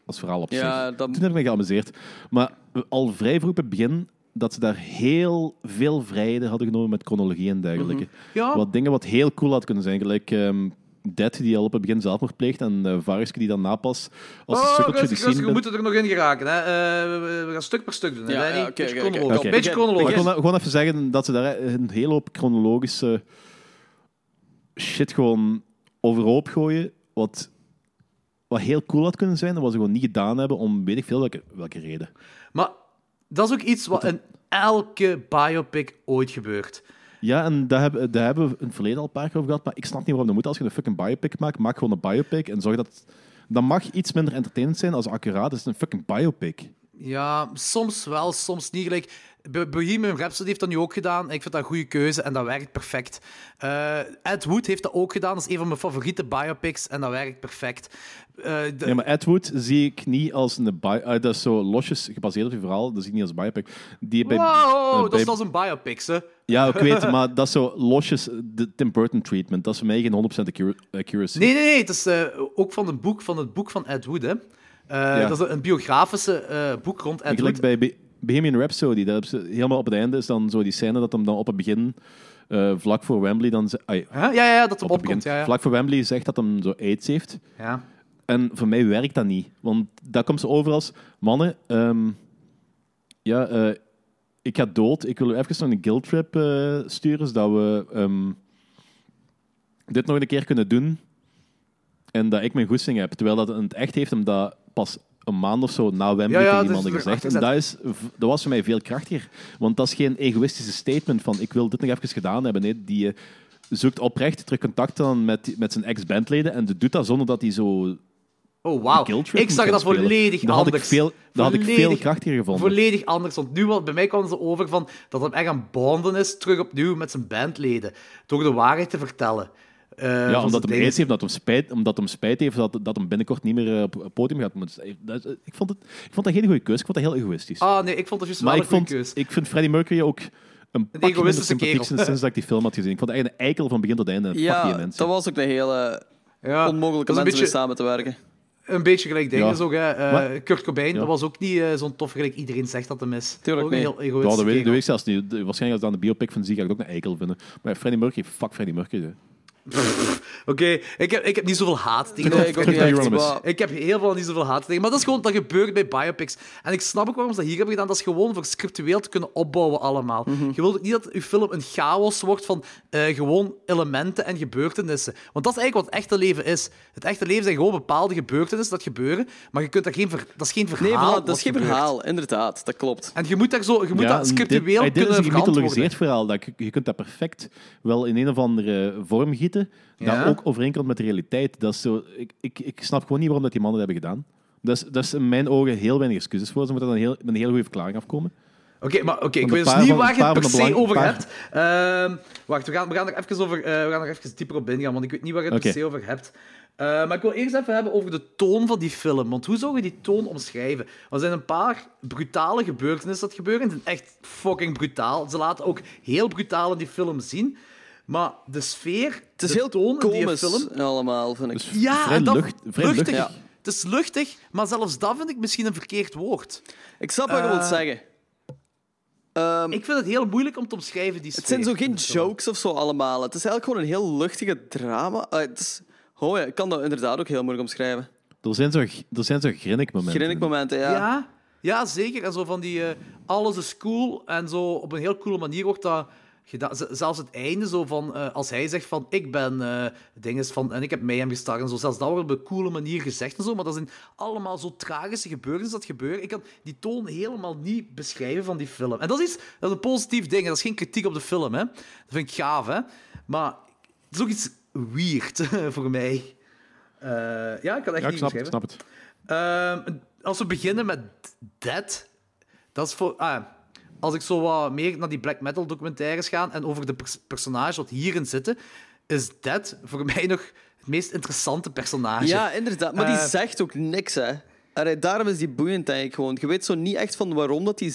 als verhaal op Ja, zich. dat- Toen heb ik me geamuseerd. Maar eh, al vrij vroeg op het begin dat ze daar heel veel vrijheden hadden genomen met chronologie en dergelijke. Mhm. Ja. Wat dingen wat heel cool had kunnen zijn, gelijk... ehm, Dead, die al op het begin zelfmoord pleegt, en eh Variske die dan napas als een Oh, sukkeltje rustig, die rustig, scene we moeten er nog in geraken. Hè. Eh, we- we, we gaan stuk per stuk doen. hè, Ja, Danny? ja, oké, Beetje oké, oké. chronologisch. Oké. Beetje chronologisch. Maar ik wil nou gewoon even zeggen dat ze daar een hele hoop chronologische shit gewoon overhoop gooien. Wat, wat heel cool had kunnen zijn, en wat ze gewoon niet gedaan hebben om weet ik veel welke, welke reden. Maar dat is ook iets wat in elke biopic ooit gebeurt. Ja, en daar hebben, daar hebben we in het verleden al een paar keer over gehad, maar ik snap niet waarom dat moet. Als je een fucking biopic maakt, maak gewoon een biopic en zorg dat... Dan mag iets minder entertainend zijn als accuraat. Het is een fucking biopic. Ja, soms wel, soms niet. Like, Bo- Bohemian Rhapsody heeft dat nu ook gedaan. Ik vind dat een goede keuze en dat werkt perfect. Eh, Ed Wood heeft dat ook gedaan. Dat is een van mijn favoriete biopics en dat werkt perfect. Eh, de- Ja, maar Ed Wood zie ik niet als een bi eh, dat is zo losjes gebaseerd op je verhaal. Dat zie ik niet als biopic. Die bij, eh, Wow, dat bij- is als een biopic, hè? Ja, ik weet, maar dat is zo losjes, de Tim Burton treatment. Dat is voor mij geen 100% accu- accuracy. Nee, nee, nee. Het is eh, ook van, een boek, van het boek van Ed Wood, hè? Eh, Dat is een biografische eh, boek rond Ed En Wood. gelijk bij Be- Bohemian Rhapsody, daar hebben ze helemaal op het einde is dan zo die scène dat hem dan op het begin, eh, vlak voor Wembley, dan ze- ai, Huh? Ja, ja, ja, dat hem op het opkomt. begin, Ja, ja. vlak voor Wembley zegt dat hem zo aids heeft. ja. En voor mij werkt dat niet. Want daar komt ze over als... Mannen, ehm, ja, eh, ik ga dood. Ik wil u even nog een guilt trip eh, sturen, zodat we ehm, dit nog een keer kunnen doen. En dat ik mijn goesting heb. Terwijl dat in het echt heeft hem dat pas een maand of zo na Wembley Ja, ja, tegen dus iemand er gezegd. En achter dat, is, v- dat was voor mij veel krachtiger. Want dat is geen egoïstische statement van ik wil dit nog even gedaan hebben. Nee, die... eh, Zoekt oprecht terug contact dan met, die- met zijn ex-bandleden en doet dat zonder dat hij zo Oh, wauw. Guilt Trip Ik zag moet dat gaan spelen. volledig dat anders. Had ik veel, dat had ik veel Volledig- krachtiger gevonden. Volledig anders. Want nu, wel- bij mij kwam ze over van dat hem echt aan bonden is, terug opnieuw met zijn bandleden. Door de waarheid te vertellen. Eh, van ja, omdat zijn hem dingen. aids heeft, omdat hem spijt, omdat hem spijt heeft dat, dat hem binnenkort niet meer eh, op het podium gaat moeten. Dat is- eh, Ik vond, het, ik vond dat geen goede keus. Ik vond dat heel egoïstisch. Ah, nee, ik vond dat juist maar wel ik, een goede vond, keus. ik vind Freddie Mercury ook een pakje minder egoïstische sympathiek kerel. sinds, sinds dat ik die film had gezien. Ik vond het eigenlijk een eikel van begin tot einde. Fuck die Ja, mensen. dat was ook een hele Ja, onmogelijke dat is mensen een mee beetje, samen te werken. een beetje gelijk ding. Ja. is ook, hè. Eh, Maar- Kurt Cobain, Ja. dat was ook niet eh, zo'n tof gelijk iedereen zegt dat hem is. Tuurlijk ook een niet. heel Ja, dat egoïstisch. weet, dat kerel. weet ik zelfs niet. De- Waarschijnlijk als ik aan de biopic van zie, ga ik het ook een eikel vinden. Maar Freddie Mercury, fuck Freddie Mercury. hè. Oké, ik, heb, ik heb niet zoveel haat tegen Nee, ik ook Terug niet naar echt. Euronymous. maar- Ik heb heel veel niet zoveel haat tegen. Maar dat is gewoon, dat gebeurt bij biopics. En ik snap ook waarom ze dat hier hebben gedaan. Dat is gewoon voor scriptueel te kunnen opbouwen allemaal. Mhm. Je wilt ook niet dat je film een chaos wordt van eh, gewoon elementen en gebeurtenissen. Want dat is eigenlijk wat het echte leven is. Het echte leven zijn gewoon bepaalde gebeurtenissen dat gebeuren, maar je kunt daar geen ver- dat is geen verhaal. Nee, voilà, dat wat is geen gebeurt. verhaal, inderdaad, dat klopt. En je moet, daar zo, je moet dat en scriptueel kunnen dit, Dit is dus een verantwoorden. gemythologiseerd verhaal. Dat, je- je kunt dat perfect wel in een of andere vorm gieten. Dat Ja. ook overeenkomt met de realiteit. Dat is zo, ik, ik, ik snap gewoon niet waarom dat die mannen dat hebben gedaan. Dat is, dat is in mijn ogen heel weinig excuses voor. Ze moeten dan heel, met een hele goede verklaring afkomen. Oké, maar oké, ik Want een weet dus paar niet van- waar een je het paar per van de se belang- over paar- hebt. Ehm, wacht, we gaan, we, gaan er even over, eh, we gaan er even dieper op ingaan, want ik weet niet waar je het Oké. per se over hebt. Eh, maar ik wil eerst even hebben over de toon van die film. Want hoe zou je die toon omschrijven? Er zijn een paar brutale gebeurtenissen dat gebeuren. Het is echt fucking brutaal. Ze laten ook heel brutaal in die film zien. Maar de sfeer, Het is de heel toon in die komisch film... allemaal, vind ik. Ja, vrij en dat, lucht- vrij luchtig. Ja. Het is luchtig, maar zelfs dat vind ik misschien een verkeerd woord. Ik snap wat je wilt zeggen. Ehm, Ik vind het heel moeilijk om te omschrijven, die sfeer. het zijn zo in geen de film. jokes of zo allemaal. Het is eigenlijk gewoon een heel luchtige drama. Eh, het is- oh ja, ik kan dat inderdaad ook heel moeilijk omschrijven. Er zijn zo, er zijn zo grinnik momenten. Grinnikmomenten, ja. Ja, Ja, zeker. En zo van die... eh, alles is cool. En zo op een heel coole manier wordt dat... gedaan. Z- zelfs het einde zo van... eh, als hij zegt van, ik ben... eh dinges van, en ik heb mij hem gestart en zo. Zelfs dat wordt op een coole manier gezegd en zo. Maar dat zijn allemaal zo tragische gebeurtenissen dat gebeuren. Ik kan die toon helemaal niet beschrijven van die film. En dat is, iets- dat is een positief ding. En dat is geen kritiek op de film, hè. Dat vind ik gaaf, hè. Maar het is ook iets weird voor mij. Eh, ja, ik kan het echt Ja, ik niet snap het, beschrijven. snap het. Ehm, als we beginnen met Dead, dat is voor. ah, als ik zo wat meer naar die black metal documentaires ga en over de pers- personages wat hierin zitten, is Dead voor mij nog het meest interessante personage. Ja, inderdaad. Maar die Eh, zegt ook niks, hè. Allee, daarom is die boeiend, denk ik gewoon. Je weet zo niet echt van waarom dat die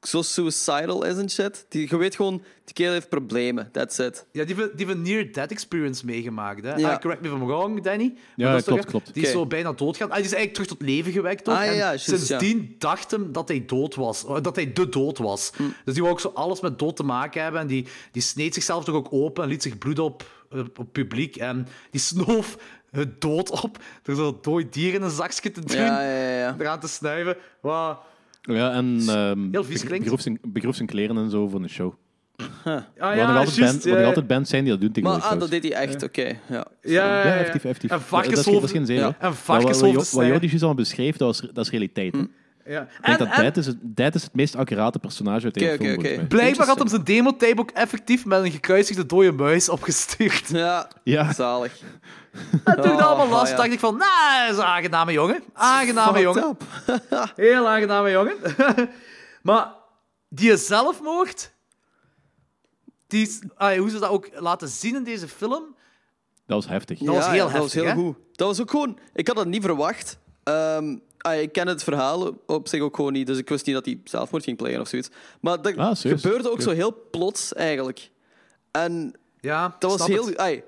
zo suicidal is en shit. Die, je weet gewoon, die kerel heeft problemen. That's it. Ja, die hebben die near-death experience meegemaakt. Hè? Ja. Ah, correct me if I'm wrong, Danny. Maar Ja, dat is toch klopt, echt- klopt. Die is Oké. zo bijna doodgaan. Ah, die is eigenlijk terug tot leven gewekt ook. Ah, ja, En ja, juist, sindsdien dacht hem dat hij dood was. Eh, Dat hij de dood was. Dus die wou ook zo alles met dood te maken hebben. En die, die sneed zichzelf toch ook open en liet zich bloed op, eh, op het publiek. En die snoof het dood op door zo'n dood dier in een zakje te doen. Ja, ja, ja. ja. Eraan te snuiven. Wauw. Ja, en ehm Heel vies be- klinkt. begroef zijn- begroef zijn kleren en zo voor een show. Ah, Waar nog ja, altijd, juist. band, waar ja. nog altijd bands zijn die dat doen Maar tegenwoordig. ah, dat trouwens. deed hij echt, oké. Ja. Ja, ja, Ja, ja. effectief, effectief. En Dat is geen- Dat is varkenshoofden. geen zin, Ja. hoor. En Maar wat- varkenshoofden Wat wat snijden. Jordi juist al beschreef, dat is, dat is realiteit. hè. Ja. Ik denk eh, En- dat en- Dead is, het- Dead is het meest accurate personage uit de Oké, hele film, oké, oké. volgens mij. Blijkbaar had hem zijn demotape ook effectief met een gekruisigde dode muis opgestuurd. Ja, Ja. zalig. En toen ik dat Oh, allemaal las, ja. dacht ik van, nou, dat is een aangename jongen. Aangename Fucked jongen. up. Heel aangename jongen. maar die zelfmoord, die, is- ah, hoe ze dat ook laten zien in deze film, Dat was heftig. dat was heel dat was heftig, heel hè? goed. Dat was ook gewoon... Ik had dat niet verwacht. Ehm, ah, ik ken het verhaal op zich ook gewoon niet, dus ik wist niet dat hij zelfmoord ging plegen of zoiets. Maar dat Ah, serieus? gebeurde ook Oké. zo heel plots, eigenlijk. En ja, dat was snap heel... het. Ai,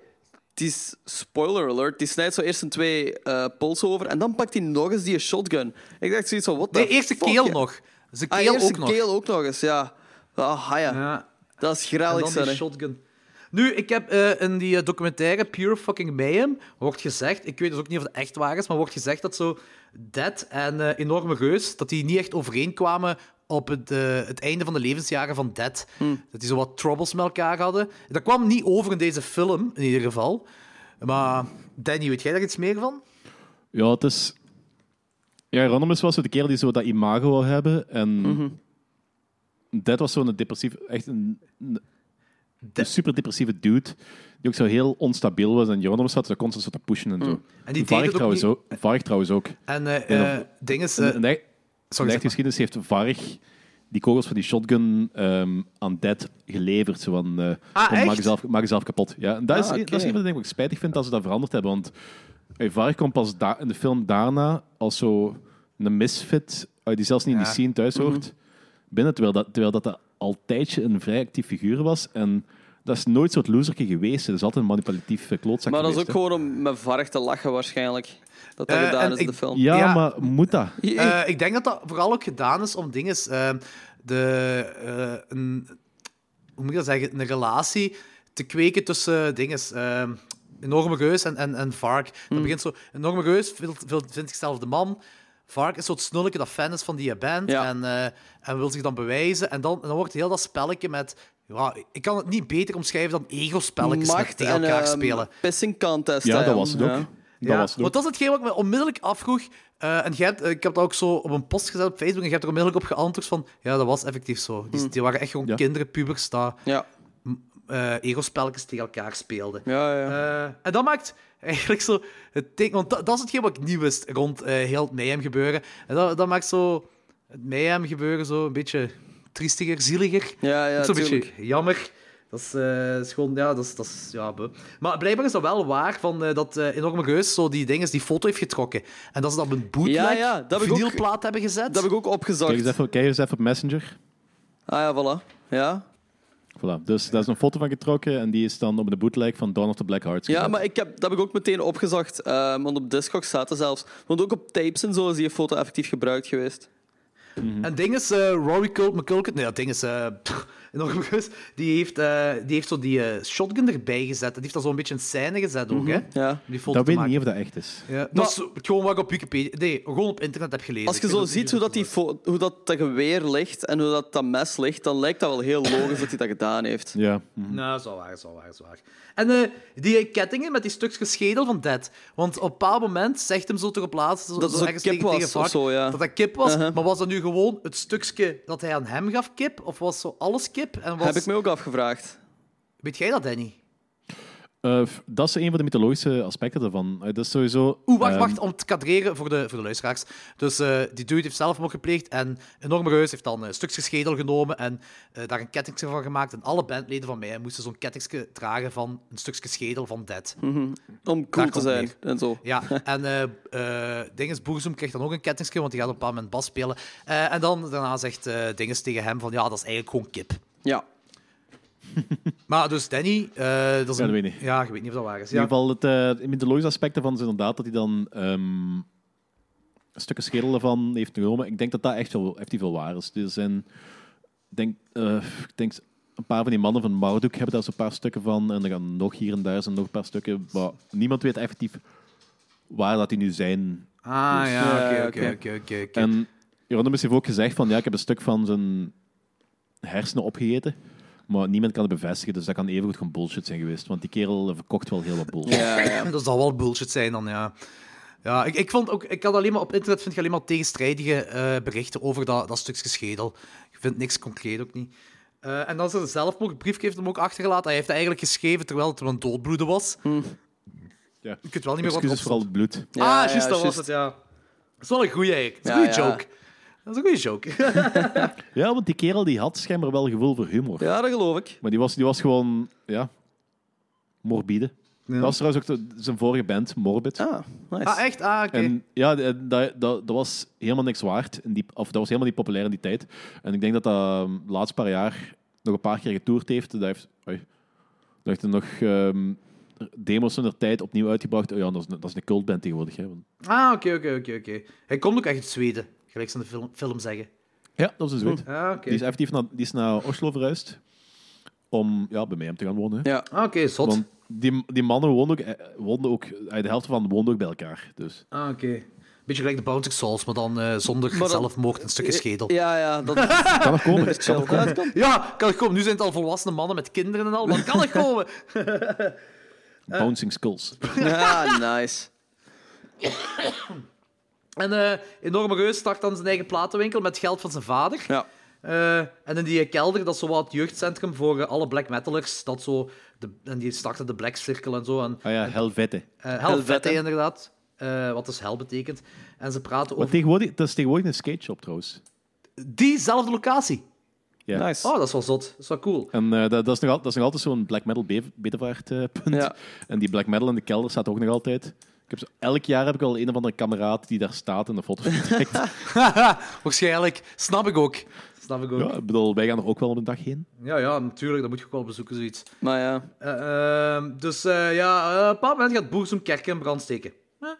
die is, spoiler alert, die snijdt zo eerst een twee eh polsen over en dan pakt hij nog eens die shotgun. Ik dacht zoiets van, wat De eerste keel nog. Zijn Ah, keel eerste ook nog. keel ook nog eens, ja. Ah, ja. Ja. Dat is En grellig, dan die zeg. shotgun. Nu, ik heb eh, in die eh, documentaire Pure Fucking Mayhem wordt gezegd, ik weet dus ook niet of het echt waar is, maar wordt gezegd dat zo Dead en eh, Enorme Reus, dat die niet echt overeenkwamen op het, eh, het einde van de levensjaren van Dead. Dat die zo wat troubles met elkaar hadden. Dat kwam niet over in deze film, in ieder geval. Maar Danny, weet jij daar iets meer van? Ja, het is... Ja, Ronimus was zo de kerel die zo dat imago wil hebben. En Mhm. dat was zo'n depressief... Echt een, een, Dat- super depressieve dude. Die ook zo heel onstabiel was. En Ronimus had zo constant zo te pushen en zo. En Mm. die deed Varg het ook trouwens, niet- ook, Varg trouwens ook. En eh Ja, eh, of- ding is... In eh, de- in de- in sorry, de zeg echte maar. geschiedenis heeft Varg die kogels van die shotgun ehm, aan Dead geleverd. Zo van, eh, Ah, van, echt? maak, jezelf, maak jezelf kapot. Ja, en dat, Ah, is, oké. dat is een van de dingen wat ik spijtig vind dat ze dat veranderd hebben. Want hey, Varg komt pas da- in de film daarna als zo een misfit, eh, die zelfs niet in Ja. Mhm. die scene thuis hoort, binnen. Terwijl dat, terwijl dat, dat altijdje een vrij actief figuur was. En dat is nooit zo'n loserke geweest. Dat is altijd een manipulatief eh, klootzak Maar dat is ook geweest, gewoon om met varg te lachen, waarschijnlijk. Dat dat Eh, en gedaan is in ik- de film. hè. Ja, Ja. maar moet dat? Eh, ik denk dat dat vooral ook gedaan is om dingen. eh, de, eh, een, hoe moet ik dat zeggen? Een relatie te kweken tussen dingen. eh, enorme reus en, en, en Vark. Hmm. Dat begint zo. Enorme reus wil- wil- vindt zichzelf de man. Vark is zo het snulletje dat fan is van die band. Ja. En, eh, en wil zich dan bewijzen. En dan, en dan wordt heel dat spelletje met. Ja, ik kan het niet beter omschrijven dan ego-spelletjes met tegen en elkaar ehm, spelen. pissing contest. Ja, hè, dat was het ook. ja. Dat was het ook. want dat is hetgeen wat ik me onmiddellijk afvroeg. Eh, en jij hebt, eh, ik heb dat ook zo op een post gezet op Facebook en je hebt er onmiddellijk op geantwoord van ja, dat was effectief zo. Die, die waren echt gewoon Hmm. Ja. kinderen, pubers, dat Ja, eh ego-spelletjes tegen elkaar speelden. ja, ja. Eh, en dat maakt eigenlijk zo het teken... Want dat, dat is hetgeen wat ik niet wist rond eh, heel het Mayhem gebeuren. En dat, dat maakt zo het Mayhem gebeuren zo een beetje triestiger, zieliger. ja, ja Ook zo'n beetje tuurlijk. jammer. Dat is, eh, is gewoon, ja, dat is, dat is, ja, beu. Maar blijkbaar is dat wel waar, van, eh, dat eh, Enorme Reus zo die ding is, die foto heeft getrokken. En dat ze dat op een bootleg, Ja, ja, dat heb ik ook- vinylplaat hebben gezet. Dat heb ik ook opgezocht. Kijk eens even, kijk eens even op Messenger. Ah ja, voilà. Ja, Voilà. Dus daar is een foto van getrokken en die is dan op de bootleg van Dawn of the Black Hearts. ja gezet. maar ik heb, dat heb ik ook meteen opgezocht. ehm, want op Discogs staat er zelfs. Want ook op tapes en zo is die foto effectief gebruikt geweest. En ding is, eh, Rory Cult McCulkin, nee, dat ding is eh, pff, enorm groot. Die heeft, eh, die heeft zo die eh, shotgun erbij gezet. Die heeft dat zo'n beetje een scène gezet ook, hè? Mhm. Ja. om Die foto te Dat weet ik maken. niet of dat echt is. Ja, dat is gewoon wat ik op Wikipedia... Nee, gewoon op internet heb gelezen. Als je Ik zo vind ziet hoe dat, die fo- hoe dat, dat geweer ligt en hoe dat, dat mes ligt, dan lijkt dat wel heel logisch dat hij dat gedaan heeft. Ja. Mhm. Nou, dat is wel waar, dat is wel waar, dat is wel waar. En eh, die eh, kettingen met die stukjes schedel van Dead. Want op een bepaald moment zegt hem zo toch op laatst... Zo, Dat zo het een ergens kip tegen- was tegen of Vark, zo, ja. Dat dat kip was. Uh-huh. Maar was dat nu gewoon het stukje dat hij aan hem gaf kip? Of was zo alles kip? En was... Heb ik me ook afgevraagd. Weet jij dat, Danny? Eh, f- dat is een van de mythologische aspecten daarvan. Eh, dat is sowieso... Oeh, wacht, ehm, wacht, om te kadreren voor de, voor de luisteraars. Dus eh, die dude heeft zelfmoord gepleegd en enorme reus heeft dan eh, stukjes schedel genomen en eh, daar een kettingje van gemaakt. En alle bandleden van mij moesten zo'n kettingje dragen van een stukje schedel van Dead. Om Daar cool te komt zijn neer. en zo. Ja, en eh eh Dinges Boerzoem krijgt dan ook een kettingje, want die gaat op een bepaald moment bas spelen. Eh, en dan daarna zegt eh Dinges tegen hem van, ja, dat is eigenlijk gewoon kip. Ja. Maar dus Danny, eh, dat is Ja, een- dat weet ik. Ja, ik weet niet of dat waar is. In Ja. ieder geval, het, eh, het mythologische aspect daarvan is inderdaad dat hij dan ehm stukken schedel ervan heeft genomen. Ik denk dat dat echt wel, echt wel waar is. Er zijn, ik denk, eh, ik denk, een paar van die mannen van Marduk hebben daar zo'n paar stukken van. En er gaan nog hier en daar zijn nog een paar stukken. Maar niemand weet effectief waar dat die nu zijn. Ah, ja, Ja, oké, oké, oké. oké, oké, oké. dus, eh, En Hieronymus heeft ook gezegd van, ja, ik heb een stuk van zijn hersenen opgegeten. Maar niemand kan het bevestigen, dus dat kan evengoed gewoon bullshit zijn geweest. Want die kerel verkocht wel heel wat bullshit. Ja, ja. Dat zal wel bullshit zijn dan, ja. Ja, ik, ik, vond ook, ik had alleen maar op internet vind je alleen maar tegenstrijdige eh, berichten over dat, dat stukje schedel. Je vindt niks concreet ook niet. Eh, en dan is er een zelfmoordbrief, heeft hem ook achtergelaten. Hij heeft het eigenlijk geschreven terwijl het wel een doodbloede was. Ja. Je kunt wel niet meer wat Excuses voor al opzoeken. het bloed. Hm. Ja, ah, juist, ja, dat was juist. het, ja. Dat is wel een goeie eigenlijk. Dat is Ja, een goede ja. joke. Dat is een goede joke. Ja, want die kerel die had schijnbaar wel gevoel voor humor. Ja, dat geloof ik. Maar die was, die was gewoon, ja, morbide. Dat was trouwens ook de- zijn vorige band, Morbid. Ah, nice. ah, echt? Ah, oké. En ja, d- en dat, dat, dat was helemaal niks waard. In die, of dat was helemaal niet populair in die tijd. En ik denk dat dat ehm, de laatste paar jaar nog een paar keer getoerd heeft. Dat heeft, oei. dat heeft er nog ehm, demos van de tijd opnieuw uitgebracht. Oh ja, dat is, een- dat is een cultband tegenwoordig. Hè. Want- Ah, oké, oké, oké, oké. Hij komt ook echt uit Zweden, gelijk ze in de film, film zeggen. Ja, dat is een zweet. Ah, oké. Die is effectief naar, die is naar Oslo verhuisd om ja, bij mij hem te gaan wonen. hè. Ja. Ah, oké, zot. Want die, die mannen woonden ook, eh, woonden ook, eh, de helft van woonden ook bij elkaar. Dus. Ah, oké. Beetje gelijk de Bouncing Souls, maar dan eh, zonder dat- zelfmoord en stukken schedel. Ja, ja, dat is Kan nog komen. chill. Ja, dat kan. Ja, kan ik komen. Nu zijn het al volwassene mannen met kinderen en al, maar kan ik komen? Bouncing skulls. Ja, nice. En eh enorme reus start dan zijn eigen platenwinkel met geld van zijn vader. Ja. Eh, en in die kelder, dat is zo wat het jeugdcentrum voor eh, alle black metalers. Dat zo de, en die starten de Black Circle en zo. En, Ah ja, Helvette. eh Helvete, Helvete. inderdaad. Eh, wat dus hel betekent. En ze praten Maar over tegenwoordig, dat is tegenwoordig een skateshop trouwens. diezelfde locatie. Ja. Nice. Oh, dat is wel zot. Dat is wel cool. En eh, dat, dat, is nog al, dat is nog altijd zo'n black metal be- bedevaart eh, punt. Ja. En die black metal in de kelder staat ook nog altijd. Ik heb zo, elk jaar heb ik al een of andere kameraad die daar staat en de foto trekt. Waarschijnlijk. Snap ik ook. Snap ik ook. ja, ik bedoel, wij gaan er ook wel op een dag heen. Ja, ja, natuurlijk. Dat moet je ook wel bezoeken, zoiets. Maar ja. Eh, ehm, dus eh, ja, eh, op een bepaald moment gaat Boers om kerken in brand steken. Eh,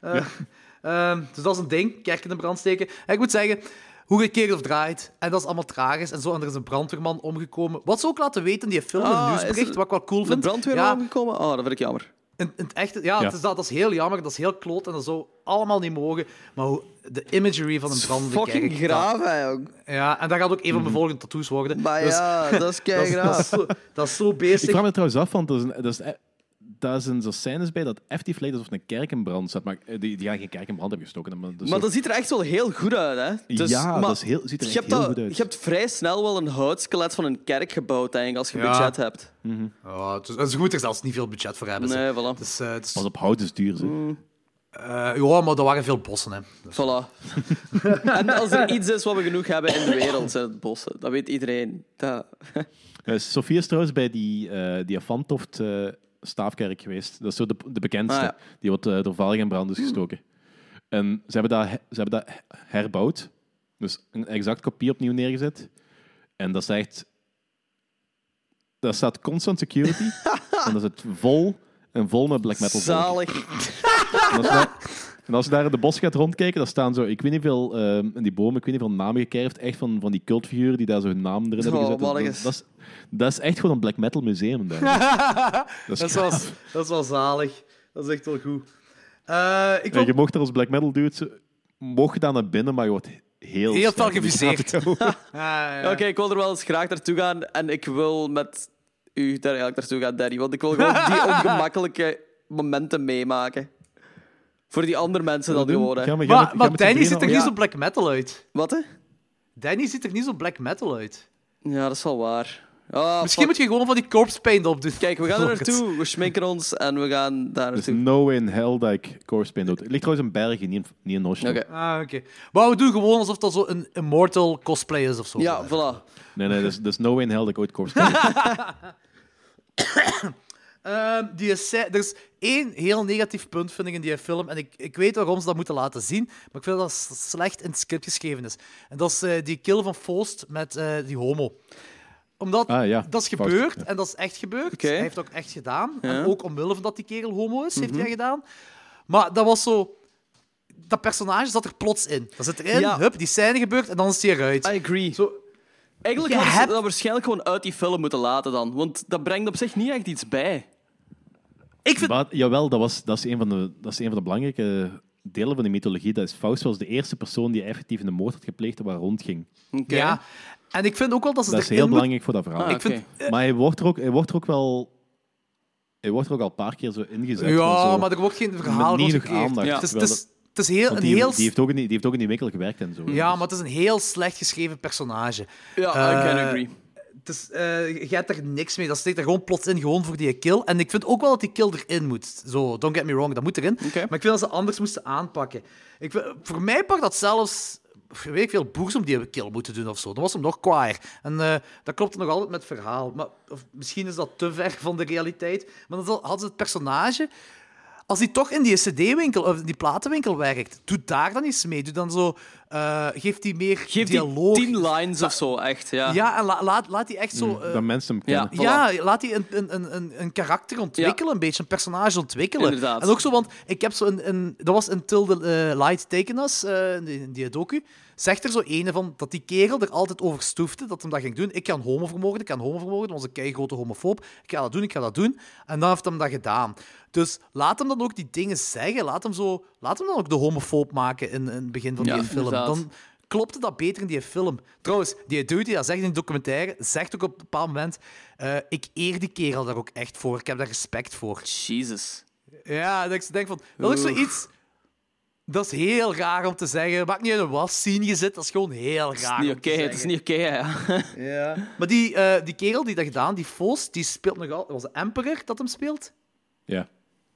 eh, ehm, dus dat is een ding, kerken in brand steken. En ik moet zeggen, hoe gekeerd of draait, en dat is allemaal tragisch, en zo, en er is een brandweerman omgekomen. Wat ze ook laten weten in die film, in Ah, het is nieuwsbericht, er wat ik wel cool De vind. brandweer ja, aangekomen? Oh, dat vind ik jammer. in, in het echte, ja, Ja. Het is dat, dat is heel jammer, dat is heel kloot, en dat zou allemaal niet mogen. Maar hoe, de imagery van een brandende kerk... Fucking graaf, hè, jong. dat- Ja, en dat gaat ook een van mijn volgende tattoos worden. Maar Dus ja, dat is dat, is, dat, is keigraaf. zo, dat is zo basic. Ik vraag me trouwens af, want dat is een- dat is e- daar zijn zo scènes bij dat effectief lijkt alsof een kerk in brand staat. Maar eh, die, die gaan geen kerk in brand hebben gestoken. Maar dat is Maar zo- dat ziet er echt wel heel goed uit, hè? Dus, ja, maar dat is heel, ziet er je echt hebt, heel dat- goed uit. je hebt vrij snel wel een houtskelet van een kerk gebouwd, eigenlijk, als je Ja. budget hebt. Ja, het is, het is goed dat er zelfs niet veel budget voor hebben. ze. Nee, voilà. Het is, eh, het is- Pas op, hout is duur. zeg. Mm. eh, ja, maar er waren veel bossen. Hè. Dus- Voilà. en als er iets is wat we genoeg hebben in de wereld, zijn het bossen. Dat weet iedereen. Dat... Eh, Sofie is trouwens bij die, eh die Afantoft eh, staafkerk geweest. Dat is zo de, de bekendste. Ah, ja. Hmm. Die wordt eh, door Valing in brand is gestoken. En ze hebben dat, he- ze hebben dat he- herbouwd. Dus een exact kopie opnieuw neergezet. En dat is echt... Daar staat constant security. en dat zit vol en vol met black metal. volk. Zalig. En Dat is nou, En als je daar in de bos gaat rondkijken, dan staan zo, ik weet niet veel, ehm, in die bomen, ik weet niet veel namen gekerfd, echt van, van die cultfiguren die daar zo hun naam erin hebben Oh, gezet. Dat- mannetjes. dat, is, dat is echt gewoon een black metal museum daar. dat Dat is, is wel, gaaf. dat is wel zalig. Dat is echt wel goed. Eh, ik En wil je mocht er als black metal dude, mocht je daar naar binnen, maar je wordt heel... heel sterk veel in de geviseerd. gaten gehouden. Ah, Oké, ja. ik wil er wel eens graag naartoe gaan en ik wil met u daar eigenlijk naartoe gaan, Danny. Want ik wil gewoon die ongemakkelijke momenten meemaken. Voor die andere mensen dan gewoon. hè. Ga maar- ga Maar, met- ga maar met z'n Danny drieën ziet er al- niet Ja. zo black metal uit. Wat, hè? Danny ziet er niet zo black metal uit. Ja, dat is wel waar. Ah, Misschien fuck. moet je gewoon van die corpse paint opdoen. Kijk, we gaan er naartoe. We schminken ons en we gaan daar Dus naartoe. no way in hell dat ik Corpse Paint dood. Het ligt trouwens in Bergen, niet in, niet in Oslo. Oké. Ah, oké. Maar we doen gewoon alsof dat zo een immortal cosplay is of zo. Ja, voilà. Nee, nee, dus, dus no way in hell dat ik ooit Corpse Paint Ehm, die scè- er is één heel negatief punt, vind ik, in die film. En ik, ik weet waarom ze dat moeten laten zien, maar ik vind dat s- slecht in het script geschreven is. En dat is eh, die kill van Faust met eh, die homo. Omdat Ah, ja. dat is Faust, gebeurd, ja. en dat is echt gebeurd. Oké. Hij heeft het ook echt gedaan. Ja. Mhm. En ook omwille van dat die kerel homo is, heeft hij gedaan. Maar dat was zo... Dat personage zat er plots in. Dat zit erin, Ja. hup, die scène gebeurt, en dan is die eruit. I agree. Zo, Eigenlijk Je hadden ze hebt- dat waarschijnlijk gewoon uit die film moeten laten dan. Want dat brengt op zich niet echt iets bij. ik vind... Maar, jawel, dat, was, dat, is een van de, dat is een van de belangrijke delen van de mythologie. Dat is Faust was de eerste persoon die effectief een moord had gepleegd en waar rondging. Oké. Ja. En ik vind ook wel dat ze Dat is erin heel moeten- belangrijk voor dat verhaal. Ah, Ik vind- oké. Maar hij wordt, er ook, hij wordt er ook wel... Hij wordt er ook al een paar keer zo ingezet. Ja, van zo, maar er wordt geen verhaal niet rond genoeg gecreëerd. aandacht, Het is, het terwijl is, het is heel, want een die, heel... die, heeft ook in die, die heeft ook in die winkel gewerkt en zo. Dus Ja, maar het is een heel slecht geschreven personage. Ja, I Eh, can agree. Het is, eh, je hebt er niks mee. Dat steekt er gewoon plots in, gewoon voor die kill. En ik vind ook wel dat die kill erin moet. Zo, don't get me wrong, dat moet erin. Oké. Maar ik vind dat ze anders moesten aanpakken. Ik, vind- voor mij pakt dat zelfs... Weet ik veel, boers om die kill moeten doen of zo. Dan was hem nog kwaaier. En eh, dat klopt nog altijd met het verhaal. Maar, of misschien is dat te ver van de realiteit. Maar dan zal- hadden ze het personage als die toch in die CD-winkel of in die platenwinkel werkt, doe daar dan iets mee. Doe dan zo, eh, geef die meer Geef dialoog. die tien Hmm, lines of zo, echt. Ja. Ja, en la- laat, laat die echt zo. eh, Dat mensen hem kennen. Ja. Voilà. ja, laat die een, een, een, een, een karakter ontwikkelen, een beetje, een personage ontwikkelen. Inderdaad. En ook zo, want ik heb zo een. een dat was in Till the eh, Light Taken Us, eh, in die, in die docu. Zegt er zo ene van dat die kerel er altijd over stoefde dat hem dat ging doen. Ik kan homo vermoorden, ik kan homo vermoorden, onze kei grote homofoob. Ik ga dat doen, ik ga dat doen. En dan heeft hem dat gedaan. Dus laat hem dan ook die dingen zeggen. Laat hem, zo, laat hem dan ook de homofoob maken in, in het begin van Ja, die film. inderdaad. Dan, klopte dat beter in die film. Trouwens, die dude die dat zegt in de documentaire, zegt ook op een bepaald moment: eh, Ik eer die kerel daar ook echt voor. Ik heb daar respect voor. Jesus. Ja, dat ik denk van, dat is ook Oeh. zoiets. Dat is heel raar om te zeggen. Maakt niet uit in wat scene je zit, dat is gewoon heel raar. Niet om oké, te het is zeggen. niet oké, ja. Maar die, eh, die kerel die dat gedaan, die Fos, die speelt nog altijd. Was het Emperor dat hem speelt? Ja.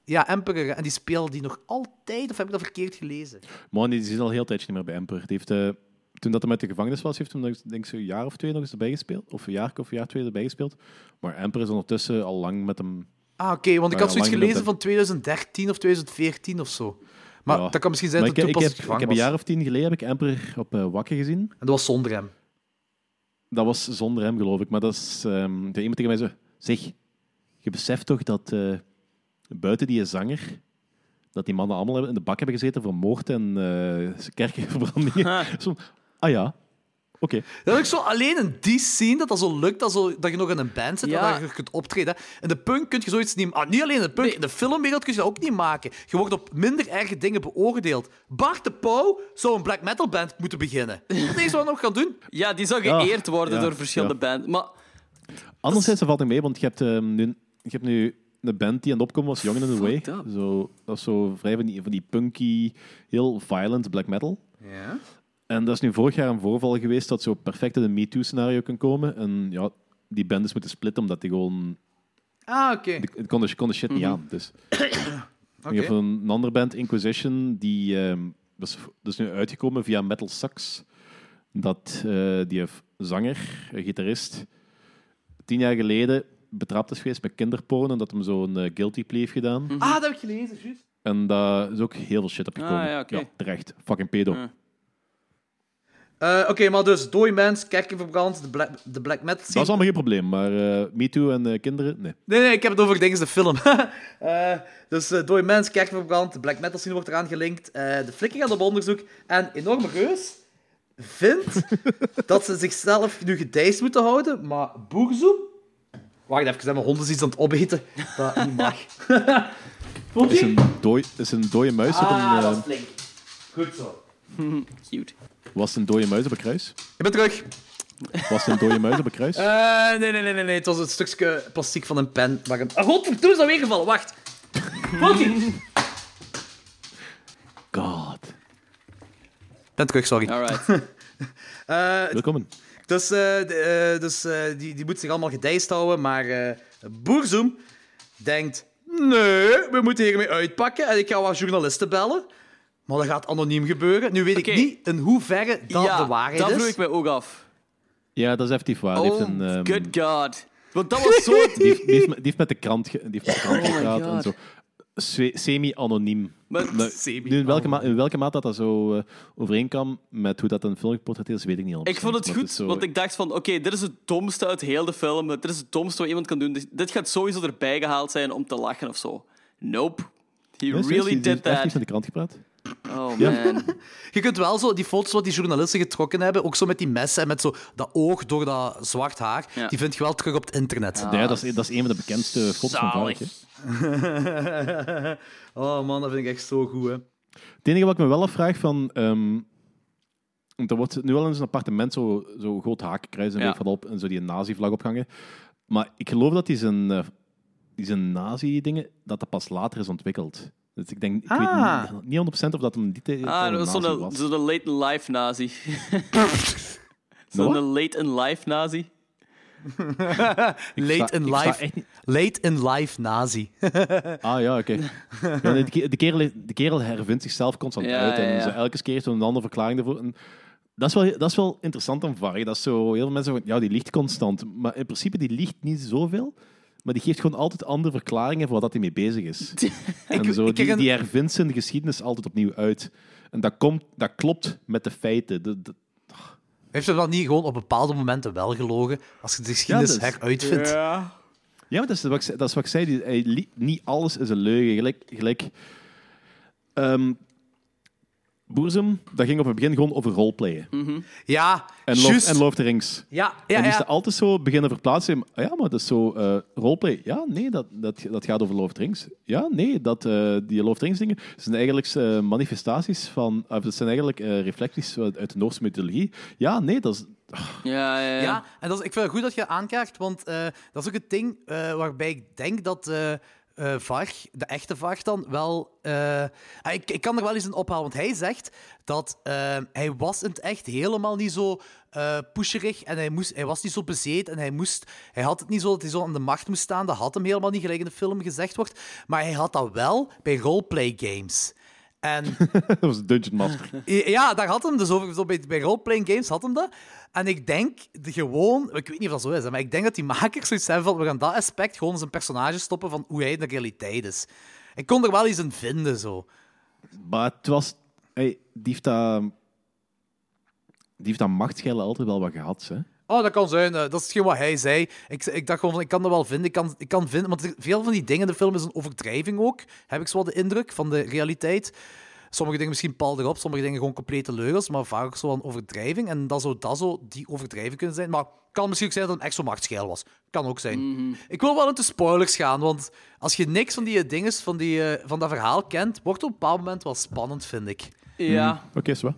Ja, Emperor. En die speelt die nog altijd, of heb ik dat verkeerd gelezen? Man, die zit al heel tijdje niet meer bij Emperor. Die heeft, eh, toen dat hij met de gevangenis was, heeft hem nog, denk ik, zo'n jaar of twee nog eens erbij gespeeld. Of een jaar of een jaar twee erbij gespeeld. Maar Emperor is ondertussen al lang met hem... Ah, oké, want ik Maar had ja, zoiets lang gelezen dat- van 2013 of 2014 of zo. Maar Ja. dat kan misschien zijn Maar dat het ik, ik, heb, toepasselijk ik gevangen heb een was. jaar of tien geleden heb ik Emperor op eh, Wakker gezien. En dat was zonder hem. Dat was zonder hem, geloof ik. Maar dat is... ehm, de iemand tegen mij zo... Zeg, je beseft toch dat eh, buiten die zanger... Dat die mannen allemaal hebben- in de bak hebben gezeten voor moord en eh kerkenverbrandingen. Zo, ah ja, oké. Dat is ook zo alleen in die scene dat dat zo lukt, dat, zo, dat je nog in een band zit Ja. en dat je kunt optreden. In de punk kun je zoiets niet... Ah, niet alleen in de punk, in de filmwereld kun je dat ook niet maken. Je wordt op minder erge dingen beoordeeld. Bart de Pauw zou een black metal band moeten beginnen. Wat is wat nog gaan doen? Ja, die zou Ja, geëerd worden ja, door verschillende ja. bands. Maar Anderzijds, dat valt niet mee, want je hebt, ehm, nu, je hebt nu een band die aan het opkomen was, Young and the Way. Fucked up. Zo, dat is zo vrij van die, van die punky, heel violent black metal. Ja. En dat is nu vorig jaar een voorval geweest dat zo perfect in een MeToo-scenario kan komen. En ja, die band is moeten splitten, omdat die gewoon... Ah, oké. Die die kon de, kon de shit niet aan, dus... Je hebt Mhm. Oké. een, een andere band, Inquisition, die ehm, dat is, dat is nu uitgekomen via Metal Sucks. Dat eh, die v- zanger, eh, gitarist, tien jaar geleden betrapt is geweest met kinderporn en dat hem zo'n eh, guilty plea heeft gedaan. Ah, dat heb ik gelezen, juist. En daar is ook heel veel shit op gekomen. Ah, ja, oké. terecht. Fucking pedo. Ja. Eh, Oké, maar dus dooi mens, kerken verbrand, de black, de black metal Dat scene. is allemaal geen probleem, maar eh MeToo en eh, kinderen, nee. Nee, nee, ik heb het over dingen de film. Eh, dus eh dooi mens, kerken verbrand, de black metal scene wordt eraan gelinkt. eh, de flikker gaat op onderzoek. En enorme reus vindt dat ze zichzelf nu gedijst moeten houden, maar Boerzoem... Wacht even, mijn hond is iets aan het opeten. Dat niet mag. Voelt Is ie? een, dooi, is een dode muis op Ah, een, dat is eh, flink. Goed zo. Cute. was een dode muis op een kruis? Ik ben terug. Was een dode muis op een kruis? Eh, nee, nee, nee, nee, nee. Het was het stukje plastic van een pen. Waar een... Oh, godverdomme, is dat weer gevallen. Wacht. Fucking. God. ben terug, sorry. Alright. Eh, Welkom. dus eh, de- eh, dus eh, die, die moet zich allemaal gedijst houden, maar eh Boerzoem denkt... Nee, we moeten hiermee uitpakken en ik ga wat journalisten bellen. Maar dat gaat anoniem gebeuren. Nu weet Oké. ik niet in hoeverre dat ja, de waarheid dat is. vroeg ik mij ook af. Ja, dat is effectief waar. Die heeft, Oh, een, ehm, good god. Want dat was zo... die, heeft, die heeft met- die heeft met de krant, ge- die heeft met de krant gepraat Oh God. en zo. Se- Semi-anoniem. Maar- oh. Maar nu in, welke ma- in welke mate dat, dat zo eh, overeenkwam met hoe dat een film geportretteerd is, weet ik niet Ik 100%, vond het maar goed, is zo- want ik dacht van, oké, dit is het domste uit heel de film. Dit is het domste wat iemand kan doen. Dus Dit- Dit gaat sowieso erbij gehaald zijn om te lachen of zo. Nope. He Ja, serieus, die- really die did heeft effectief that. met de krant gepraat. Oh Ja. man. Je kunt wel zo die foto's wat die journalisten getrokken hebben, ook zo met die messen en met zo dat oog door dat zwart haar, Ja. die vind je wel terug op het internet. ja, dat is, dat is een van de bekendste foto's van zalig. Vark. hè. oh man, dat vind ik echt zo goed, hè. Het enige wat ik me wel afvraag van... ehm want er wordt nu wel in zijn appartement zo, zo groot hakenkruis en Ja. weet ik wat op en zo die nazi-vlag ophangen. Maar ik geloof dat die zijn, eh, die zijn nazi-dingen, dat dat pas later is ontwikkeld. Dus ik denk, ik Ah. weet niet, niet 100% of dat hem die tijd al Ah, een dat was nazi zo'n was. zo'n late in life nazi. Wat? zo'n late in life nazi. Late sta- in ik sta life, echt niet- late in life nazi. Ah ja, oké. Ja, nee, de, ke- de, kerel, de kerel hervindt zichzelf constant Ja, uit. En ja, ja. zo elke keer heeft hij een andere verklaring ervoor. En dat, is wel, dat is wel interessant aan Varg. Dat is zo, heel veel mensen van, ja, die liegt constant. Maar in principe, die liegt niet zoveel. Maar die geeft gewoon altijd andere verklaringen voor wat hij mee bezig is. en zo, ik die, herinner- die hervindt zijn geschiedenis altijd opnieuw uit. En dat, komt, dat klopt met de feiten. De, de- Heeft hij dat niet gewoon op bepaalde momenten wel gelogen, als je de geschiedenis dat is- heruitvindt? Ja, maar dat is wat ik, ze- dat is wat ik zei. Die- hij li- niet alles is een leugen. Gelijk... gelijk ehm, Boerzem, dat ging op het begin gewoon over roleplayen. Ja, En, love, Mm. juist. en Love the Rings. Ja, en ja, die is ja. er altijd zo beginnen verplaatsen. in, Ja, maar dat is zo eh, roleplay. Ja, nee, dat, dat, dat gaat over Love the Rings. Ja, nee, dat, eh, die Love the Rings dingen zijn eigenlijk eh, manifestaties van... Of dat zijn eigenlijk eh, reflecties uit de Noorse mythologie. Ja, nee, dat is... Ja, ja, ja. Ja, en dat is, ik vind het goed dat je aankaart, want eh, dat is ook het ding eh, waarbij ik denk dat eh eh, Varg, de echte Varg dan, wel... eh, ah, ik, ik kan er wel eens een ophalen, want hij zegt dat eh, hij was in het echt helemaal niet zo eh pusherig en hij, moest, hij was niet zo bezet en hij, moest, hij had het niet zo dat hij zo aan de macht moest staan. Dat had hem helemaal niet, gelijk in de film gezegd wordt. Maar hij had dat wel bij roleplay games. En dat was Dungeon Master. ja, daar had hem dus over. Zo bij, bij roleplaying games had hem dat. En ik denk de gewoon, ik weet niet of dat zo is, hè, maar ik denk dat die makers zoiets hebben van we gaan dat aspect gewoon in zijn personage stoppen van hoe hij in de realiteit is. Ik kon er wel iets in vinden zo. Maar het was... Hey, die heeft dat... Die heeft dat machtsgeil altijd wel wat gehad, hè? Oh, dat kan zijn. eh, dat is hetgeen wat hij zei. Ik, ik dacht gewoon van, ik kan dat wel vinden. Ik kan, ik kan vinden, want er- veel van die dingen in de film is een overdrijving ook. Heb ik zo wel de indruk van de realiteit. Sommige dingen misschien pal erop, sommige dingen gewoon complete leugens, maar vaak ook zo wel een overdrijving. En dat zou dat zo die overdrijving kunnen zijn. Maar het kan misschien ook zijn dat het echt zo machtsgeil was. Kan ook zijn. Ik wil wel into spoilers gaan, want als je niks van die dingen van, die, eh, van dat verhaal kent, wordt het op een bepaald moment wel spannend, vind ik. Ja. Oké, okay, zo.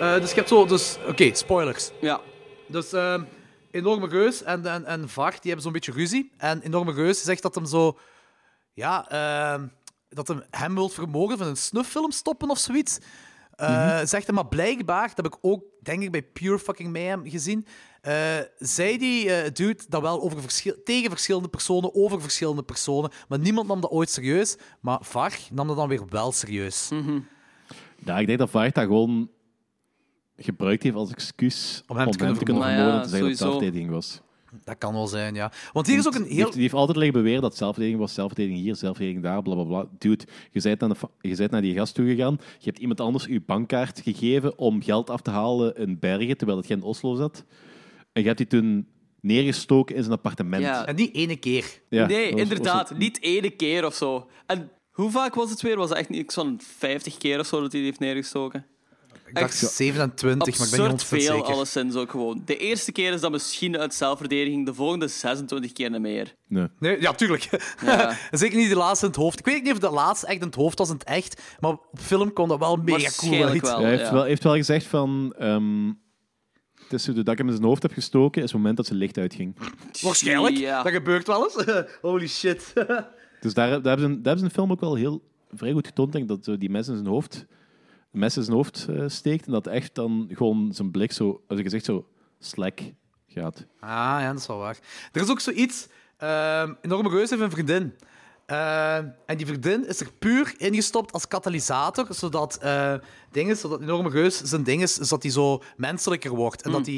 Eh, dus ik heb zo, dus oké, spoilers. Ja. Dus ehm, enorme reus en, en, en Varg, die hebben zo'n beetje ruzie. En enorme reus zegt dat hem zo... Ja, ehm, dat hem hem wil vermogen van een snufffilm stoppen of zoiets. Eh, Zegt hij, maar blijkbaar, dat heb ik ook, denk ik, bij Pure fucking Mayhem gezien... eh, zei die eh, dude dat wel over verschil tegen verschillende personen, over verschillende personen. Maar niemand nam dat ooit serieus. Maar Varg nam dat dan weer wel serieus. Ja, ik denk dat Vaart dat gewoon gebruikt heeft als excuus Om hem te kunnen vermoorden. vermoorden. Nou te zeggen dat het Ja, sowieso. zelfverdediging was. Dat kan wel zijn, ja. Want hier is ook een Die heeft, heel... die heeft altijd liggen beweren dat zelfverdediging was, zelfverdediging hier, zelfverdediging daar, bla bla bla. Dude, je bent, naar de fa- je bent naar die gast toegegaan, je hebt iemand anders je bankkaart gegeven om geld af te halen in Bergen, terwijl het geen Oslo zat. En je hebt die toen neergestoken in zijn appartement. Ja. En niet ene keer. Ja, nee, dat was- inderdaad. was- Niet ene keer of zo. En hoe vaak was het weer? Was het echt niet zo'n 50 keer of zo dat hij die heeft neergestoken? Ik dacht Echt 27, maar ik ben absurd niet 100% veel, zeker. alleszins ook gewoon. De eerste keer is dat misschien uit zelfverdediging, de volgende 26 keer en meer. Nee. Nee, ja, tuurlijk. Ja. Zeker niet de laatste in het hoofd. Ik weet niet of de laatste echt in het hoofd was in het echt, maar op film kon dat wel mega cool Waarschijnlijk uit. wel. Hij heeft, ja. wel, heeft wel gezegd van... ehm, het is toen dat ik hem in zijn hoofd heb gestoken, is het moment dat zijn licht uitging. Waarschijnlijk. Ja. Dat gebeurt wel eens. Holy shit. Dus daar, daar, hebben ze, een- daar hebben ze in de film ook wel heel vrij goed getoond, denk ik, dat zo die mes in zijn hoofd, mes in zijn hoofd eh, steekt en dat echt dan gewoon zijn blik zo, als zijn gezicht zo slack gaat. Ah, ja, dat is wel waar. Er is ook zoiets. ehm enorme Reus heeft een vriendin. Ehm, en die vriendin is er puur ingestopt als katalysator, zodat, eh dingen, zodat Enorme Reus zijn ding is, zodat hij zo menselijker wordt. En dat hij...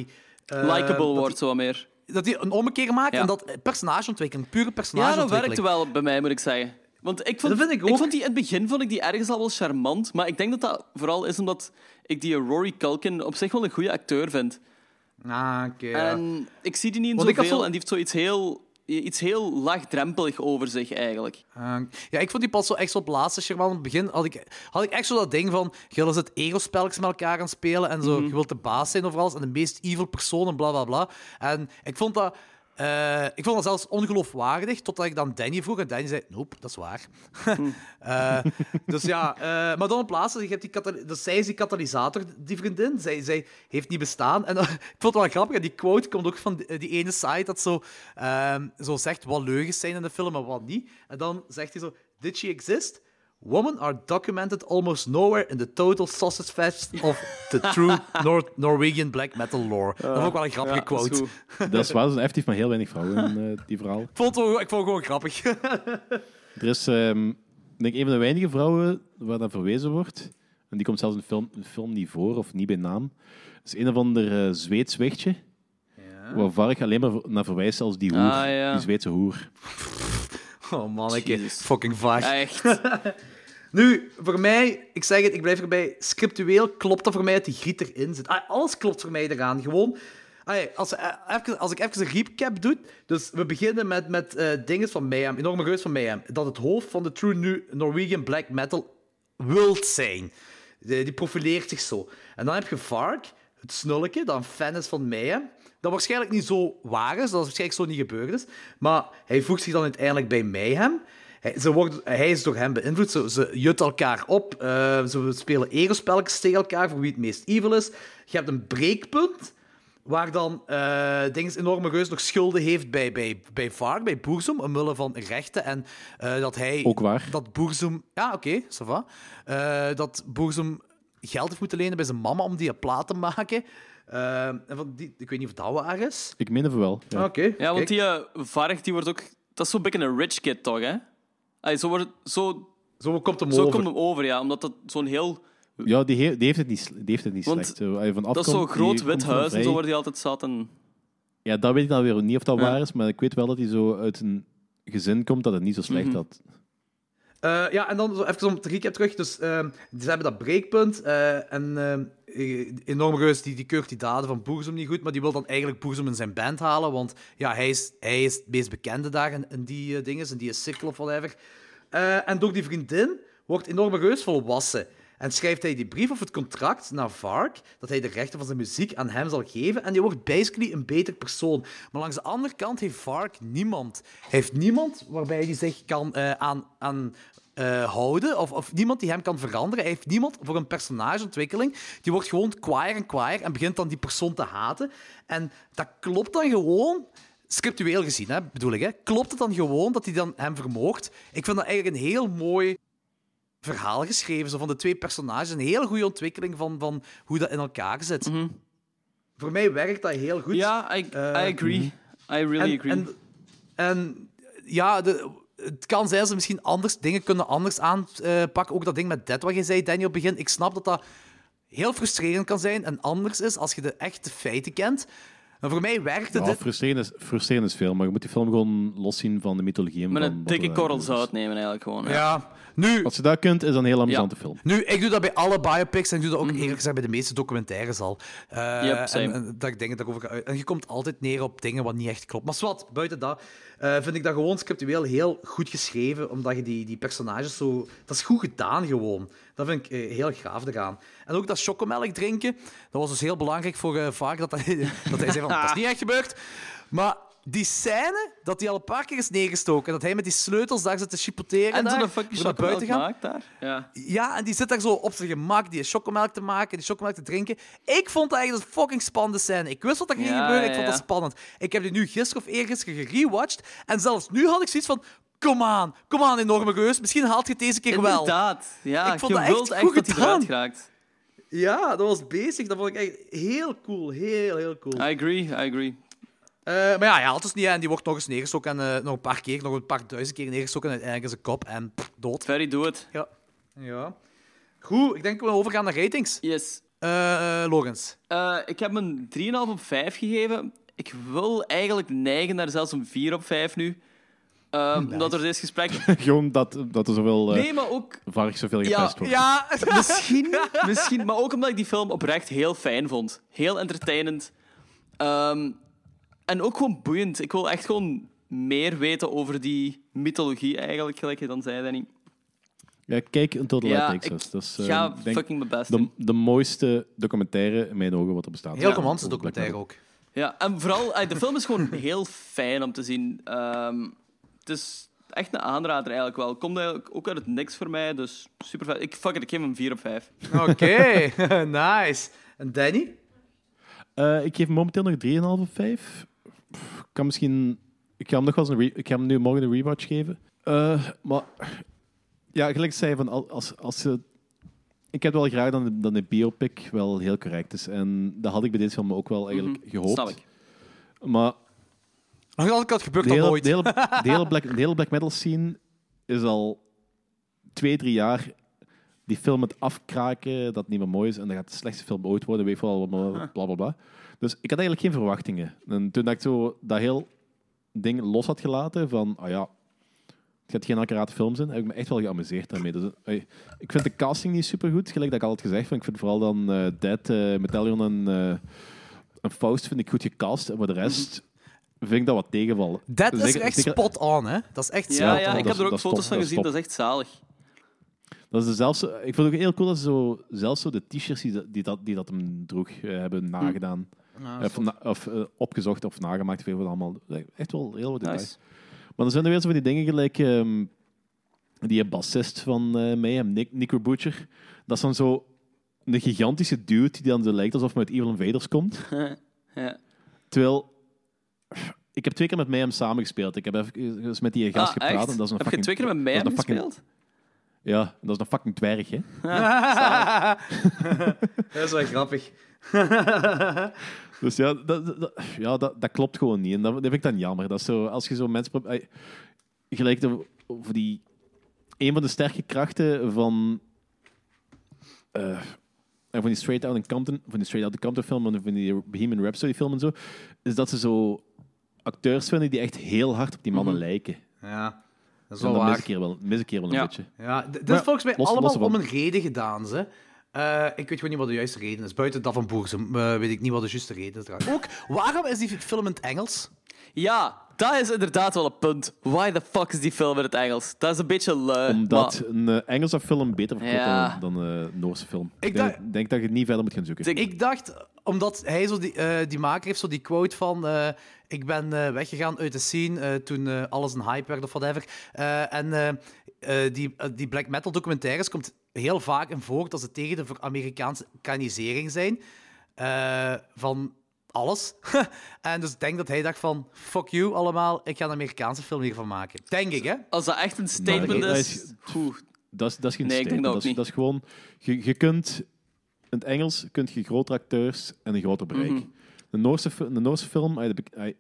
eh, Hmm. Likeable dat wordt zo wat meer. hij- Dat hij een ommekeer maakt Ja. en dat personageontwikkeling, pure Ja, dat personageontwikkeling. werkt wel bij mij, moet ik zeggen. Want ik vond, Dat vind ik ook. vond die, in het begin vond ik die ergens al wel charmant, maar ik denk dat dat vooral is omdat ik die Rory Culkin op zich wel een goede acteur vind. Ah, oké. ja. En ik zie die niet in Want ik had zoveel zo- en die heeft zoiets heel, iets heel laagdrempelig over zich eigenlijk. Eh, ja, ik vond die pas zo echt zo op het laatste charmant. In het begin had ik, had ik echt zo dat ding van... Gil is het ego-spelletjes met elkaar aan het spelen en Mhm. zo. Je wilt de baas zijn over alles en de meest evil persoon en bla, bla, bla. En ik vond dat... eh, ik vond dat zelfs ongeloofwaardig, totdat ik dan Danny vroeg. En Danny zei, nope, dat is waar. Mhm. Eh, dus ja, eh, maar dan op het laatste, je hebt die katal- dus zij is die katalysator, die vriendin. Zij, zij heeft niet bestaan. En eh, ik vond het wel grappig, en die quote komt ook van die, die ene site dat zo, ehm, zo zegt wat leugens zijn in de film en wat niet. En dan zegt hij zo, did she exist? Women are documented almost nowhere in the total sausage fest of the true Nor- Norwegian black metal lore. dat vond ik wel een grappige Ja, dat is quote. goed. Dat is waar, er zijn effectief maar heel weinig vrouwen in eh, die verhaal. Ik vond, het wel- ik vond het gewoon grappig. Er is, ehm, denk ik, een van de weinige vrouwen waar dat verwezen wordt. En die komt zelfs in de film, in de film niet voor, of niet bij naam. Het is een of ander eh, Zweeds wichtje. Waar Varg alleen maar naar verwijst als die hoer. Ah, ja. Die Zweedse hoer. oh man, ik Jezus. fucking vaag. Echt. Nu, voor mij, ik zeg het, ik blijf erbij. Scriptueel klopt dat voor mij dat die griet erin zit. Ah, alles klopt voor mij eraan. Gewoon, ah, ja, als, eh, even, als ik even een recap doe. Dus we beginnen met, met eh dingen van Mayhem, enorme reus van Mayhem. Dat het hoofd van de True Nu- Norwegian Black Metal wilt zijn. Die, die profileert zich zo. En dan heb je Vark, het snulletje, dat een fan is van Mayhem. Dat waarschijnlijk niet zo waar is, dat is waarschijnlijk zo niet gebeurd is. Maar hij voegt zich dan uiteindelijk bij Mayhem. Hij, ze worden, hij is door hem beïnvloed. Ze, ze jutten elkaar op. eh, ze spelen egospelletjes tegen elkaar voor wie het meest evil is. Je hebt een breekpunt waar dan eh Dings enorme reus nog schulden heeft bij, bij, bij VAR, bij Boerzum, omwille van rechten. En eh, dat hij... Ook waar. Dat Boerzum... Ja, oké, ça va. Eh, dat Boerzum geld heeft moeten lenen bij zijn mama om die een plaat te maken. Eh, en van die, ik weet niet of dat waar is. Ik meen het wel. Ja. Oké, Ja, want kijk. die eh, Varg, die wordt ook... Dat is zo'n beetje een rich kid, toch, hè? Allee, zo wordt, het- zo, Zo komt hem zo over. komt hem over, ja. Omdat dat zo'n heel... Ja, die, he- die heeft het niet, sle- die heeft het niet Want slecht. Zo, als je van Dat afkomt, is zo'n groot die wit komt van huis en vrij- zo wordt hij altijd zat. En... Ja, dat weet ik dan weer niet of dat Ja. waar is, maar ik weet wel dat hij zo uit een gezin komt dat het niet zo slecht Mhm. had. Eh, ja, en dan zo even om te recap terug. Dus ehm, ze hebben dat breekpunt. eh, en ehm, enorm reus die, die keurt die daden van Boerzum niet goed. Maar die wil dan eigenlijk Boerzum in zijn band halen. Want ja, hij is, hij is het meest bekende daar in, in die eh, dingen. In die cirkel of whatever. Eh, en door die vriendin wordt enorm reus volwassen. En schrijft hij die brief of het contract naar Vark dat hij de rechten van zijn muziek aan hem zal geven. En die wordt basically een beter persoon. Maar langs de andere kant heeft Vark niemand. Hij heeft niemand waarbij hij zich kan eh, aan, aan eh, houden. Of, of niemand die hem kan veranderen. Hij heeft niemand voor een personageontwikkeling. Die wordt gewoon kwaaier en kwaaier en begint dan die persoon te haten. En dat klopt dan gewoon scriptueel gezien, hè, bedoel ik, hè, klopt het dan gewoon dat hij dan hem vermoogt? Ik vind dat eigenlijk een heel mooi verhaal geschreven, zo van de twee personages. Een hele goede ontwikkeling van, van hoe dat in elkaar zit. Voor mij werkt dat heel goed. Ja, I, I agree. I Eh, mhm. en, really agree. en, en ja, de, het kan zijn dat ze misschien anders dingen kunnen anders aanpakken. Ook dat ding met Dead, wat je zei, Daniel, op het begin. Ik snap dat dat heel frustrerend kan zijn en anders is als je de echte feiten kent. En voor mij werkte Ja, dit... frustrerend, is, frustrerend is veel, maar je moet die film gewoon loszien van de mythologie. en Met van een wat dikke er korrel is. zout nemen eigenlijk gewoon. hè. Ja, nu, Als je dat kunt, is dat een heel amusante film. nu, ik doe dat bij alle biopics en ik doe dat ook eerlijk gezegd bij de meeste documentaires al. Eh, Mhm. Yep, same. en, en dat ik dingen daarover ga uit- En je komt altijd neer op dingen wat niet echt klopt. Maar zwart, buiten dat eh, vind ik dat gewoon scriptueel heel goed geschreven, omdat je die, die personages zo... Dat is goed gedaan gewoon. Dat vind ik eh, heel gaaf eraan. En ook dat chocomelk drinken, dat was dus heel belangrijk voor eh Vaak, dat hij, dat hij zei van, dat is niet echt gebeurd. Maar... Die scène, dat hij al een paar keer is neergestoken. en Dat hij met die sleutels daar zit te chipoteren. En daar, zo'n fucking voor naar buiten chocomelk gaan. maakt daar. Ja. Ja, en die zit daar zo op zijn gemak, die chocomelk te maken, die chocomelk te drinken. Ik vond dat eigenlijk een fucking spannende scène. Ik wist wat er ging Ja, gebeuren, ja, ik vond dat ja. spannend. Ik heb die nu gisteren of eergisteren gerewatcht. En zelfs nu had ik zoiets van, kom aan, kom aan, enorme geus. Misschien haalt je het deze keer wel. Inderdaad. Ja, Ik vond je dat echt wilt echt goed dat hij eruit gedaan. geraakt. Ja, dat was bezig. Dat vond ik echt heel cool. Heel, heel cool. I agree, I agree. Eh, maar ja, hij haalt dus niet en die wordt nog eens neergestoken. En eh, nog een paar keer, nog een paar duizend keer neergestoken. En uiteindelijk is een kop en pff, dood. Very do it. Ja. ja. Goed, ik denk dat we overgaan naar ratings. Yes. Eh eh, Logans. Eh, ik heb hem 3,5 op 5 gegeven. Ik wil eigenlijk neigen naar zelfs een 4 op 5 nu. Eh, Omdat door dit gesprek. Gewoon dat, dat er zoveel eh Nee, maar ook. vark zoveel Ja, gepest wordt. Ja, Misschien, misschien. Maar ook omdat ik die film oprecht heel fijn vond. Heel entertainend. Ehm, en ook gewoon boeiend. Ik wil echt gewoon meer weten over die mythologie eigenlijk, gelijk je dan zei, Danny. Ja, kijk een Total Ja, ja, ik Texas. Dat is eh, ga denk fucking mijn best de, doen. de mooiste documentaire in mijn ogen wat er bestaat. Heel Ja, oh, romantische over Black documentaire Metal. ook. Ja, en vooral, eh, de film is gewoon heel fijn om te zien. Ehm, het is echt een aanrader eigenlijk wel. Komt eigenlijk ook uit het niks voor mij, dus super fijn. Ik, fuck it, ik geef hem een 4 op 5. Oké, nice. En Danny? Eh, ik geef hem momenteel nog 3,5 op 5. Pff, Ik kan misschien. Ik ga hem nog wel eens een re- Ik ga hem nu morgen een rewatch geven. Eh, maar ja, gelijk zei van al- als, als ze. Ik heb wel graag dat de, dat de biopic wel heel correct is. En dat had ik bij deze film ook wel eigenlijk gehoopt. Mhm, Snap ik. Maar Nog altijd had gebeurd de dat hele, nooit. de, hele, de hele black, de hele black metal scene is al twee, drie jaar die film het afkraken dat het niet meer mooi is en dat gaat de slechtste film ooit worden, weet je wel, bla bla bla, bla. Dus ik had eigenlijk geen verwachtingen. En toen dat ik zo dat heel ding los had gelaten van, ah ja, het gaat geen accurate film zijn, heb ik me echt wel geamuseerd daarmee. Dus, eh, ik vind de casting niet super goed, gelijk dat ik altijd gezegd heb. Ik vind vooral dan eh Dead, eh Metallion en, eh, en Faust vind ik goed gecast, en voor de rest vind ik dat wat tegenvallen. Dus Dat Mhm. is Zeker- echt zeker- spot on, hè? Dat is echt Ja, spot ja, on. ik dat heb is- er ook dat is foto's top, van dat is gezien, top. dat is echt zalig. Dat is zelfs, ik vond het ook heel cool dat ze zo, zelfs zo de t-shirts die, dat- die, dat, die dat hem droeg eh, hebben nagedaan. of na- of eh, opgezocht of nagemaakt, of weet je wat allemaal. Echt wel heel wat details. Nice. Maar dan zijn er weer zo van die dingen gelijk... ehm, die bassist van eh Mayhem, Nick, Nico Butcher. Dat is dan zo een gigantische dude die dan zo lijkt alsof hij uit Evil Invaders komt. Ja. Terwijl... Ik heb twee keer met Mayhem samengespeeld. Ik heb even eens met die gast Ah, gepraat. echt? En dat is een heb fucking, je twee keer met dat mij is een fucking- gespeeld? Ja, dat is een fucking dwerg, hè. Dat is wel grappig. Dus ja, dat, dat- dat- ja dat, dat klopt gewoon niet. En dat, dat vind ik dan jammer. Dat is zo, als je zo mensen... pro- eh, Gelijk de, over die... Een van de sterke krachten van... eh, en van die Straight Out in Compton... Van die Straight Out in Compton film en van die Bohemian Rhapsody film en zo... Is dat ze zo acteurs vinden die echt heel hard op die mannen lijken. Ja, dat is En wel dat mis ik waar. hier wel, mis ik hier wel een Ja. beetje. Ja, d- dit Maar is volgens mij los- allemaal los ervan. om een reden gedaan, ze. Eh, ik weet gewoon niet wat de juiste reden is. Buiten dat van Boersum eh, weet ik niet wat de juiste reden is. trouwens. Ook, waarom is die film in het Engels? Ja, dat is inderdaad wel een punt. Why the fuck is die film in het Engels? Dat is een beetje lui. Omdat maar een eh, Engelse film beter verkoopt Ja. dan, dan een Noorse film. Ik Ik denk, dacht- denk dat je niet verder moet gaan zoeken. Ik- Ik dacht, omdat hij zo die, eh, die maker heeft, zo die quote van eh, ik ben eh, weggegaan uit de scene eh, toen eh, alles een hype werd of whatever. Eh, en eh, eh, die, eh, die black metal documentaires komt heel vaak in voor dat ze tegen de ver- Amerikaanse kanisering zijn eh, van alles. en dus ik denk dat hij dacht van fuck you allemaal, ik ga een Amerikaanse film hiervan maken. Denk ik, hè? als dat echt een statement Maar dat is... is- Oeh, Dat is, dat is geen Nee, ik denk dat statement. Dat, ook is, niet. dat is gewoon... Je, je kunt... In het Engels kunt je grotere acteurs en een groter bereik. Mhm. de, Noorse, fi- de Noorse film... ah, de bek- ah,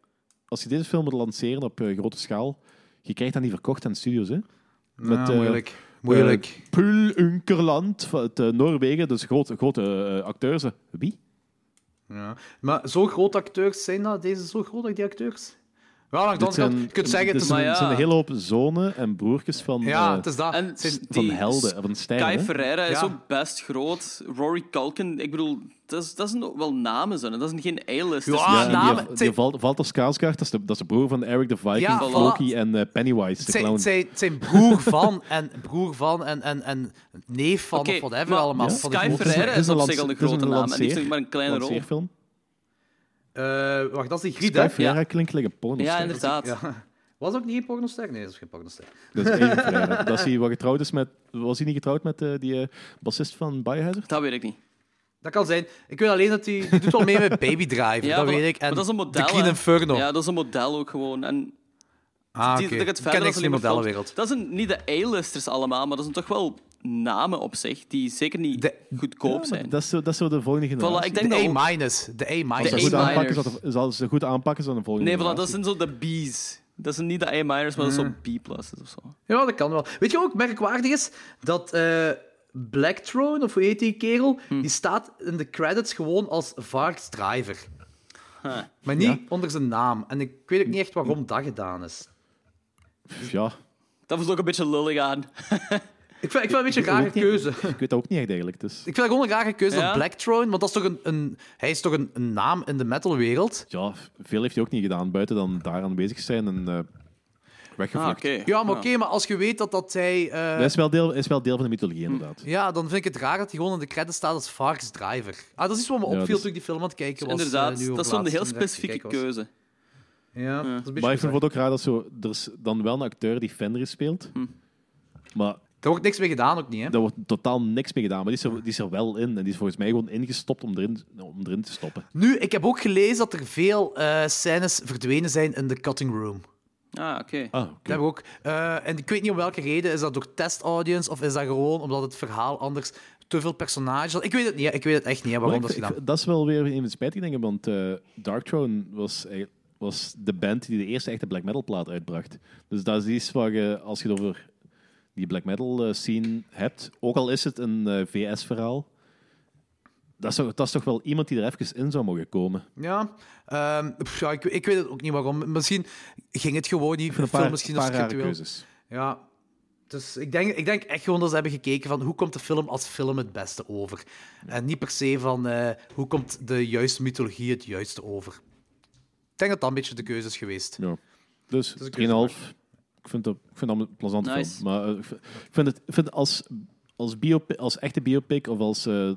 Als je deze film wil lanceren op eh, grote schaal... Je krijgt dat niet verkocht aan studios, hè? Met, Ja, eh, Nou, moeilijk. Moeilijk. eh, Pul Unkerland uit eh, Noorwegen. Dus grote, grote eh, acteurs. Wie? Ja. Maar zo groot acteurs zijn dat, deze zo groot, die acteurs? Ja, langs de Dit andere kant, zijn, je kunt zeggen, het dit is zijn, een... maar ja. het zijn een hele hoop zonen en broertjes van, Ja, eh, het is dat. En Het zijn- van die helden, van stijlen. Kai hè? Ferreira is Ja. ook best groot. Rory Culkin, ik bedoel, dat, is, dat zijn wel namen, zijn. dat is geen A-list. Ja, Dus- Ah, Ja, en die- namen- die, het zijn- Val- Walter Skarsgård, dat is, de, dat is de broer van Eric de Viking, Ja, voilà. Floki en eh, Pennywise, de het zijn, clown. het zijn- het zijn broer van en broer van en, en, en neef van Oké, of whatever maar allemaal. ja. Van de Sky grote- Ferreira het is op een zich al een lance- het is grote naam en die heeft lanceer- natuurlijk maar een kleine rol. lanceerfilm. Eh, wacht, dat is die Griet, hè? Kai Ferreira klinkt like een porno Ja, inderdaad. Ja. Was ook niet een pornoster? Nee, dat is geen pornoster. Dat is Adrian Ferreira. Dat is hij wat getrouwd is met... Was hij niet getrouwd met eh, die eh, bassist van Biohazard? Dat weet ik niet. Dat kan zijn. Ik weet alleen dat hij... Die doet al mee met Baby Driver, dat maar- weet ik. En maar dat is een model. The Green hè. Inferno. Ja, dat is een model ook gewoon. En ah, die, oké. dat gaat Ik ken verder als niks in de alleen maar modellenwereld. films. Dat zijn niet de A-listers allemaal, maar dat zijn toch wel namen op zich die zeker niet De- Ja, goedkoop maar zijn. Dat is, zo, dat is zo de volgende generatie. Voilà, ik denk dat De ook- A-minus. De Als ze A-minus. De goed A-minus. aanpakken, zal de- zal ze goed aanpakken, zal de volgende Nee, voilà, dat generatie. zijn zo de B's. Dat zijn niet de A-minors, maar dat zijn zo B-pluses of zo. Ja, dat kan wel. Weet je wat ook merkwaardig is? Dat eh, Black Throne, of hoe heet die kerel, die staat in de credits gewoon als Vark Driver. Maar niet onder zijn naam. En ik weet ook niet echt waarom dat gedaan is. Ja, Dat was ook een beetje lullig aan. Ik vind, ik vind het een beetje een rare ook niet. keuze. ik weet dat ook niet echt eigenlijk. Dus. Ik vind dat gewoon een rare keuze, Ja? dat Black Throne, want dat is toch een, een, hij is toch een, een naam in de metalwereld? Ja, veel heeft hij ook niet gedaan, buiten dan daar aanwezig zijn en eh Ah, weggevlucht. oké. Ja, maar oké, maar als je weet dat, dat hij... eh, Dat is wel, deel, is wel deel van de mythologie, Hm. inderdaad. Ja, dan vind ik het raar dat hij gewoon in de credits staat als Vark's Driver. Ah, dat is iets wat me opviel dat is- toen ik die film aan het kijken was. eh, dus Inderdaad, nu over dat is zo'n laatst heel toen ik aan het specifieke kijken was. keuze. Ja, dat is een beetje Maar ik bizar. vind het ook raar dat zo, er is dan wel een acteur die Fenrir speelt, Hm. maar Daar wordt niks mee gedaan ook niet, hè? daar wordt totaal niks mee gedaan. Maar die is, er, die is er wel in en die is volgens mij gewoon ingestopt om erin, om erin te stoppen. Nu, ik heb ook gelezen dat er veel eh scènes verdwenen zijn in de cutting room. Ah, oké. Ah, Dat heb ik ook. eh, en ik weet niet om welke reden. Is dat door test audience of is dat gewoon omdat het verhaal anders te veel personages had? Ik weet het niet. hè. Ik weet het echt niet hè, waarom dat Maar is ik- ik- gedaan. dat is wel weer een van de spijtige dingen, want eh, Dark Throne was, eigenlijk- was de band die de eerste echte black metal plaat uitbracht. Dus dat is iets waar je, als je het over die black metal eh, scene hebt, ook al is het een VS-verhaal, dat, is toch- dat is toch wel iemand die er even in zou mogen komen. Ja, ehm, pff, ja ik, ik weet het ook niet waarom. Misschien ging het gewoon niet. Een Film paar, misschien paar als rare ritueel. keuzes. Ja. Dus ik denk, ik denk echt gewoon dat ze hebben gekeken van hoe komt de film als film het beste over. En niet per se van eh, hoe komt de juiste mythologie het juiste over. Ik denk dat dat een beetje de keuze is geweest. Ja. Dus 3,5. een Ik vind dat, ik vind dat een plezante Nice. film. Maar eh, ik vind- ik vind het ik vind als, als, biopi- als echte biopic of als eh,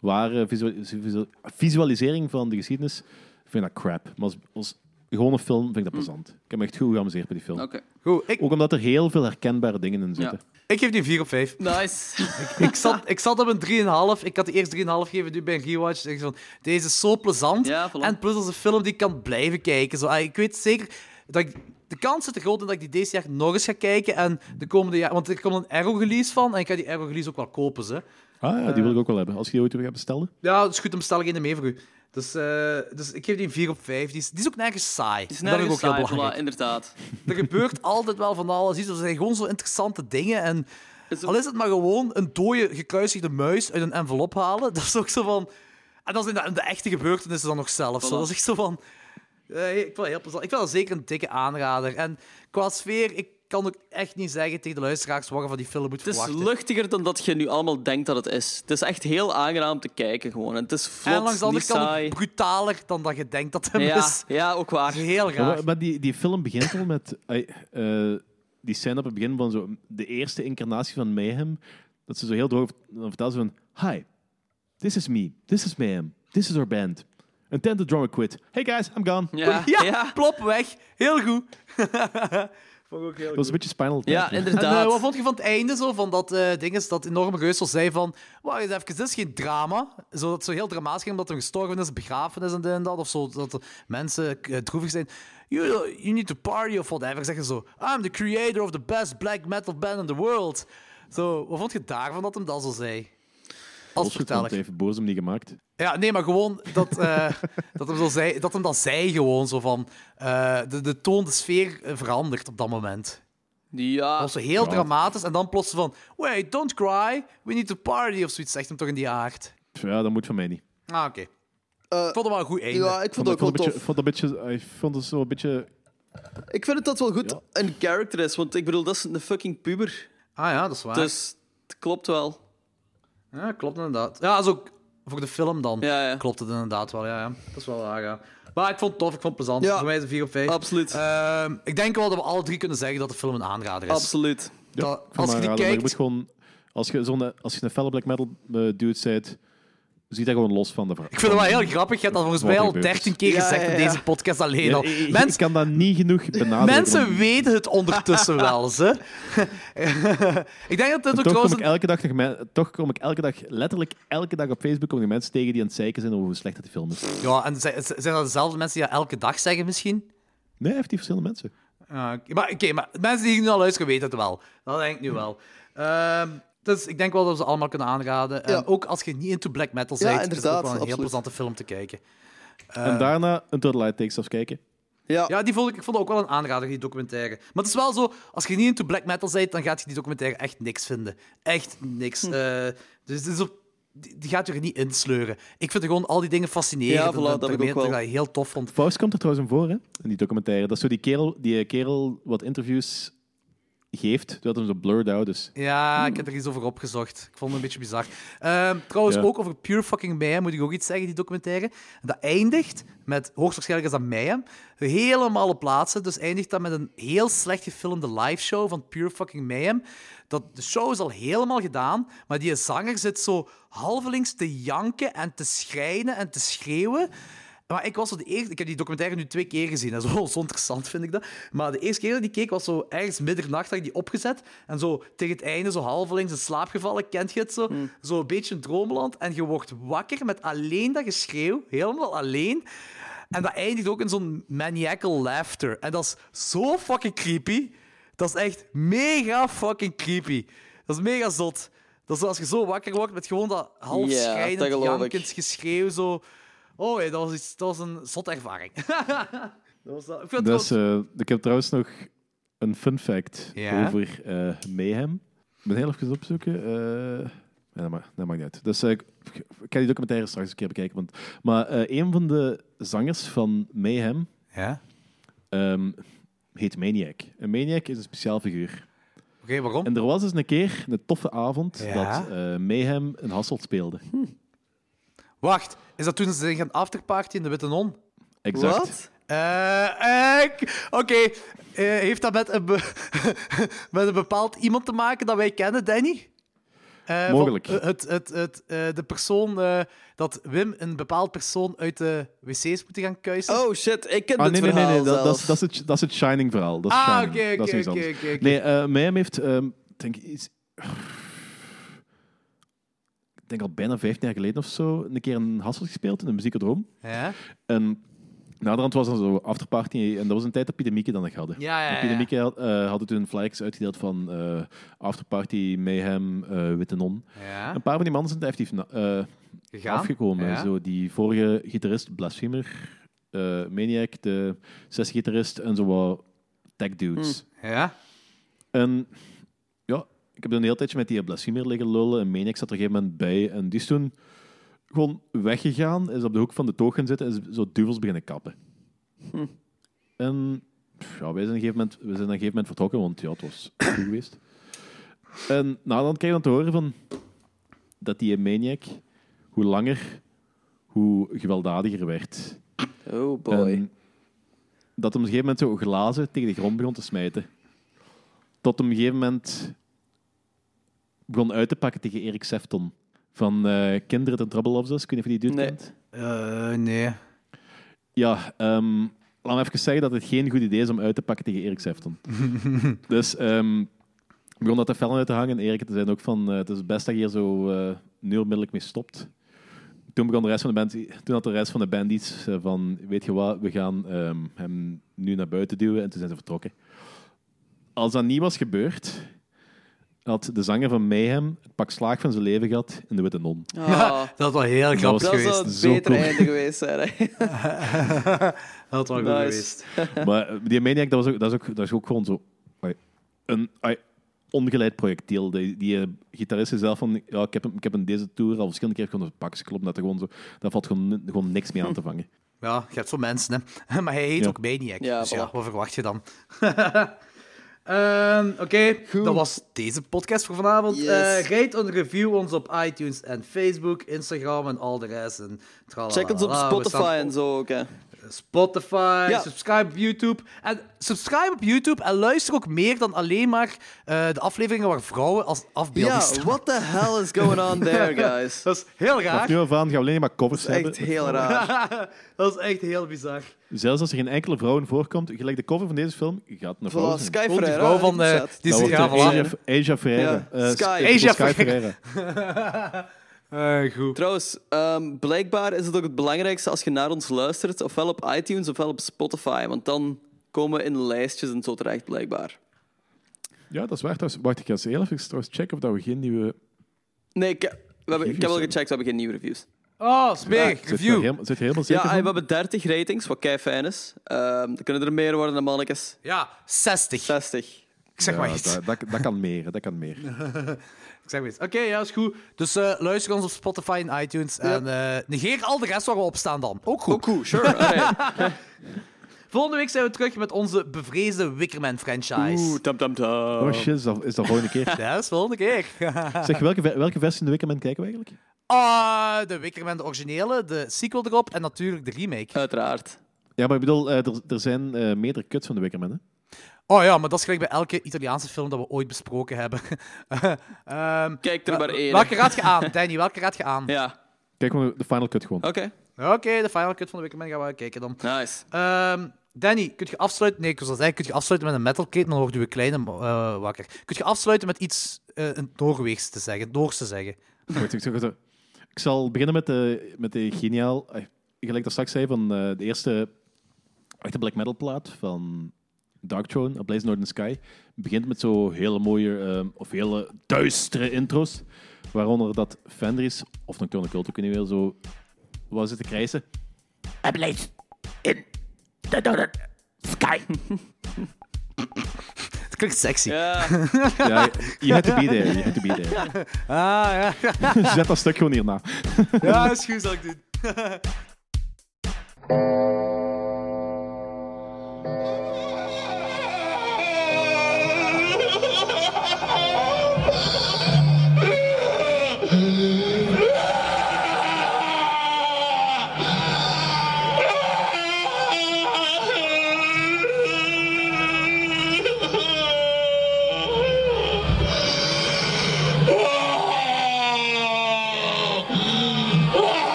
ware visual- visual- visualisering van de geschiedenis, ik vind dat crap. Maar als, als gewone film vind ik dat plezant. Ik heb me echt goed geamuseerd bij die film. Hm. Ah. Oké. Goed, ik, Ook omdat er heel veel herkenbare dingen in Ja. zitten. ik geef die een 4 op 5. Nice. Ik zat, ik zat op een 3,5. Ik had die eerst 3,5 gegeven, nu bij een rewatch. Denk ik van, deze is zo plezant. Ja, voilà. En plus als een film die ik kan blijven kijken. Zo, ah, ik weet zeker dat ik... De kans zit er groot in dat ik die deze jaar nog eens ga kijken. En de komende jaar... Want er komt een Arrow-release van. En ik ga die Arrow-release ook wel kopen, ze. Ah ja, die Eh. wil ik ook wel hebben. Als je die ooit weer gaat bestellen. Ja, dat is goed. Dan bestel ik een mee voor u. Dus, eh, dus ik geef die een 4 op 5. Die is, die is ook nergens saai. Het is dat vind nergens ik ook saai, heel voilà, belangrijk. inderdaad. Er gebeurt altijd wel van alles. iets. Er zijn gewoon zo interessante dingen. En Is al is het maar gewoon een dode, gekruisigde muis uit een envelop halen. Dat is ook zo van... En dat is in de, in de echte gebeurtenissen dan nog zelf. Zo. Voilà. Dat is echt zo van... eh, ik vind dat heel plezant. Ik vind dat zeker een dikke aanrader. En qua sfeer, ik kan ook echt niet zeggen tegen de luisteraars wat je van die film moet Het is verwachten. luchtiger dan dat je nu allemaal denkt dat het is. Het is echt heel aangenaam te kijken gewoon. En het is vlot, en langs de andere niet kant saai. ook brutaler dan dat je denkt dat hem Ja, is. ja, ook waar. Dat is heel Ja, raar. maar, maar die, die film begint al met ai, eh, die scène op het begin van zo, de eerste incarnatie van Mayhem. Dat ze zo heel droog dan vertelt ze van... Hi, this is me. This is Mayhem. This is our band. And then the drummer quit. Hey guys, I'm gone. Ja, Ja, ja. plop, weg. Heel goed. Vond ik ook heel Dat was een beetje Spinal Tap. ja hè. En eh, wat inderdaad. vond je van het einde zo, van dat eh ding is dat enorme reuzel zei van, wacht eens even, dit is geen drama. Zo, dat het zo heel dramatisch ging omdat er gestorven is, begraven is en dit en dat. Of zo, dat er mensen eh, droevig zijn. You, you need to party of whatever. Zeggen zo, I'm the creator of the best black metal band in the world. Zo, wat vond je daarvan dat hem dat zo zei? Als Bosgoed, want hij verteller. heeft boos om die gemaakt. Ja, nee, maar gewoon dat, eh, dat, hem zo zei, dat hem dat zei gewoon zo van... eh, de, de toon, de sfeer eh, verandert op dat moment. Ja, Dat was zo heel dramatisch. En dan plots van... Wait, don't cry. We need to party. Of zoiets zegt hem toch in die aard. Pff, Ja, dat moet van mij niet. Ah, oké. Ik vond het wel een goed einde. Eh, Ja, ik vond vond het ook dat- wel vond tof. een beetje- vond dat een beetje- Ik vond het zo een beetje... Ik vind het dat wel goed een character is, want ik bedoel, dat is een fucking puber. Ah ja, dat is waar. Dus het klopt wel. Ja, klopt inderdaad. Ja, dat is ook voor de film dan. Ja, ja. Klopt het inderdaad wel, ja. ja. Dat is wel waar, ja. Maar ik vond het tof, ik vond het plezant. Ja. Voor mij is het 4 op 5. Absoluut. Ehm, ik denk wel dat we alle drie kunnen zeggen dat de film een aanrader is. Absoluut. Ja, Dat- ik vond als het je die een aanrader, maar je kijkt... moet gewoon... Als je, zo'n, als je een felle black metal eh, dude zijt, zie daar gewoon los van de verhaal. Ik vind het wel heel grappig. Je hebt dat volgens mij al Wat er gebeurt. 13 keer Ja, gezegd ja, in ja. deze podcast alleen Ja, al. ik- ik- Mensen, Ik kan dat niet genoeg Ah, benadrukken. mensen want weten het ondertussen wel, eens, hè. ik denk dat dit ook Toch kom, trouwens... ik elke dag nog me- toch kom ik elke dag, letterlijk elke dag op Facebook, kom ik mensen tegen die aan het zeiken zijn over hoe slecht dat die film is. Ja, en zijn zijn dat dezelfde mensen die dat elke dag zeggen misschien? Nee, heeft die verschillende mensen. Ah, oké. maar oké, maar mensen die hier nu al luisteren weten het wel. Dat denk ik nu wel. Ehm, dus ik denk wel dat we ze allemaal kunnen aanraden. En Ja. ook als je niet into black metal Ja, bent, is het ook wel inderdaad, een heel absoluut. plezante film te kijken. en daarna een Total Light Takes Off kijken. Ja. Ja, die vond ik, ik vond het ook wel een aanrader, die documentaire. Maar het is wel zo, als je niet into black metal bent, dan gaat je die documentaire echt niks vinden. Echt niks. Hm. Eh, dus het is op- die, die gaat je er niet insleuren. Ik vind gewoon al die dingen fascinerend. Ja, en voilà, dat heb ik ook wel. ik heel tof vond. Faust komt er trouwens in voor, hè? In die documentaire. Dat is zo die kerel, die eh, kerel wat interviews geeft. Die had hem zo blurred out. Dus. Ja, ik heb er iets over opgezocht. Ik vond het een beetje bizar. Ehm, trouwens, Ja. ook over Pure Fucking Mayhem moet ik ook iets zeggen, die documentaire. Dat eindigt met, hoogstwaarschijnlijk is dat Mayhem, helemaal op plaatsen. Dus eindigt dat met een heel slecht gefilmde liveshow van Pure Fucking Mayhem. Dat, de show is al helemaal gedaan, maar die zanger zit zo halvelings te janken en te schrijnen en te schreeuwen. Maar ik was zo de eerste... Ik heb die documentaire nu twee keer gezien. Dat is wel zo interessant, vind ik dat. Maar de eerste keer dat ik keek, was zo ergens middernacht, had ik die opgezet. En zo tegen het einde, zo halvelings in slaap gevallen, kent je het zo? Hmm. Zo een beetje een droomland. En je wordt wakker met alleen dat geschreeuw. Helemaal alleen. En dat eindigt ook in zo'n maniacal laughter. En dat is zo fucking creepy. Dat is echt mega fucking creepy. Dat is mega zot. Dat is zo als je zo wakker wordt met gewoon dat half Ja, schrijnend, dat geloof ik. jankend geschreeuw zo... Oh, hey, dat, was iets, dat was een zotte ervaring. dat was dat. Ik vind Dus, het wel- eh, ik heb trouwens nog een fun fact Ja? over eh Mayhem. Ik ben heel even opzoeken. eh ja, dat, ma- dat maakt niet uit. Dus, eh, ik, ik ga die documentaire straks een keer bekijken. Want, maar eh, een van de zangers van Mayhem Ja? ehm, heet Maniac. En Maniac is een speciaal figuur. Oké, waarom? En er was eens een keer een toffe avond Ja? dat eh, Mayhem een Hasselt speelde. Wacht, is dat toen ze zijn gaan afterparty in de Witte Non? Exact. Wat? Eh, ik- Oké, Eh, heeft dat met een, be- met een bepaald iemand te maken dat wij kennen, Danny? Eh, van- Mogelijk. eh, het, het, het, eh, de persoon eh, dat Wim een bepaald persoon uit de wc's moet gaan kuisen. Oh shit, ik ken Ah, dit nee, nee, nee, verhaal nee. Dat, zelfs. dat, is, dat, is het, dat is het Shining verhaal. Dat is Ah, Shining. oké, dat is oké, niks oké, anders. oké, oké. Nee, eh Mayhem heeft, ehm, ik denk iets... Ik denk al bijna 15 jaar geleden of zo, een keer een Hassel gespeeld in de muziekodroom. Ja? En naderhand was er zo'n afterparty en dat was een tijd dat Piet en Mieke dan nog hadden. Ja, ja, ja, En Piet en Mieke had, eh, hadden toen flyers uitgedeeld van eh, afterparty, Mayhem, eh Witte Non. Ja? Een paar van die mannen zijn effectief na- eh, Gegaan? afgekomen. Ja. Zo, die vorige gitarist, Blasphemer, eh Maniac, de gitarist en zo wat tech Hmm. dudes. Ja? En ja, ik heb dan een heel tijdje met die Blasphemer liggen lullen en Maniac zat er op een gegeven moment bij. En die is toen gewoon weggegaan, is op de hoek van de toog gaan zitten en is zo duvels beginnen kappen. En pff, ja, wij zijn, op een gegeven moment, wij zijn op een gegeven moment vertrokken, want ja, het was goed geweest. En nou, dan krijg je dan te horen van dat die Maniac, hoe langer, hoe gewelddadiger werd. Oh boy. En dat op een gegeven moment zo glazen tegen de grond begon te smijten. Tot op een gegeven moment begon uit te pakken tegen Erik Sefton. Van eh, Kinderen ten Trouble of Us. Ik weet niet of je die dude Nee. kent. Eh, nee. Ja, ehm, laat me even zeggen dat het geen goed idee is om uit te pakken tegen Erik Sefton. dus ehm begon dat te fel uit te hangen. En Erik te zijn ook van, eh, het is het best dat je hier zo eh, nu onmiddellijk mee stopt. Toen, begon de rest van de band, toen had de rest van de band iets eh, van, weet je wat, we gaan ehm, hem nu naar buiten duwen. En toen zijn ze vertrokken. Als dat niet was gebeurd, had de zanger van Mayhem het pak slaag van zijn leven gehad in de Witte Non. Ah, Dat was wel heel grappig dat geweest. zou het Zo beter cool. einde geweest zijn. hè. Dat was wel goed Nice. geweest. Maar eh, die Maniac, dat, was ook, dat, is ook, dat is ook gewoon zo... ai, Een, ai, ongeleid projectiel. Die, die eh, gitarist is zelf van, ja, ik heb, hem- ik heb hem deze tour al verschillende keer gewoon op het pakje klopt, dat er gewoon zo, daar valt gewoon, gewoon niks mee aan te vangen. Ja, je hebt zo mensen, hè. Maar hij heet Ja. ook Maniac. Ja, dus ja, voilà. wat verwacht je dan? Ehm, Oké, dat was deze podcast voor vanavond. Yes. Eh, rate en review ons op iTunes en Facebook, Instagram en al de rest. En tralala. Check ons op We Spotify staan en zo ook. Hè. Spotify, Ja. subscribe op YouTube. En subscribe op YouTube en luister ook meer dan alleen maar eh, de afleveringen waar vrouwen als afbeelding Ja, staan. what the hell is going on there, guys? Dat is heel Vanaf raar. nu af aan gaan we alleen maar covers hebben. Echt heel raar. Dat is echt heel bizar. Zelfs als er geen enkele vrouw in voorkomt, gelijk de cover van deze film, gaat een vrouw Voilà, zijn. Sky Gewoon die Ferreira, vrouw van... eh, die staat. die Dat is, wordt ja, de Asia, voilà. Asia Ferreira. Ja. Eh, Sky. Sky Asia Ferreira. Ferreira. Eh, goed. Trouwens, ehm, blijkbaar is het ook het belangrijkste als je naar ons luistert, ofwel op iTunes ofwel op Spotify, want dan komen we in lijstjes en zo terecht, blijkbaar. Ja, dat is waar. Trouwens, wacht, ik ga eens heel even trouwens checken of dat we geen nieuwe... Nee, ik, we hebben, ik heb al Reviews, gecheckt, we hebben geen nieuwe reviews. Oh, smerig. Zit je er Review. helemaal, zit je helemaal Ja, zeker en van? we hebben 30 ratings, wat kei fijn is. Ehm er kunnen er meer worden dan mannetjes. Ja, 60. 60. Ik zeg maar Ja, iets. dat, dat, dat kan meer, hè, dat kan meer. Ik zeg maar iets. Oké, ja, is goed. Dus eh, luister ons op Spotify en iTunes. En eh, negeer al de rest waar we op staan dan. Ook goed. Ook cool, sure. alright. Volgende week zijn we terug met onze bevreesde Wickerman-franchise. Oeh, tam tam tam. Oh shit, is dat, is dat volgende keer. Ja, dat is volgende keer. Zeg, welke, ve- welke versie in de Wickerman kijken we eigenlijk? Ah, de Wickerman, de originele, de sequel erop en natuurlijk de remake. Uiteraard. Ja, maar ik bedoel, eh, er, er zijn eh, meerdere cuts van de Wickerman, hè? Oh ja, maar dat is gelijk bij elke Italiaanse film dat we ooit besproken hebben. Ehm, Kijk er maar één. welke raad je aan, Danny? Welke raad je aan? Ja, Kijk gewoon de final cut gewoon. oké. Oké, de final cut van de Wickerman gaan we kijken dan. Nice. Ehm, Danny, kun je afsluiten? Nee, ik was al zeggen, kun je afsluiten met een metalcade, maar dan worden we kleine eh, wakker. Kun je afsluiten met iets eh in het Noorweegs te zeggen, Noors te zeggen? Goed, ik, zeg het zo. ik zal beginnen met de, met de geniaal... eh, gelijk dat straks zei, van eh, de eerste echte black metal plaat van Dark Throne, A Blaze Northern Sky. Begint met zo hele mooie, eh, of hele duistere intro's. Waaronder dat Fenris, of Nocturne Cult ook in ieder geval, zo wou zitten krijsen. Het klinkt sexy. Ja, Ja, you had to be there, you had to be there. Ah, ja. Zet dat stuk gewoon hierna. ja, is goed, zal ik doen.